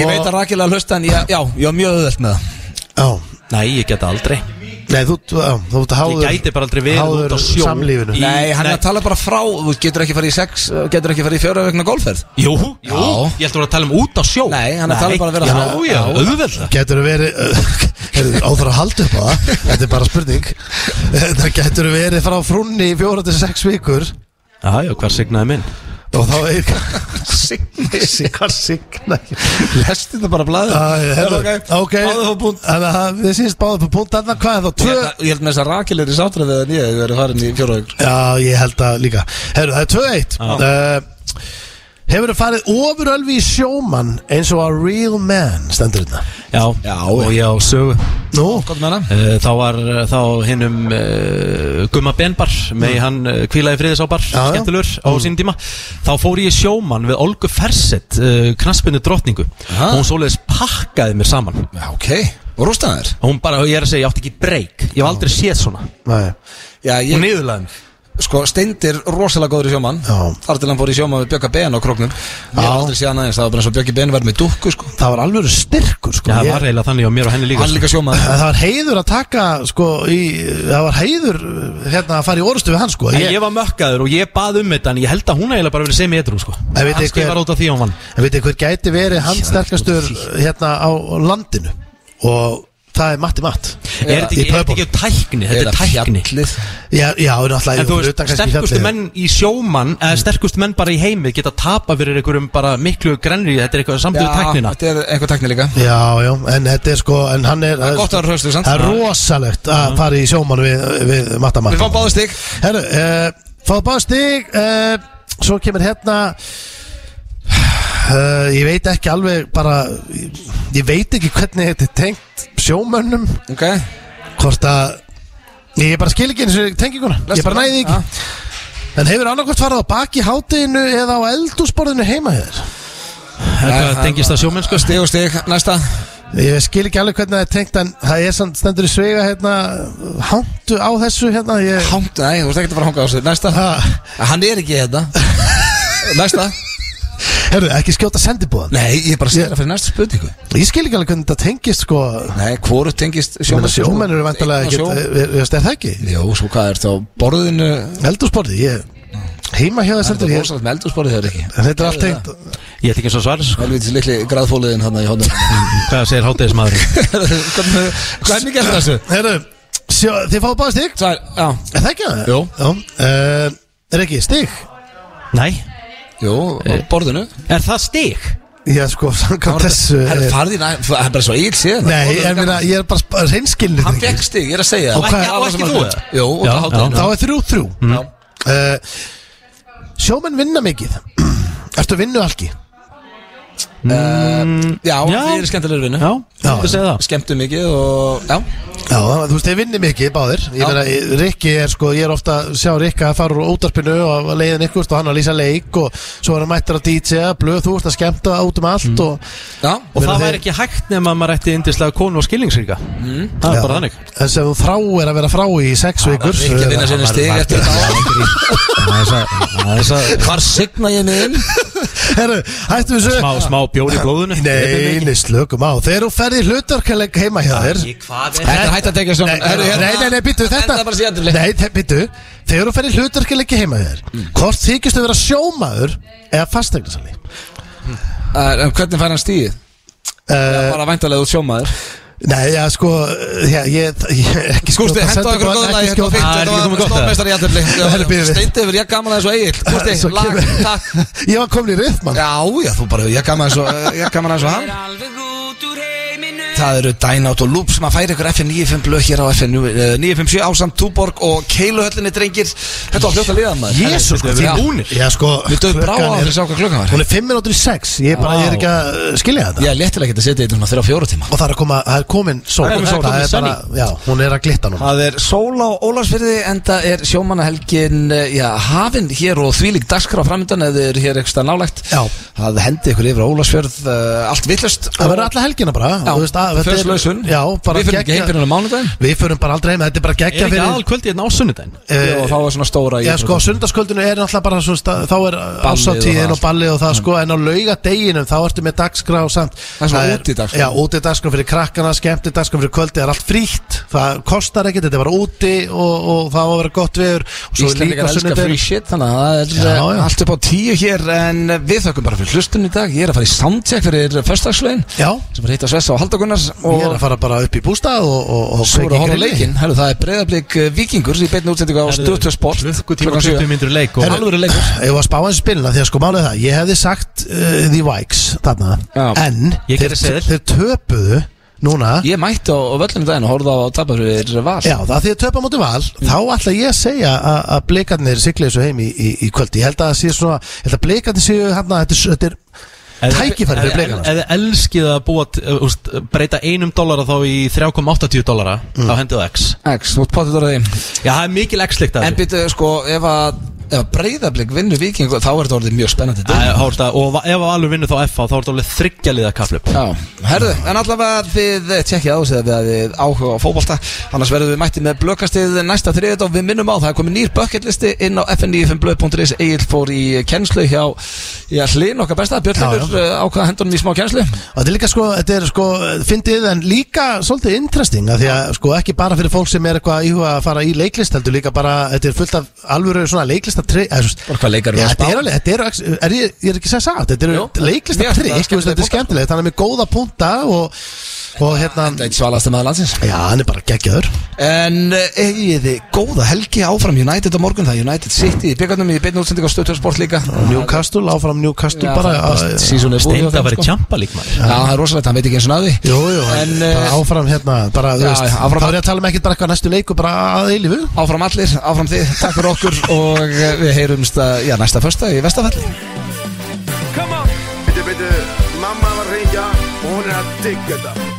Ég
og-
veit að rakilega hlusta en ég, já, ég var mjög auðvelt með það
Já,
Nei, ég geta aldrei
nei, þú já, þú ert að háður
Ég gæti bara aldrei verið
háður
út á sjó
samlífinu.
í-
Nei, hann er
Nei.
að tala bara frá, þú getur ekki farið í sex getur ekki farið í fjóra vegna golfferð
Jú, jú,
Já.
ég held að voru að tala um út á sjó
Nei, hann er að tala bara að vera
já,
þarna.
Já, auðveldlega
Getur verið eh, [laughs] Heyrðu, áþar að halda upp á það Þetta er bara spurning Það getur verið frá frunni í fjóra til sex vikur
Já, já, hver signaði minn?
Og þá er [laughs] Signar Signar
Lesti þetta bara blæðið
Herðu, ok
Báðu þá búnt
Þannig að það- Þið sínst báðu fyrir punkt Þannig að hvað er þá
Ég
tvö
held að- ég held með þess að Rakel er í sátrið við að nýja Þú verður farin í fjóra vegna
Já, ég held að líka Herru, það er 2-1 uh, Hefur þið farið ofurölvi í sjómann eins og a real man stendur þetta
Já, já, og ég á sögu
Nú,
Gótt með hana
Eh, Þá var eh, þá hinnum uh, Gumma Benbar með hann uh, kvílaði friðis á bar,
Já, já.
skemmtilegur á mm. sín tíma þá fór ég í sjómann við Olgu Fersett uh, knaspinu drottningu
Aha.
og hún svoleiðis pakkaði mér saman
Já, ok Og rústaði þér
hún bara, ég er að segja, ég átti ekki breyk ég hef aldrei séð svona
Nei.
Já,
hún
ég,
niðurlaði mig
sko, Steindir rosalega góður í sjómann
Já.
Þar til hann fór í sjómann við Bjögga Ben á kroknum Ég hef
Já.
aldrei séð hann aðeins Það var bara eins og Bjöggi Ben var með dúkku, sko
það var alveg styrkur sko.
Já, það
Ég-
var eiginlega þannig á mér og henni líka sko.
Hann líka sjómann
Það var heiður að taka sko, í, það var heiður uh, hérna, að fara í orustu við hann sko.
En
ég,
ég var mökkaður og ég bað um þetta en ég held að hún eiginlega bara verið sem edru sko
En veit
Hann
ég hver-
skrifar út af því hún vann
En veitir hver gæti verið hans sterkastur hérna á landinu og það er Matti Matt
Er þetta ekki, er þetta
pöpunum.
ekki tækni? Þetta er tækni
fjallið
Já, já, en alltaf
En þú veist, sterkustu menn í sjómann eða sterkustu menn bara í heimi geta tapa fyrir einhverjum bara miklu grenri þetta er eitthvað samtöðu tæknina
þetta er einhver tækni líka
Já, já, en þetta er sko en hann er,
Gott að vera hraustur, sant?
það er rosalegt að fara í sjóman við, við Matta Matt
Við fáum báðu stig
Herru, uh, fáðu báðu stig uh, Svo kemur hérna uh, Ég veit ekki alveg bara Ég, ég veit ekki hvernig þetta er tengt sjómönnum
Ok
Hvort að Ég bara skil ekki eins og tenginguna Ég bara næði ekki En hefur annarkvæmt farið á baki hátinu eða á eldúsborðinu heima hér?
Þetta tengist að sjómenn sko
Stig og stig Næsta
Ég skil ekki alveg hvernig það er tengt en það er samt stendur í svega hérna hántu á þessu hérna ég,
Hangt Nei, þú veist ekki að fara að hanga á sig Næsta
ha,
Hann er ekki hérna Næsta
Herru, ekki skjóta sendibúðan
Nei, ég er bara að segja það fyrir næsta spurningu
Ég skil ekki alveg hvernig það tengist sko
Nei, hvoru tengist
Sjómenn,
sjómenn
sjómenn eru eh, vantarlega ekki,
Eign á sjó.
er, er, er það ekki?
Jó, svo hvað er þá borðinu
Eldúsborði, ég, heima hjá það
Þetta
stendur
er
ég,
rosalegt með eldursporið þegar ekki
en þetta er allt tengt.
Ég ætti ekki eins og svara sko
Helvitis litli graðfóliðin hann í hóndum
Hvað segir hátæðismaður?
Hvað er mikið eftir þessu?
Herru, sjó, þið fáðu bara stig,
Svar, já
er það ekki það?
Jú.
Já, uh, er ekki stig?
Nei,
Jú, á borðinu
er það stig?
Já, sko, samkvæmt þessu
Það
er-
er farðið, það er bara svo íll síðan
Nei, en minna, ég er bara reynskilnir
Hann fekk stig, ég er að segja
Og hvað-
það
og
var
ekki
sem
þú?
hann- Jú, og
Já,
það hátta
já.
Þá er þrjú þrjú mm. uh, Sjómenn vinna mikið [clears throat] Ertu vinnu algi?
Já,
Já.
við erum skemmtilegur vinnu
Já, þú segir það
Skemmtum mikið og Já,
Já, þú veist, þeir vinni mikið báðir Ég
Já.
meina, Rikki er sko, ég er ofta að sjá Rikka að fara úr ótarpinu og að leiðin ykkur og hann að lýsa leik og svo er hann mættur að DJ-a blöð, þú ert að skemmta út um allt og
já
Og
Meina,
það
þeir-
væri ekki hægt nema að maður ætti indislega konu og skilningsríka Það er
Já.
bara þannig
En sem þú frá er að vera frá í sex vikur
Rikki að vinna
eh,
sinni stig eftir þetta
Það er það
Hvar signa ég mig inn?
Herru, hættum við
smá,
svo
smá bjóri í blóðinu
Nei, nei, slökum á Þegar þú ferði hlutarkaleg heima hjá þér
Hvað
Þetta er hægt að tekja svona hérna-
Nei, nei, nei, nei, býttu, þetta
Þetta er bara síðan
Nei, þe- býttu, þegar þú ferir hlutarkileggi heima þér
Mm.
Hvort þykistu vera sjómaður eða fastegnasali?
En hvernig fær hann stíð?
Uh,
Bara væntalega út sjómaður
nei, já, sko já, ég, ég, ekki
Gústi,
skjóta,
henda
sendu
okkur hérna
bara-
góða
ekki sko. skjóta.
lagi Þetta var fint,
Ah,
þetta
ekki komið
var
gott,
stóðmeistar í
[laughs] Herri,
allir
bíðu við.
Steindið, ég gaman aðeins og eigil Gústi,
[laughs] Svo
lag,
kemur- [laughs]
takk
Ég var komin í rithman
Já, já, þú bara, ég gaman aðeins og Ég gaman aðeins og hann Það eru Dynout og Loop sem að færa ykkur FM 95 blöð hér á FM 957 ásamt Túborg og Keiluhöllinni drengir Þetta var fljótt að liða maður
Jésu, sko,
Herri,
þið
já.
búnir Já, sko,
Við döðum brá á
klukkan
þess
er,
að sjá hvað klukkan var
hún er 5 minútur í 6 Ég er bara, ég er ekki að uh, skilja þetta
Ég er léttilega ekki að setja þetta þrjá fjóru tíma
Og það er að koma, það er komin sól
Það er komin sól.
Það er bara, já, hún er að glitta núna
Það er sól á Ólarsfyrði en það er sjómannahelgin eh, já, hafin hér og þvílík dagskrá framöndan eða þið eru hér eitthvað nálægt
Já.
það hendi ykkur yfir á Ólarsfjörð uh, allt villust
Það verður alla helgina bara
Já,
þú veist, að- þetta er-
fjörslaus
Já, bara
Við fyrir ekki heim fyrir hennar mánudaginn
Við förum bara aldrei heim, þetta er bara
Er
geggja
ekki
fyrir
aðal kvöldi hérna á sunnudaginn?
eh,
og þá er svona stóra í-
Já sko, sundarskvöldinu er náttúrulega bara svo, stað- þá er
og
ásatíðin
það. Mm.
og ballið og það sko en á laugadeginum þá ertu með dagskrá samt
Það er svona útidagskrá.
Já, úti dagskrá fyrir krakkana, skemmti dagskrá fyrir kvöldi það er allt frítt, það kostar ekkert þetta er bara úti og, og það á að vera gott veður og svo er
Íslendingar
líka
elskar free
sunnudegin
shit þannig að það er
Já, já.
eh, allt upp á tíu hér en eh, við þökkum bara fyrir hlustun í dag ég er að fara í soundcheck fyrir förstagslegin
Já,
sem er hitt að Svessa og Haldagunnars
ég er að
og
fara bara upp í bústað og, og, og
svo eru
kveikja
að horfa á
grilli.
leikinn Herru, það er breyðablík vikingur í beinni útsendingu á Stöðtöð Sport
Klukkan 20 myndur leik og
Herru,
Alvöru leikur.
Ég var að spá hans spilina því að sko málið er það Ég hefði sagt uh, The Vikes þarna
Já.
En
Ég
þeir,
gerði seðil.
þeir töpuðu núna
Ég mætti á á völlinu daginn og horfði á tapar fyrir val
Já, það því að töpa móti val
Mm.
þá ætla ég að segja að, að blikarnir sigla þessu heim í, í, í kvöldi ég held að það sé svona, ég held að blikarnir séu hann að þetta, er- þetta er tækifæri fyrir blikana
Ef þið elskið að búa t- eh, úst, breyta einum dollara þá í 3,80 dollara þá hendið á X
X, þú ert potið orðið í.
Mm. Já, það er mikil X-likt að
En býttu, sko, ef að ef að breyðablík vinnur viking þá er þetta orðið mjög spennandi deild.
því Og va- ef Valur vinnur þá FH þá er þetta alveg þryggjaliða kaflup
Já, herðu, en allavega þið eh, tjekkið á þessu eða þið áhuga á fótbolta annars verðum við mætti með blökastið næsta þriðið og við minnum á það er komið nýr bucketlisti inn á fn95blöð.is Egil fór í eh, kennslu hjá já, hlinn okkar besta, Björn eh,
Já, já.
Lillur ákvaða hendunum í smá kennslu
og þetta er líka sko, þetta er sko fyndið en líka svolítið interesting að því að sko ekki bara fyrir fólk sem er eitthvað að íhuga að fara í leiklist heldur líka bara, þetta er fullt af alvöru svona leiklista tri, eða, þú veist,
Bara hvað leikar
Já,
eru að
þetta
spá?
er alveg, þetta er, er ég, ég er ekki að segja satt, þetta
Jú.
eru leiklista
Mér finnst það
trikk, þú veist, þetta
skemmtilegir
er skemmtilegt, hann er með góða punta og, og hérna,
Þetta er svalast maður landsins
já, hann er bara geggjöður.
En eh, eigið þið góða helgi áfram United á morgun, það er United City í byggarnum í beinu útsending á Stöðtörsport líka
Newcastle, áfram Newcastle
Já,
bara eh,
það er
að-
best season er búið hjá
Steinda
þeim,
var í
sko.
tjampa lík maður
Já, það er rosalegt, hann veit ekki eins og náði
Jú, jú, en,
En,
bara
eh,
áfram hérna bara, þú
já,
veist,
já, áfram-
Þá er ég að tala um ekkert bara eitthvað næstu leiku bara að eilífu
Áfram allir, áfram þið, takk fyrir okkur og eh, við heyrumst að, já, næsta första í Vestafalli
Bitte, bitte, Mama var að ringja og hún er að digga þetta